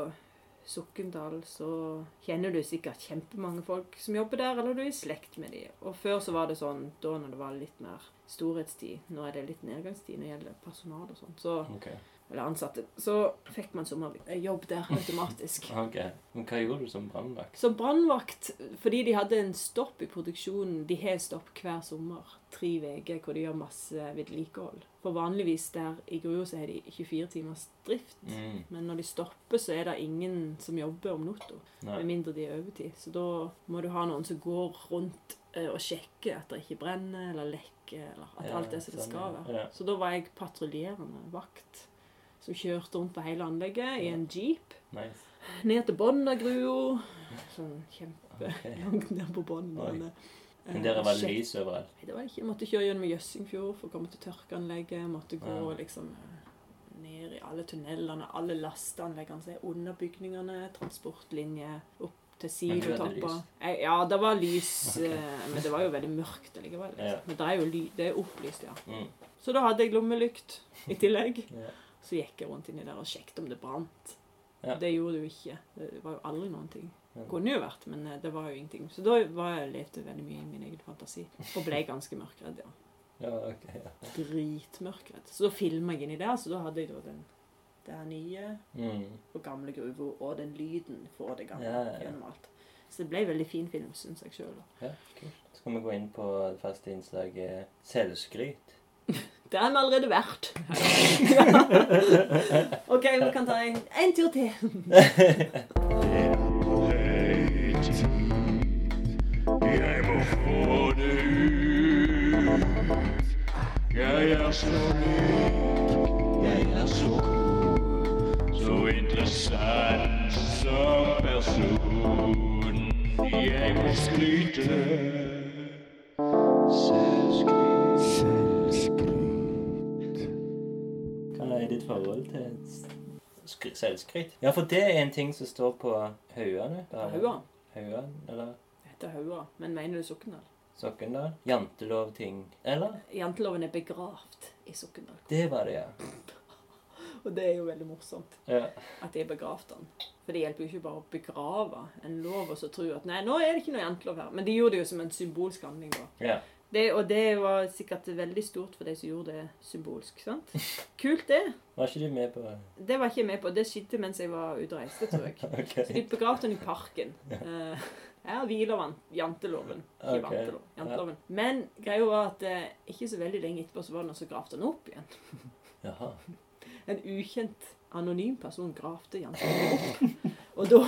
Speaker 3: Sokndal, så kjenner du sikkert kjempemange folk som jobber der, eller du er i slekt med dem. Og før så var det sånn, da når det var litt mer storhetstid Nå er det litt nedgangstid når det gjelder personal og sånn. Så,
Speaker 1: Ok.
Speaker 3: eller ansatte. Så fikk man sommerjobb der automatisk.
Speaker 1: Ok. Men hva gjorde du som brannvakt?
Speaker 3: Som brannvakt, fordi de hadde en stopp i produksjonen De har stopp hver sommer. Tre uker hvor de gjør masse vedlikehold. For vanligvis der i grua så har de 24 timers drift.
Speaker 1: Mm.
Speaker 3: Men når de stopper, så er det ingen som jobber om natta.
Speaker 1: Nei.
Speaker 3: Med mindre de er overtid. Så da må du ha noen som går rundt eh, og sjekker at det ikke brenner eller lekker, eller at
Speaker 1: Ja,
Speaker 3: alt er som det
Speaker 1: sånn,
Speaker 3: skal
Speaker 1: ja.
Speaker 3: være.
Speaker 1: Ja.
Speaker 3: Så da var jeg patruljerende vakt som kjørte rundt på hele anlegget i en jeep.
Speaker 1: Nice.
Speaker 3: Ned til bunnen av grua. Sånn kjempe
Speaker 1: Ok.
Speaker 3: langt ned på bunnen.
Speaker 1: Oi.
Speaker 3: men, eh,
Speaker 1: Men der var
Speaker 3: sjekk-
Speaker 1: lys overalt.
Speaker 3: Nei, Det var ikke. Jeg måtte kjøre gjennom Jøssingfjord for å komme til tørkeanlegget. Måtte gå
Speaker 1: Ja.
Speaker 3: liksom eh, ned i alle tunnelene, alle lasteanleggene som er under bygningene, transportlinjer, opp til
Speaker 1: Men du hadde
Speaker 3: silotopper.
Speaker 1: lys?
Speaker 3: Eh, Ja, det var lys,
Speaker 1: Ok.
Speaker 3: eh, men det var jo veldig mørkt likevel. Liksom.
Speaker 1: Ja.
Speaker 3: Men det er jo ly det er opplyst, ja.
Speaker 1: Mm.
Speaker 3: Så da hadde jeg lommelykt i tillegg.
Speaker 1: Ja.
Speaker 3: Så gikk jeg rundt inni der og sjekket om det brant.
Speaker 1: Ja.
Speaker 3: Det gjorde det jo ikke. Det var jo aldri noen ting.
Speaker 1: Ja.
Speaker 3: Kunne jo vært, men eh, det var jo ingenting. Så da var jeg, levde jeg veldig mye i min egen fantasi. Og ble ganske mørkredd, ja.
Speaker 1: Ja, ok. Ja.
Speaker 3: Dritmørkredd. Så da filma jeg inni der, så da hadde jeg da den det her nye
Speaker 1: Mm.
Speaker 3: og gamle gruva, og den lyden fra det gamle
Speaker 1: Ja, ja, ja.
Speaker 3: gjennom alt. Så det ble en veldig fin film, syns jeg sjøl.
Speaker 1: Ja, kult. Så kan vi gå inn på det faste innslaget selvskryt.
Speaker 3: Det har vi allerede vært. OK, vi kan ta en, en tur til.
Speaker 4: Jeg må få det ut. Jeg er så lik, jeg er så cool, så interessant som person. Jeg må skryte. Selvskryt.
Speaker 1: Hva er ditt forhold til s- skry selvskryt? Ja, for det er en ting som står på haugene.
Speaker 3: Haua.
Speaker 1: Haugan, eller
Speaker 3: Det heter Haua, men mener du Sokndal?
Speaker 1: Sokkendal. Jantelovting. Eller?
Speaker 3: Janteloven er begravd i Sokndal.
Speaker 1: Det var det, ja.
Speaker 3: Og Og det er jo veldig morsomt
Speaker 1: Ja.
Speaker 3: at jeg begravde han. For det hjelper jo ikke bare å begrave en lov og så tro at nei, nå er det ikke noe jantelov her. Men de gjorde det jo som en symbolsk handling, da.
Speaker 1: ja.
Speaker 3: Det, og det var sikkert veldig stort for de som gjorde det symbolsk. sant? Kult, det.
Speaker 1: Var ikke du med på det?
Speaker 3: Det var ikke jeg med på. Det skjedde mens jeg var ute og reiste, tror jeg. Så
Speaker 1: Ok.
Speaker 3: de begravde han i parken. Eh, her hviler han. Janteloven. Ikke
Speaker 1: Ok,
Speaker 3: vantelov, janteloven. Men greia var at eh, ikke så veldig lenge etterpå så var det noen som gravde han opp igjen.
Speaker 1: Jaha.
Speaker 3: En ukjent, anonym person gravde janteloven opp. Og da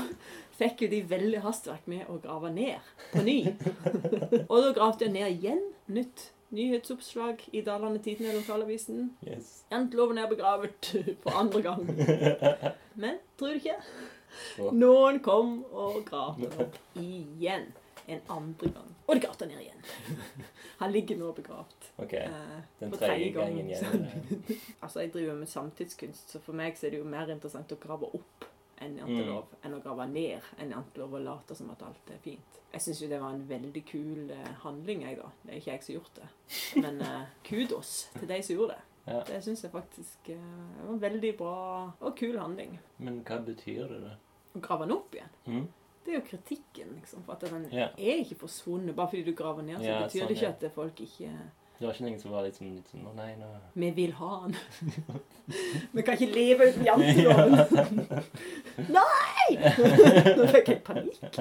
Speaker 3: fikk jo de veldig hastverk med å grave ned på ny. Og da gravde han ned igjen. Nytt nyhetsoppslag i Dalane Tidende, lokalavisen.
Speaker 1: Yes.
Speaker 3: Janteloven er begravet for andre gang. Men tror du ikke?
Speaker 1: Åh.
Speaker 3: Noen kom og gravde den opp igjen. En andre gang. Og de gravde den ned igjen. Han ligger nå begravd.
Speaker 1: OK.
Speaker 3: eh,
Speaker 1: Den
Speaker 3: for
Speaker 1: tredje gangen
Speaker 3: gang.
Speaker 1: gjelder det.
Speaker 3: Altså, jeg driver med samtidskunst, så for meg så er det jo mer interessant å grave opp en jantelov
Speaker 1: Mm.
Speaker 3: enn å grave ned en jantelov og late som at alt er fint. Jeg syns jo det var en veldig kul eh, handling, jeg, da. Det er ikke jeg som har gjort det. Men eh, kudos til de som gjorde det.
Speaker 1: Ja.
Speaker 3: Det syns jeg faktisk eh, var en veldig bra og kul handling.
Speaker 1: Men hva betyr det, da?
Speaker 3: Å grave den opp igjen.
Speaker 1: Mm?
Speaker 3: Det er jo kritikken, liksom. For at den
Speaker 1: Ja.
Speaker 3: er ikke forsvunnet. Bare fordi du graver ned, så
Speaker 1: Ja,
Speaker 3: betyr
Speaker 1: sånn,
Speaker 3: det ikke
Speaker 1: ja.
Speaker 3: at det folk ikke
Speaker 1: Det var ikke noen som var litt sånn, litt sånn Å, nei, nå
Speaker 3: Vi vil ha den. Vi kan ikke leve uten janteloven. Nei! Nå fikk jeg panikk.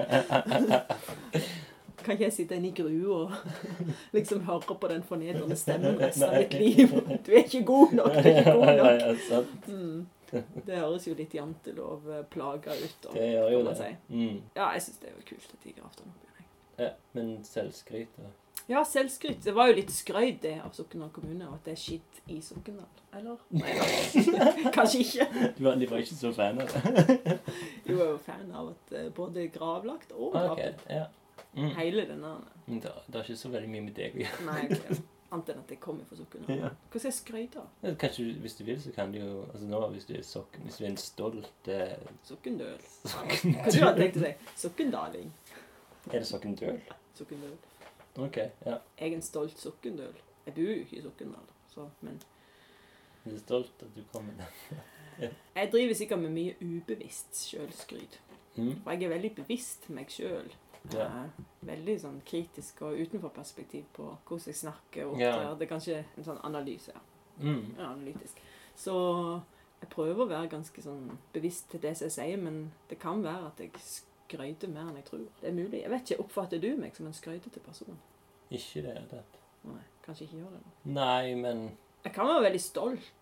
Speaker 3: Kan ikke jeg sitte inne i grua og liksom høre på den fornedrende stemmen resten av mitt liv? Du er ikke god nok. Du er ikke god
Speaker 1: Ja,
Speaker 3: nok.
Speaker 1: ja, sant.
Speaker 3: Mm. Det høres jo litt jantelov-plaga eh, ut. da,
Speaker 1: Det gjør jo
Speaker 3: kan man
Speaker 1: det. Mm.
Speaker 3: Si. Ja, jeg syns det er jo kult at de gravde den opp igjen. jeg.
Speaker 1: Ja. Men selvskryt, da?
Speaker 3: Ja, selvskryt. Det var jo litt skrøyd det av Sokndal kommune, og at det er skitt i Sokndal. Eller? Nei, da. kanskje ikke.
Speaker 1: Du var, de var ikke så fan av det?
Speaker 3: Jo, jeg var fan av at eh, både gravlagt og
Speaker 1: Ah, OK.
Speaker 3: gravlagt.
Speaker 1: Ja. Mm.
Speaker 3: Hele denne.
Speaker 1: Men det, det er ikke så veldig mye med deg å gjøre.
Speaker 3: Nei, ok. Annet enn at jeg kommer fra Sokndal.
Speaker 1: Ja.
Speaker 3: Hva skal jeg skryte av?
Speaker 1: Ja, Kanskje du, hvis du vil, så kan du jo altså nå, Hvis du er sokken, hvis du er en stolt eh,
Speaker 3: Sokndøl.
Speaker 1: sokken,
Speaker 3: Hva tror du han tenkte seg? Sokndaling.
Speaker 1: Er det sokkendøl?
Speaker 3: Sokndøl.
Speaker 1: OK. Ja.
Speaker 3: Jeg er en stolt Sokndøl. Jeg bor jo ikke i Sokndal, så men
Speaker 1: Du er stolt at du kom med det.
Speaker 3: Jeg driver sikkert med mye ubevisst sjølskryt.
Speaker 1: Mm.
Speaker 3: For jeg er veldig bevisst meg sjøl.
Speaker 1: Ja.
Speaker 3: Veldig sånn kritisk og utenforperspektiv på hvordan jeg snakker. og
Speaker 1: Ja.
Speaker 3: opptrer. Det er kanskje en sånn analyse. ja.
Speaker 1: Mm.
Speaker 3: Ja, analytisk. Så jeg prøver å være ganske sånn bevisst til det som jeg sier, men det kan være at jeg skryter mer enn jeg tror. Det er mulig. Jeg vet ikke, Oppfatter du meg som en skrytete person?
Speaker 1: Ikke det. det.
Speaker 3: Nei, kanskje ikke gjør det. nå.
Speaker 1: Nei, men
Speaker 3: Jeg kan være veldig stolt,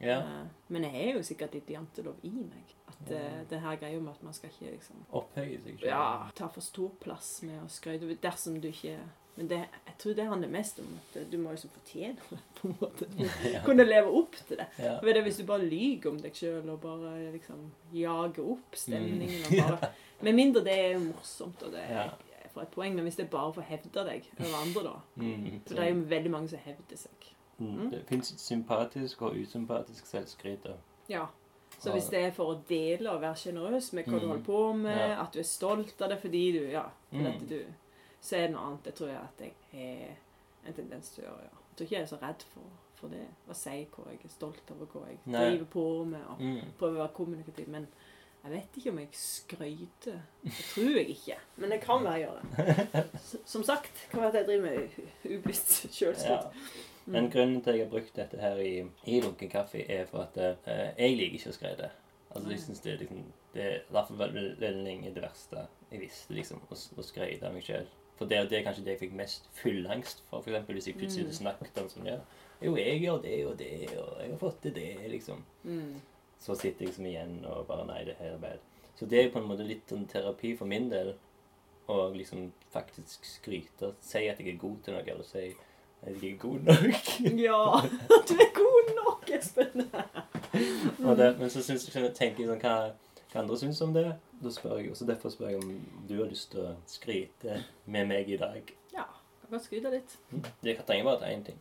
Speaker 1: Ja.
Speaker 3: eh, men jeg er jo sikkert litt jantelov i meg. At eh,
Speaker 1: Ja.
Speaker 3: det her greia med at man skal ikke liksom
Speaker 1: Opphøye seg selv.
Speaker 3: ja, ta for stor plass med å skryte dersom du ikke Men det, jeg tror det handler mest om at du må liksom fortjene det, på en måte.
Speaker 1: Ja.
Speaker 3: Kunne leve opp til det.
Speaker 1: Ja.
Speaker 3: For det er Hvis du bare lyver om deg sjøl og bare liksom jager
Speaker 1: Mm.
Speaker 3: opp stemningen og bare Med mindre det er morsomt og det
Speaker 1: Ja.
Speaker 3: er for et poeng, men hvis det er bare for å hevde deg over andre, da
Speaker 1: Mm.
Speaker 3: For det er jo veldig mange som hevder seg.
Speaker 1: Mm. Det fins sympatisk og usympatisk selvskryt. da.
Speaker 3: Ja. Så hvis det er for å dele og være sjenerøs med hva du
Speaker 1: Mm.
Speaker 3: holder på med,
Speaker 1: Ja.
Speaker 3: at du er stolt av det fordi du Ja, for
Speaker 1: Mm.
Speaker 3: dette du Så er det noe annet. Det tror jeg at jeg har en tendens til å gjøre. ja. Jeg tror ikke jeg er så redd for, for det. Å si hva jeg er stolt av, og hva jeg
Speaker 1: Nei.
Speaker 3: driver på med, og
Speaker 1: Mm.
Speaker 3: prøve å være kommunikativ. Men jeg vet ikke om jeg skryter. Det tror jeg ikke. Men det kan være jeg gjør det. S- Som sagt, kan være at jeg driver med u- ubevisst
Speaker 1: Ja.
Speaker 3: sjølskryt.
Speaker 1: Men
Speaker 3: Mm.
Speaker 1: grunnen til at jeg har brukt dette her i, i lunken kaffe, er for at eh, jeg liker ikke å skreide. Altså,
Speaker 3: Nei.
Speaker 1: jeg synes det er liksom det, er- Derfor var det veldig lenge det verste jeg visste, liksom, å, s- å skreide av meg sjøl. For det, det er kanskje det jeg fikk mest fullangst for, for eksempel hvis jeg plutselig snakket om sånn ja, Jo, jeg gjør det og det, og jeg har fått til det, liksom.
Speaker 3: Mm.
Speaker 1: Så sitter jeg liksom igjen og bare Nei, det her er bad. Så det er på en måte litt sånn terapi for min del å liksom faktisk skryte. Si at jeg er god til noe, eller si at jeg er god nok.
Speaker 3: Ja, du er god nok, Espen.
Speaker 1: Og det,
Speaker 3: Mm.
Speaker 1: men så syns, skjønner- tenker jeg sånn hva, hva andre syns om det. Da spør jeg, og så Derfor spør jeg om du har lyst til å skryte med meg i dag.
Speaker 3: Ja, kan godt skryte litt.
Speaker 1: Det kan- trenger bare ta én ting.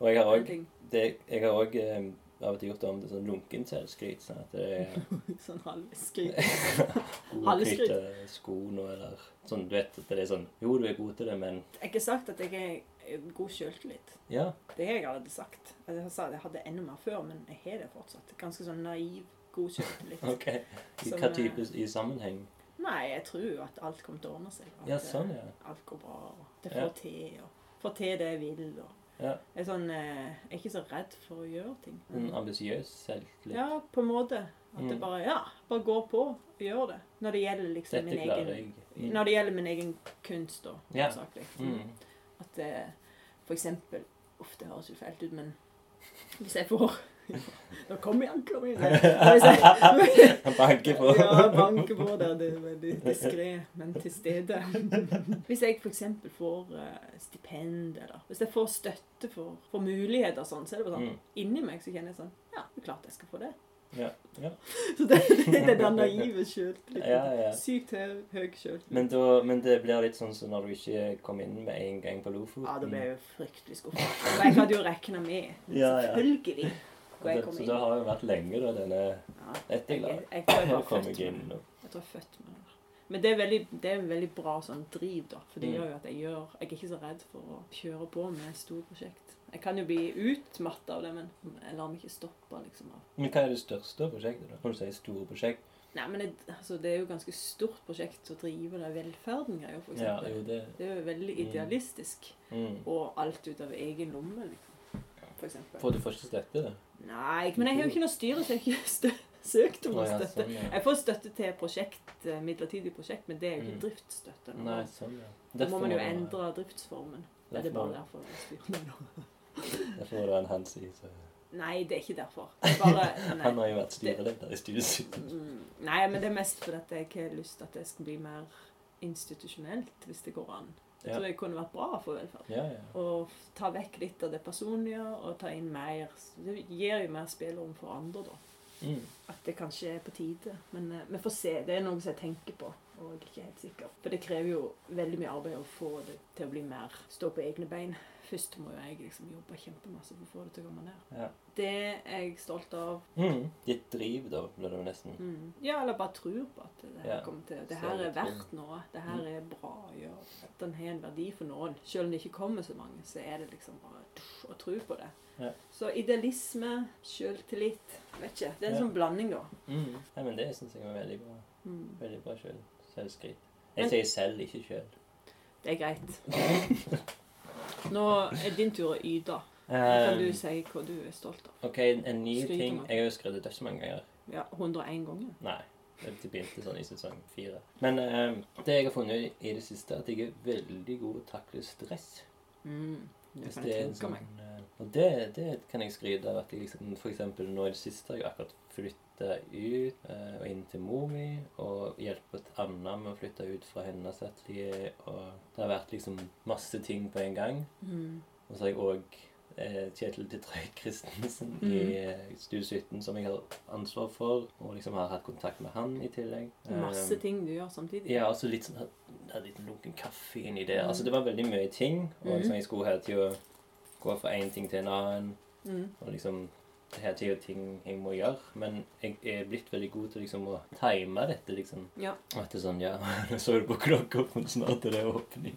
Speaker 1: Og jeg har
Speaker 3: En
Speaker 1: òg
Speaker 3: ting.
Speaker 1: jeg har også, eh, av og til gjort det om til sånn lunken selvskryt. Sånn at det er
Speaker 3: Sånn halvvis skryt.
Speaker 1: god
Speaker 3: Alle
Speaker 1: til å knytte sko nå, eller sånn, du vet at det er sånn Jo, du er god til det, men
Speaker 3: Jeg har ikke sagt at jeg er god selvtillit.
Speaker 1: Ja.
Speaker 3: Det har jeg allerede sagt. Jeg sa at jeg hadde enda mer før, men jeg har det fortsatt. Ganske sånn naiv, god selvtillit.
Speaker 1: Ok. I
Speaker 3: Som,
Speaker 1: hva
Speaker 3: eh,
Speaker 1: type i sammenheng?
Speaker 3: Nei, jeg tror jo at alt kommer til å ordne seg. At
Speaker 1: Ja,
Speaker 3: eh,
Speaker 1: sånn, ja.
Speaker 3: alt går bra, og det
Speaker 1: Ja.
Speaker 3: får til, og får til det jeg vil. Og.
Speaker 1: Ja.
Speaker 3: Jeg, er sånn, eh, jeg er ikke så redd for å gjøre ting.
Speaker 1: En ambisiøs selvtillit.
Speaker 3: Ja, på en måte. At det
Speaker 1: Mm.
Speaker 3: bare ja, bare går på og gjør det. Når det gjelder liksom
Speaker 1: Dette
Speaker 3: min
Speaker 1: klarer
Speaker 3: egen
Speaker 1: jeg. Mm.
Speaker 3: Når det gjelder min egen kunst, da.
Speaker 1: Ja.
Speaker 3: hovedsakelig.
Speaker 1: Mm.
Speaker 3: At eh, for eksempel Uff, det høres jo feilt ut, men hvis jeg får Nå kommer anklagen! Hvis jeg-
Speaker 1: Han banker på.
Speaker 3: ja, banke på der. Det er veldig diskré, men til stede. Hvis jeg f.eks. får eh, stipend, eller hvis jeg får støtte for, for muligheter, og sånn, så er det bare sånn
Speaker 1: Mm.
Speaker 3: Inni meg så kjenner jeg sånn Ja, det er klart jeg skal få det.
Speaker 1: Ja, ja.
Speaker 3: Så det, det er den naive sjøltilliten.
Speaker 1: Ja, ja.
Speaker 3: Sykt høy, høy sjøltillit.
Speaker 1: Men, da, men det blir litt sånn som når du ikke kom inn med en gang på Lofoten.
Speaker 3: Ja, da ble jeg jo fryktelig skuffa. For jeg hadde jo regna med,
Speaker 1: Ja, ja.
Speaker 3: selvfølgelig, hvor jeg
Speaker 1: Så-
Speaker 3: kom
Speaker 1: Så
Speaker 3: inn.
Speaker 1: Mm. det har jo vært lenge, da, denne
Speaker 3: Ja,
Speaker 1: Dette er
Speaker 3: jeg,
Speaker 1: glad.
Speaker 3: jeg, jeg tror jeg
Speaker 1: Nå
Speaker 3: bare
Speaker 1: kom
Speaker 3: født
Speaker 1: jeg
Speaker 3: med
Speaker 1: inn. og-
Speaker 3: Jeg tror jeg er født med det. Men det er, veldig, det er en veldig bra sånn driv, da. For det
Speaker 1: Mm.
Speaker 3: gjør jo at jeg gjør Jeg er ikke så redd for å kjøre på med store prosjekt. Jeg kan jo bli utmatta av det, men jeg lar meg ikke stoppe, liksom. av
Speaker 1: Men hva er det største prosjektet, da? Når du sier store prosjekt?
Speaker 3: Nei, men jeg, altså, det er jo ganske stort prosjekt å drive det velferden-greia, for
Speaker 1: Ja,
Speaker 3: eksempel.
Speaker 1: jo, det
Speaker 3: det er jo veldig
Speaker 1: Mm.
Speaker 3: idealistisk.
Speaker 1: mm.
Speaker 3: Og alt ut av egen lomme, liksom. For eksempel.
Speaker 1: Får du først støtte, da?
Speaker 3: Nei, men jeg har jo ikke noe styre, så jeg har ikke stø søkt
Speaker 1: Å,
Speaker 3: om noe
Speaker 1: ja,
Speaker 3: støtte.
Speaker 1: sånn, ja.
Speaker 3: Jeg får støtte til prosjekt, eh, midlertidig prosjekt, men det er jo
Speaker 1: Mm.
Speaker 3: ikke driftsstøtte. nå.
Speaker 1: Nei, sånn, ja.
Speaker 3: Da må man jo
Speaker 1: du ha-
Speaker 3: endre driftsformen. Nei, det er
Speaker 1: derfor må du-
Speaker 3: bare derfor jeg styrer meg nå.
Speaker 1: derfor må du ha en Hansi. Så.
Speaker 3: Nei, det er ikke derfor. Det er Bare,
Speaker 1: Han
Speaker 3: nei.
Speaker 1: har jo vært styreleder i studiet.
Speaker 3: Mm, nei, men det er mest fordi at jeg ikke har lyst til at det skal bli mer institusjonelt, hvis det går an. Jeg
Speaker 1: Ja.
Speaker 3: tror det kunne vært bra for velferd.
Speaker 1: Ja, ja.
Speaker 3: Å f- ta vekk litt av det personlige og ta inn mer Det gir jo mer spillerom for andre, da.
Speaker 1: Mm.
Speaker 3: At det kanskje er på tide. Men eh, vi får se. Det er noe som jeg tenker på. Og jeg er ikke helt sikker. For det krever jo veldig mye arbeid å få det til å bli mer stå på egne bein. Først må jo jeg liksom jobbe kjempemasse for å få det til å komme ned.
Speaker 1: Ja.
Speaker 3: Det er jeg stolt av.
Speaker 1: Mm. Ditt driv, da, blir det jo nesten.
Speaker 3: Mm. Ja, eller bare tror på at det her
Speaker 1: Ja.
Speaker 3: kommer til Det
Speaker 1: Så
Speaker 3: her
Speaker 1: jeg
Speaker 3: er
Speaker 1: tror-
Speaker 3: verdt noe. Det her
Speaker 1: Mm.
Speaker 3: er bra å gjøre. At den har en verdi for noen. Selv om det ikke kommer så mange, så er det liksom bare tuff, å tro på det.
Speaker 1: Ja.
Speaker 3: Så idealisme, sjøltillit Vet ikke. Det er en
Speaker 1: Ja.
Speaker 3: sånn blanding, da.
Speaker 1: Mm. Nei, men det syns jeg var veldig bra.
Speaker 3: Mm.
Speaker 1: Veldig bra sjøl. Selvskryt.
Speaker 3: Men-
Speaker 1: Jeg sier selv, ikke Eh, sjøl.
Speaker 3: Det er greit. Nå er din tur å yte. Kan du si hva du er stolt av?
Speaker 1: OK, en, en ny
Speaker 3: Skryt om
Speaker 1: ting
Speaker 3: det.
Speaker 1: Jeg har jo skrevet dødsmange ganger.
Speaker 3: Ja, 101 ganger.
Speaker 1: Nei. Det begynte sånn i sesong fire. Men eh, det jeg har funnet ut i det siste, er at jeg er veldig god til å takle stress.
Speaker 3: Mm. Det
Speaker 1: Hvis
Speaker 3: kan jeg
Speaker 1: er en
Speaker 3: tenke meg.
Speaker 1: eh, Og det, det kan jeg skryte av. at jeg liksom, For eksempel nå i det siste har jeg akkurat flytta ut eh, og inn til mor mi. Og hjulpet Anna med å flytte ut fra hennes atelier. Og det har vært liksom masse ting på en gang.
Speaker 3: Mm.
Speaker 1: Og så har jeg òg eh, Kjetil Titrøy Christensen
Speaker 3: Mhm.
Speaker 1: i eh, Studio 17, som jeg har ansvar for, og liksom har hatt kontakt med han i tillegg.
Speaker 3: Masse
Speaker 1: Eh,
Speaker 3: ting du gjør samtidig.
Speaker 1: Ja, og så litt sånn jeg hadde litt lunken kaffe inni det.
Speaker 3: Mhm.
Speaker 1: Altså, det var veldig mye ting, og liksom,
Speaker 3: Mhm.
Speaker 1: jeg skulle hele tida gå fra én ting til en annen,
Speaker 3: Mm.
Speaker 1: og liksom det hele tida ting jeg må gjøre. Men jeg er blitt veldig god til liksom å time dette, liksom.
Speaker 3: Ja.
Speaker 1: Og at det er sånn Ja, nå så du på klokka, men snart er det åpning.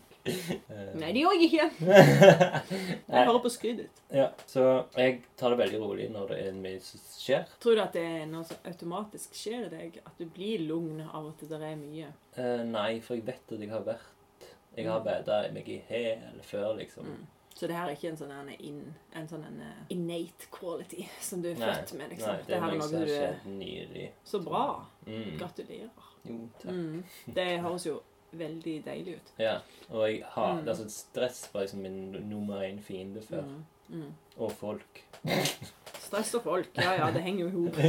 Speaker 1: Eh,
Speaker 3: Nei, det gjør jeg ikke.
Speaker 1: Nei.
Speaker 3: Jeg hører på skrytet ditt.
Speaker 1: Ja, så jeg tar det veldig rolig når det er mye som skjer.
Speaker 3: Tror du at det er noe som automatisk skjer i deg? At du blir lugn av at det er mye?
Speaker 1: Eh, nei, for jeg vet at jeg har vært Jeg har bada meg i hæl før, liksom.
Speaker 3: Mm. Så det her er ikke en sånn en, in- en sånn en eh, innate quality som du er
Speaker 1: Nei,
Speaker 3: født med, liksom.
Speaker 1: Nei,
Speaker 3: det, her er
Speaker 1: noe som
Speaker 3: noe
Speaker 1: har
Speaker 3: du er
Speaker 1: skjedd nylig.
Speaker 3: Så bra.
Speaker 1: Mm.
Speaker 3: Gratulerer.
Speaker 1: Jo, takk.
Speaker 3: Mm. Det høres jo veldig deilig ut.
Speaker 1: Ja, og jeg har
Speaker 3: Mm.
Speaker 1: altså, Stress var liksom min nummer én fiende før.
Speaker 3: Mm. Mm.
Speaker 1: Og folk.
Speaker 3: Stress og folk. Ja, ja, det henger jo i hop.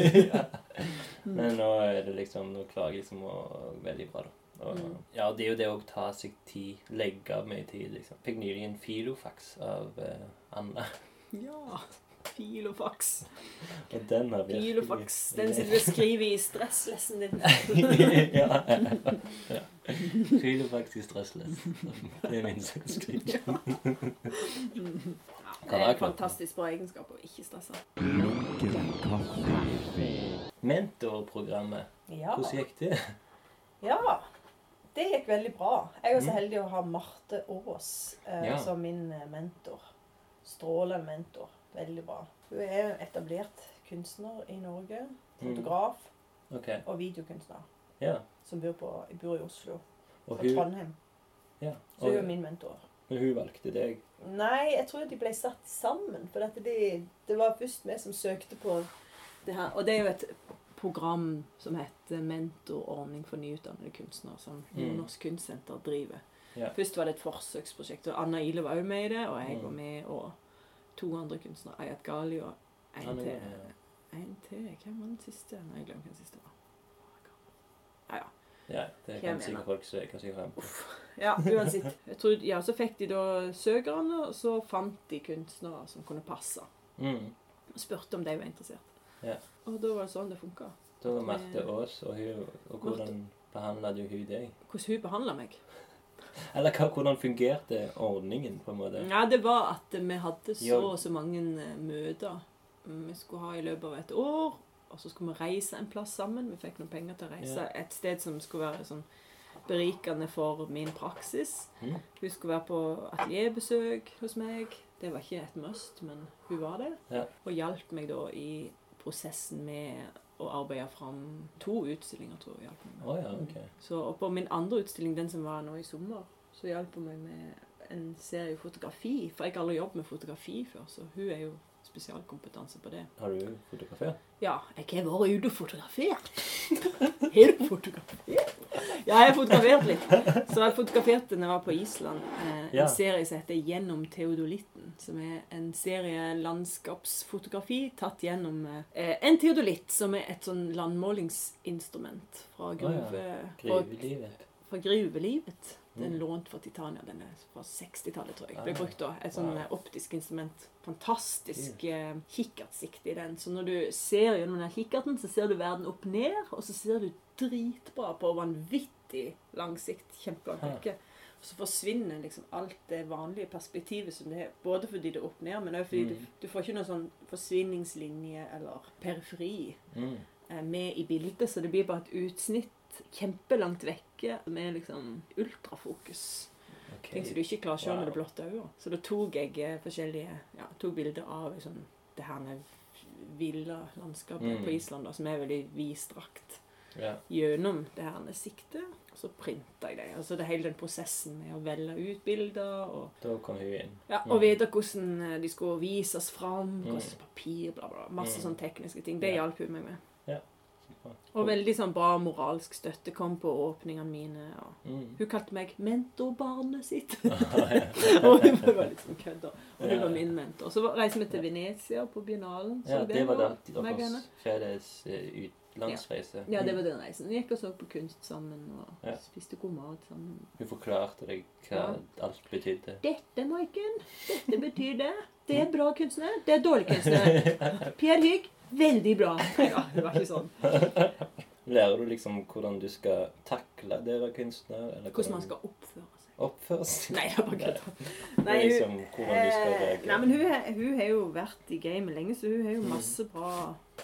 Speaker 1: ja.
Speaker 3: Mm.
Speaker 1: Men nå er det liksom Nå klarer jeg liksom å Veldig bra, da. Og,
Speaker 3: Mm.
Speaker 1: Ja, det er jo det å ta seg tid. Legge av mye tid, liksom. Fikk nylig en filofax av eh, Anna.
Speaker 3: Ja. Fil og faks.
Speaker 1: Og den har virkelig
Speaker 3: Fil og faks. Den sitter du og skriver i stresslessen din.
Speaker 1: ja. ja. Fil og faks i stressless. Det er min selvskryt.
Speaker 3: Ja,
Speaker 1: Kan
Speaker 3: det
Speaker 1: være
Speaker 3: er en
Speaker 1: klokken.
Speaker 3: fantastisk bra egenskap å ikke stresse.
Speaker 1: Mentorprogrammet,
Speaker 6: Ja.
Speaker 1: hvordan gikk det?
Speaker 6: ja. Det gikk veldig bra. Jeg var så
Speaker 1: Mm.
Speaker 6: heldig å ha Marte Aas eh,
Speaker 1: Ja.
Speaker 6: som min eh, mentor. Strålende mentor. Veldig bra. Hun er en etablert kunstner i Norge.
Speaker 1: Mm.
Speaker 6: Fotograf
Speaker 1: OK.
Speaker 6: og videokunstner.
Speaker 1: Ja.
Speaker 6: Som bor, på, bor i Oslo.
Speaker 1: Og
Speaker 6: Fra
Speaker 1: hun,
Speaker 6: Trondheim.
Speaker 1: ja.
Speaker 6: Så hun er
Speaker 1: Og,
Speaker 6: min mentor.
Speaker 1: men hun valgte deg.
Speaker 6: Nei, jeg tror de ble satt sammen. For at de, det var først vi som søkte på
Speaker 3: Det her, og det er jo et program som heter Mentorordning for nyutdannede kunstnere, som
Speaker 1: Mm.
Speaker 3: Norsk Kunstsenter driver.
Speaker 1: Ja.
Speaker 3: Først var det et forsøksprosjekt, og Anna Ile var òg med i det, og jeg
Speaker 1: Mm.
Speaker 3: var med, og to andre kunstnere, Ayat Gali og en
Speaker 1: Han er-
Speaker 3: til. En til. Hvem var den siste? Nå har jeg glemt hvem den siste var. Ja, ja.
Speaker 1: Ja, det
Speaker 3: Hvem
Speaker 1: kan
Speaker 3: er
Speaker 1: sikkert
Speaker 3: det?
Speaker 1: folk se hva jeg har.
Speaker 3: Ja, uansett. Jeg tror, ja, så fikk de da søkerne, og så fant de kunstnere som kunne passe.
Speaker 1: Mm.
Speaker 3: Og spurte om de var interessert.
Speaker 1: Ja.
Speaker 3: Og da var det sånn det funka.
Speaker 1: Da var Marte
Speaker 3: Eh.
Speaker 1: Aas, og, hun, og hvordan behandla du hun deg?
Speaker 3: Hvordan hun behandla meg.
Speaker 1: Eller hva, hvordan fungerte ordningen, på en måte?
Speaker 3: Ja, det var at vi hadde så
Speaker 1: Jo.
Speaker 3: og så mange eh, møter vi skulle ha i løpet av et år. Og så skulle vi reise en plass sammen. Vi fikk noen penger til å reise et sted som skulle være sånn berikende for min praksis.
Speaker 1: Mhm.
Speaker 3: Hun skulle være på atelierbesøk hos meg. Det var ikke et must, men hun var det.
Speaker 1: Ja.
Speaker 3: Og hjalp meg da i prosessen med å arbeide fram to utstillinger, tror jeg. hjalp meg med.
Speaker 1: Å ja, OK.
Speaker 3: Så, og på min andre utstilling, den som var nå i sommer, så hjalp hun meg med en serie fotografi. For jeg har aldri jobbet med fotografi før, så hun er jo spesialkompetanse på det.
Speaker 1: Har du fotografert?
Speaker 3: Ja, jeg har vært ute og fotografert. Har du fotografert? Ja, jeg har fotografert litt. Så jeg fotograferte når jeg var på Island. Eh, en
Speaker 1: Ja.
Speaker 3: serie som heter 'Gjennom teodolitten'. Som er en serie landskapsfotografi tatt gjennom eh, en teodolitt, som er et sånn landmålingsinstrument fra gruve... fra-
Speaker 1: Gruvelivet?
Speaker 3: fra gruvelivet. Den
Speaker 1: Mm.
Speaker 3: er lånt fra Titania. Den er fra 60-tallet, tror jeg.
Speaker 1: Ah,
Speaker 3: Ble brukt da. Et sånn
Speaker 1: wow. Mm.
Speaker 3: eh, optisk instrument. Fantastisk eh, kikkertsikte i den. Så når du ser gjennom den kikkerten, så ser du verden opp ned, og så ser du dritbra på vanvittig lang sikt. Kjempelangt
Speaker 1: Ah.
Speaker 3: vekke. Og så forsvinner liksom alt det vanlige perspektivet som det er. Både fordi det er opp ned, men òg fordi
Speaker 1: Mm.
Speaker 3: du, du får ikke noen sånn forsvinningslinje eller periferi
Speaker 1: Mm.
Speaker 3: eh, med i bildet, så det blir bare et utsnitt kjempelangt vekke med liksom ultrafokus.
Speaker 1: OK.
Speaker 3: Ting som du ikke klarer å se med det
Speaker 1: Wow.
Speaker 3: blotte øyet. Så da tok jeg eh, forskjellige ja, tok bilder av sånn, det her med ville landskapet
Speaker 1: Mm.
Speaker 3: på Island, da, som er veldig vidstrakt
Speaker 1: Ja.
Speaker 3: gjennom det her med siktet. Og så printa jeg det. Altså det hele den prosessen med å velge ut bilder og
Speaker 1: Da kom hun inn.
Speaker 3: ja,
Speaker 1: Mm.
Speaker 3: og vite hvordan eh, de skulle vises fram,
Speaker 1: Mm.
Speaker 3: hvordan papir, bla, bla. Masse
Speaker 1: Mm.
Speaker 3: sånne tekniske ting. Det
Speaker 1: Ja.
Speaker 3: hjalp hun meg med.
Speaker 1: Ja.
Speaker 3: Og veldig sånn bra moralsk støtte kom på åpningene mine. Og
Speaker 1: Mm.
Speaker 3: hun kalte meg mentorbarnet sitt.
Speaker 1: ja.
Speaker 3: og hun var liksom kødda. Og hun
Speaker 1: Ja.
Speaker 3: var min mentor. Så var- reiste vi til Venezia på biennalen. så
Speaker 1: det var
Speaker 3: nå,
Speaker 1: da
Speaker 3: meg og henne.
Speaker 1: deres felles eh, utlandsreise.
Speaker 3: Ja, det var den reisen. Vi gikk og så på kunst sammen, og
Speaker 1: Ja.
Speaker 3: spiste god mat sammen.
Speaker 1: Hun forklarte deg hva alt betydde.
Speaker 3: Dette, Maiken, dette betyr det. Det er bra kunstner. Det er dårlig kunstner. Per Hygg, veldig bra. Ja, det var ikke sånn.
Speaker 1: Lærer du liksom hvordan du skal takle dere kunstner? Eller
Speaker 3: Hvordan man skal oppføre seg.
Speaker 1: oppføre seg?
Speaker 3: Nei, det var ikke det. Nei, hun,
Speaker 1: liksom, hvordan du skal
Speaker 3: eh,
Speaker 1: reagere? Mm.
Speaker 3: nei, men hun, er- hun har jo vært i gamet lenge, så hun har jo masse bra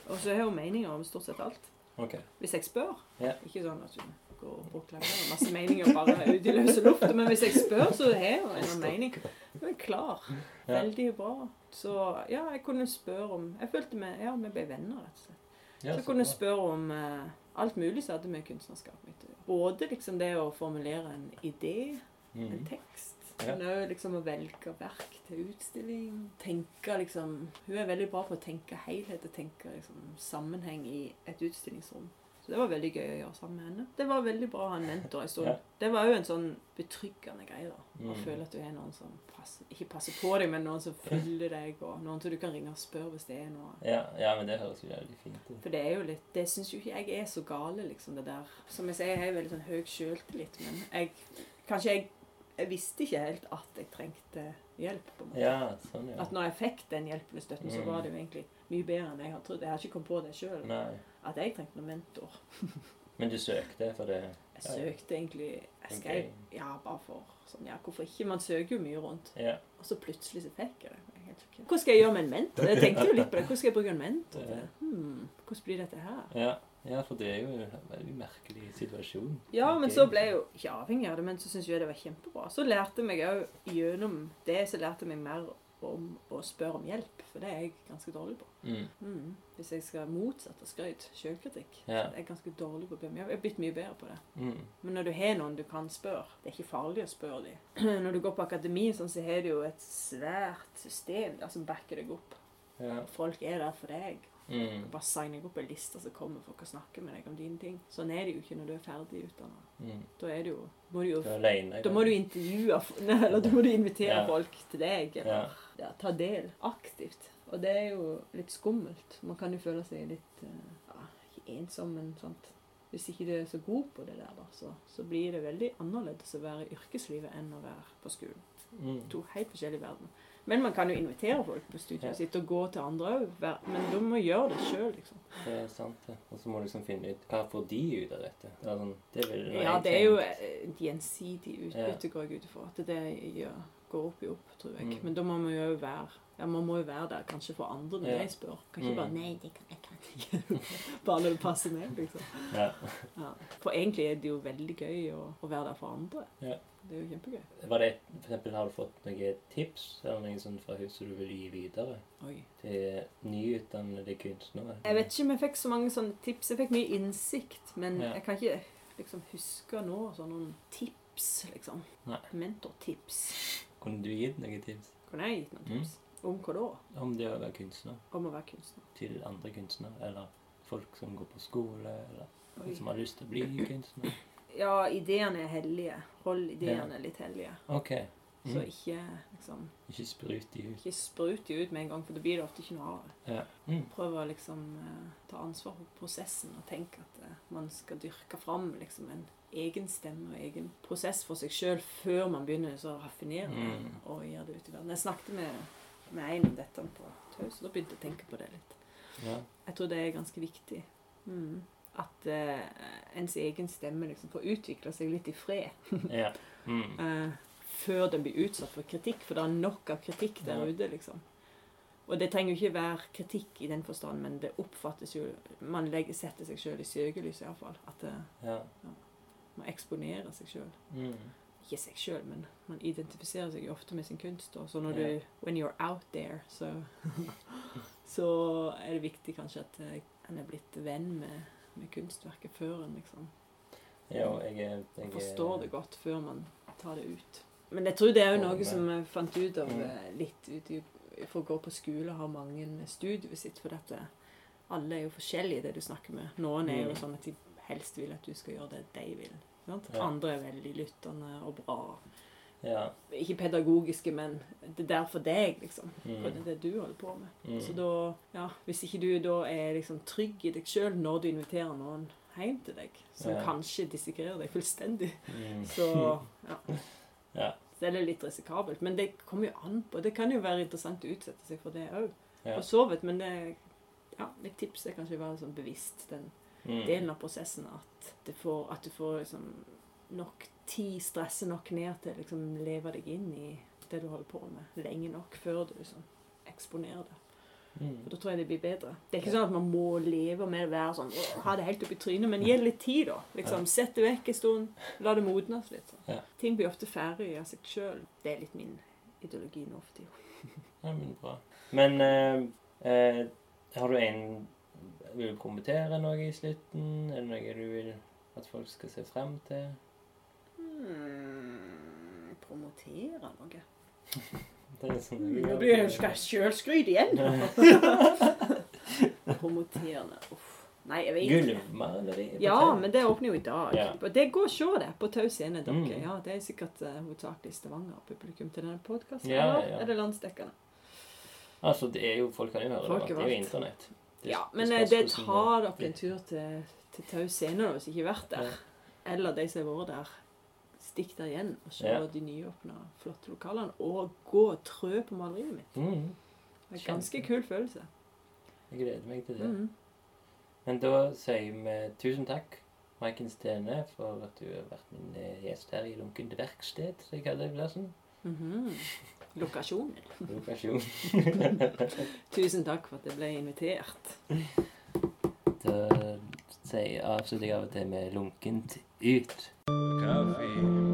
Speaker 3: Og så har hun meninger om stort sett alt.
Speaker 1: Ok.
Speaker 3: Hvis jeg spør.
Speaker 1: Ja.
Speaker 3: Ikke sånn at hun går og proklamerer masse meninger bare ut i løse lufta, men hvis jeg spør, så har hun en mening. Hun er klar.
Speaker 1: Ja.
Speaker 3: Veldig bra. Så ja, jeg kunne spørre om Jeg følte meg Ja, vi ble venner, rett og slett.
Speaker 1: Ja,
Speaker 3: Så jeg kunne spørre om eh, alt mulig som hadde med kunstnerskapet mitt å gjøre. Både liksom det å formulere en idé, en
Speaker 1: Mm.
Speaker 3: tekst,
Speaker 1: Ja.
Speaker 3: men òg liksom å velge verk til utstilling. Tenke liksom Hun er veldig bra på å tenke helhet og tenke liksom sammenheng i et utstillingsrom. Så det var veldig gøy å gjøre sammen med henne. Det var veldig bra å ha en mentor en stund.
Speaker 1: Ja.
Speaker 3: Det var jo en sånn betryggende greie, da. Å
Speaker 1: Mm.
Speaker 3: føle at du er noen som passer, ikke passer på deg, men noen som følger deg, og noen som du kan ringe og spørre hvis det er noe.
Speaker 1: Ja, ja, men det høres jo jævlig fint ut.
Speaker 3: For det er jo litt Det syns jo ikke jeg er så gale, liksom, det der. Som jeg sier, jeg har veldig sånn høy sjøltillit, men jeg Kanskje jeg, jeg visste ikke helt at jeg trengte hjelp, på en måte.
Speaker 1: Ja, sånn, ja.
Speaker 3: At når jeg fikk den hjelpen og støtten, så
Speaker 1: Mm.
Speaker 3: var det jo egentlig mye bedre enn jeg hadde trodd. Jeg har ikke kommet på det sjøl,
Speaker 1: Nei.
Speaker 3: at jeg trengte noen mentor.
Speaker 1: Men du søkte for det?
Speaker 3: Jeg
Speaker 1: Ja, ja.
Speaker 3: søkte egentlig Jeg skrev
Speaker 1: Ok.
Speaker 3: ja, bare for sånn Ja, hvorfor ikke? Man søker jo mye rundt.
Speaker 1: Ja.
Speaker 3: Og så plutselig så fikk jeg det. Jeg er helt sjokkert. Hva skal jeg gjøre med en mentor? Jeg tenkte jo litt på det. Hvordan skal jeg bruke en mentor til? Hmm, hvordan blir dette her?
Speaker 1: ja. Ja, for det er jo en veldig merkelig situasjon.
Speaker 3: Ja, men
Speaker 1: tenker jeg.
Speaker 3: så ble jeg jo ikke avhengig av det, men så syntes jeg det var kjempebra. Så lærte jeg meg òg gjennom det, så lærte jeg meg mer om å spørre om hjelp, for det er jeg ganske dårlig på.
Speaker 1: mm.
Speaker 3: Mm. Hvis jeg skal motsatt av skryt, sjølkritikk, så
Speaker 1: Ja.
Speaker 3: er jeg ganske dårlig på å be om hjelp. Jeg har blitt mye bedre på det.
Speaker 1: Mm.
Speaker 3: Men når du har noen du kan spørre, det er ikke farlig å spørre dem. Når du går på akademi, sånn, så har du jo et svært system der som backer deg opp.
Speaker 1: Ja.
Speaker 3: Folk er der for deg.
Speaker 1: Mm.
Speaker 3: Bare sign deg opp på en liste som kommer folk og snakker med deg om dine ting. Sånn er det jo ikke når du er ferdig utdanna.
Speaker 1: Mm.
Speaker 3: Da er det jo, må du jo
Speaker 1: Du er alene.
Speaker 3: da må du intervjue f- nei, Eller da må du invitere
Speaker 1: Ja.
Speaker 3: folk til deg.
Speaker 1: ja.
Speaker 3: Eller ja, ta del aktivt. Og det er jo litt skummelt. Man kan jo føle seg litt eh, ja, ikke ensom, men sant. Hvis ikke du er så god på det der, da, så, så blir det veldig annerledes å være i yrkeslivet enn å være på skolen.
Speaker 1: Mm.
Speaker 3: To helt forskjellige verdener. Men man kan jo invitere folk på
Speaker 1: Ja.
Speaker 3: studiet sitt og gå til andre òg. Men du må gjøre det sjøl, liksom.
Speaker 1: Det er sant, det. Og så må du liksom finne ut hva får de ut av dette. Det er, sånn, det vil nå
Speaker 3: Ja,
Speaker 1: jeg
Speaker 3: det er jo
Speaker 1: tenke.
Speaker 3: et gjensidig utbytte, går jeg ut ifra. At det gjør, går opp i opp, tror jeg.
Speaker 1: Mm.
Speaker 3: Men da må vi jo være ja, man må jo være der kanskje for andre når
Speaker 1: Ja.
Speaker 3: jeg spør. Kan ikke
Speaker 1: Mm.
Speaker 3: bare 'Nei, det kan jeg kan ikke'. bare når det passer meg, liksom.
Speaker 1: Ja.
Speaker 3: Ja. For egentlig er det jo veldig gøy å, å være der for andre.
Speaker 1: Ja.
Speaker 3: Det er jo kjempegøy.
Speaker 1: Var det et- for eksempel, Har du fått noen tips eller noe sånt fra huset du vil gi videre
Speaker 3: Oi.
Speaker 1: til nyutdannede kunstnere?
Speaker 3: Jeg vet ikke om jeg fikk så mange sånne tips. Jeg fikk mye innsikt, men
Speaker 1: Ja.
Speaker 3: jeg kan ikke liksom huske nå sånne tips, liksom.
Speaker 1: Nei.
Speaker 3: Mentortips.
Speaker 1: Kunne du gitt noen tips
Speaker 3: Kunne jeg gitt noen
Speaker 1: Mm.
Speaker 3: tips? Om hva da?
Speaker 1: om det å være kunstner
Speaker 3: Om å være kunstner.
Speaker 1: til andre kunstnere? Eller folk som går på skole, eller
Speaker 3: Oi.
Speaker 1: folk som har lyst til å bli kunstner?
Speaker 3: Ja, ideene er hellige. Hold ideene litt hellige.
Speaker 1: OK.
Speaker 3: Så
Speaker 1: Mm.
Speaker 3: ikke, liksom,
Speaker 1: Ikke sprut de ut.
Speaker 3: ikke sprut de ut med en gang, for da blir det ofte ikke noe av det.
Speaker 1: Ja. Mm.
Speaker 3: Prøv å liksom eh, ta ansvar for prosessen og tenke at eh, man skal dyrke fram liksom, en egen stemme og egen prosess for seg sjøl før man begynner så å raffinere det
Speaker 1: Mm.
Speaker 3: og gjøre det ut i verden. Jeg snakket med, med en om dette på Taus, og da begynte jeg å tenke på det litt.
Speaker 1: Ja.
Speaker 3: Jeg tror det er ganske viktig. Mm. At eh, ens egen stemme liksom får utvikle seg litt i fred.
Speaker 1: ja. Mm.
Speaker 3: eh, før den blir utsatt for kritikk, for det er nok av kritikk der
Speaker 1: Ja.
Speaker 3: ute, liksom. Og det trenger jo ikke være kritikk i den forstand, men det oppfattes jo Man legger, setter seg sjøl i søkelyset, iallfall. At eh,
Speaker 1: ja.
Speaker 3: man eksponerer seg sjøl.
Speaker 1: Mm.
Speaker 3: Ikke seg sjøl, men man identifiserer seg jo ofte med sin kunst. Og så når
Speaker 1: Ja.
Speaker 3: du When you're out there, så Så er det viktig kanskje at eh, en er blitt venn med, med kunstverket før en liksom
Speaker 1: Ja, og jeg, er- jeg er-
Speaker 3: Man Mm. forstår det godt før man tar det ut. Men jeg tror det er jo noe som jeg fant ut av
Speaker 1: Mm.
Speaker 3: eh, litt ut i, For å gå på skole har mange med studiet sitt, for dette alle er jo forskjellige, det du snakker med. Noen er jo
Speaker 1: Mm.
Speaker 3: sånn at de helst vil at du skal gjøre det de vil. Sant?
Speaker 1: Ja.
Speaker 3: Andre er veldig lyttende og bra.
Speaker 1: Ja.
Speaker 3: Ikke pedagogiske, men det er der for deg, liksom.
Speaker 1: Mm.
Speaker 3: For det er det du holder på med.
Speaker 1: Mm.
Speaker 3: Så da, ja, hvis ikke du da er liksom trygg i deg sjøl når du inviterer noen hjem til deg, som
Speaker 1: Ja.
Speaker 3: kanskje dissekrerer deg fullstendig,
Speaker 1: Mm.
Speaker 3: så ja.
Speaker 1: Ja.
Speaker 3: Så er det litt risikabelt. Men det kommer jo an på. Det kan jo være interessant å utsette seg for det òg.
Speaker 1: Ja.
Speaker 3: For så vidt. Men det ja, mitt tips er kanskje å være sånn bevisst den
Speaker 1: Mm.
Speaker 3: delen av prosessen at, det får, at du får liksom nok tid, stresse nok ned til å liksom leve deg inn i det du holder på med, lenge nok før du liksom eksponerer det.
Speaker 1: Mm.
Speaker 3: For da tror jeg det blir bedre. Det er ikke sånn at man må leve med å være sånn «Åh, Ha det helt oppi trynet, men gi det litt tid, da. Liksom, Sett det vekk en stund. La det modnes litt. Sånn.
Speaker 1: Ja.
Speaker 3: Ting blir ofte ferdig av seg sjøl. Det er litt min ideologi nå for tida.
Speaker 1: Ja, men bra. Men eh, eh, har du en Vil du kommentere noe i slutten? Er det noe du vil at folk skal se frem til?
Speaker 3: Hmm, promotere noe?
Speaker 1: Det er sånn
Speaker 3: Mm, Nå blir jeg sjølskryt igjen! Promoterende. Uff. Nei, jeg vet ikke.
Speaker 1: Gulvmaleri? på
Speaker 3: Ja,
Speaker 1: tau.
Speaker 3: men det åpner jo i dag.
Speaker 1: Ja.
Speaker 3: Og Det går å se det på Tau scene. dere.
Speaker 1: Mm.
Speaker 3: Ja, det er sikkert eh, hovedsakelig Stavanger-publikum til denne podkasten.
Speaker 1: Ja,
Speaker 3: eller
Speaker 1: ja.
Speaker 3: er det landsdekkende?
Speaker 1: Altså, det er jo Folk kan jo høre
Speaker 3: Folk
Speaker 1: det. da. Det er jo
Speaker 3: overalt.
Speaker 1: internett. Det-
Speaker 3: Ja, men eh,
Speaker 1: spørs
Speaker 3: det
Speaker 1: hvordan
Speaker 3: tar dere en tur til, til Tau scene da, hvis ikke har vært der. Eller de som har vært der. Stikk der igjen og se
Speaker 1: Ja.
Speaker 3: de nyåpna, flotte lokalene. Og gå og trø på maleriet mitt.
Speaker 1: Mm,
Speaker 3: Det er en ganske kul følelse.
Speaker 1: jeg gleder meg til det.
Speaker 3: Mm.
Speaker 1: Men da sier vi tusen takk, Maiken Stene, for at du har vært min eh, gjest her i Lunkent verksted, som jeg kaller det plassen.
Speaker 3: Mhm. Lokasjonen.
Speaker 1: Lokasjon.
Speaker 3: Tusen takk for at jeg ble invitert.
Speaker 1: Da sier, avslutter jeg av og til med 'lunkent ut'.
Speaker 5: Kaffe.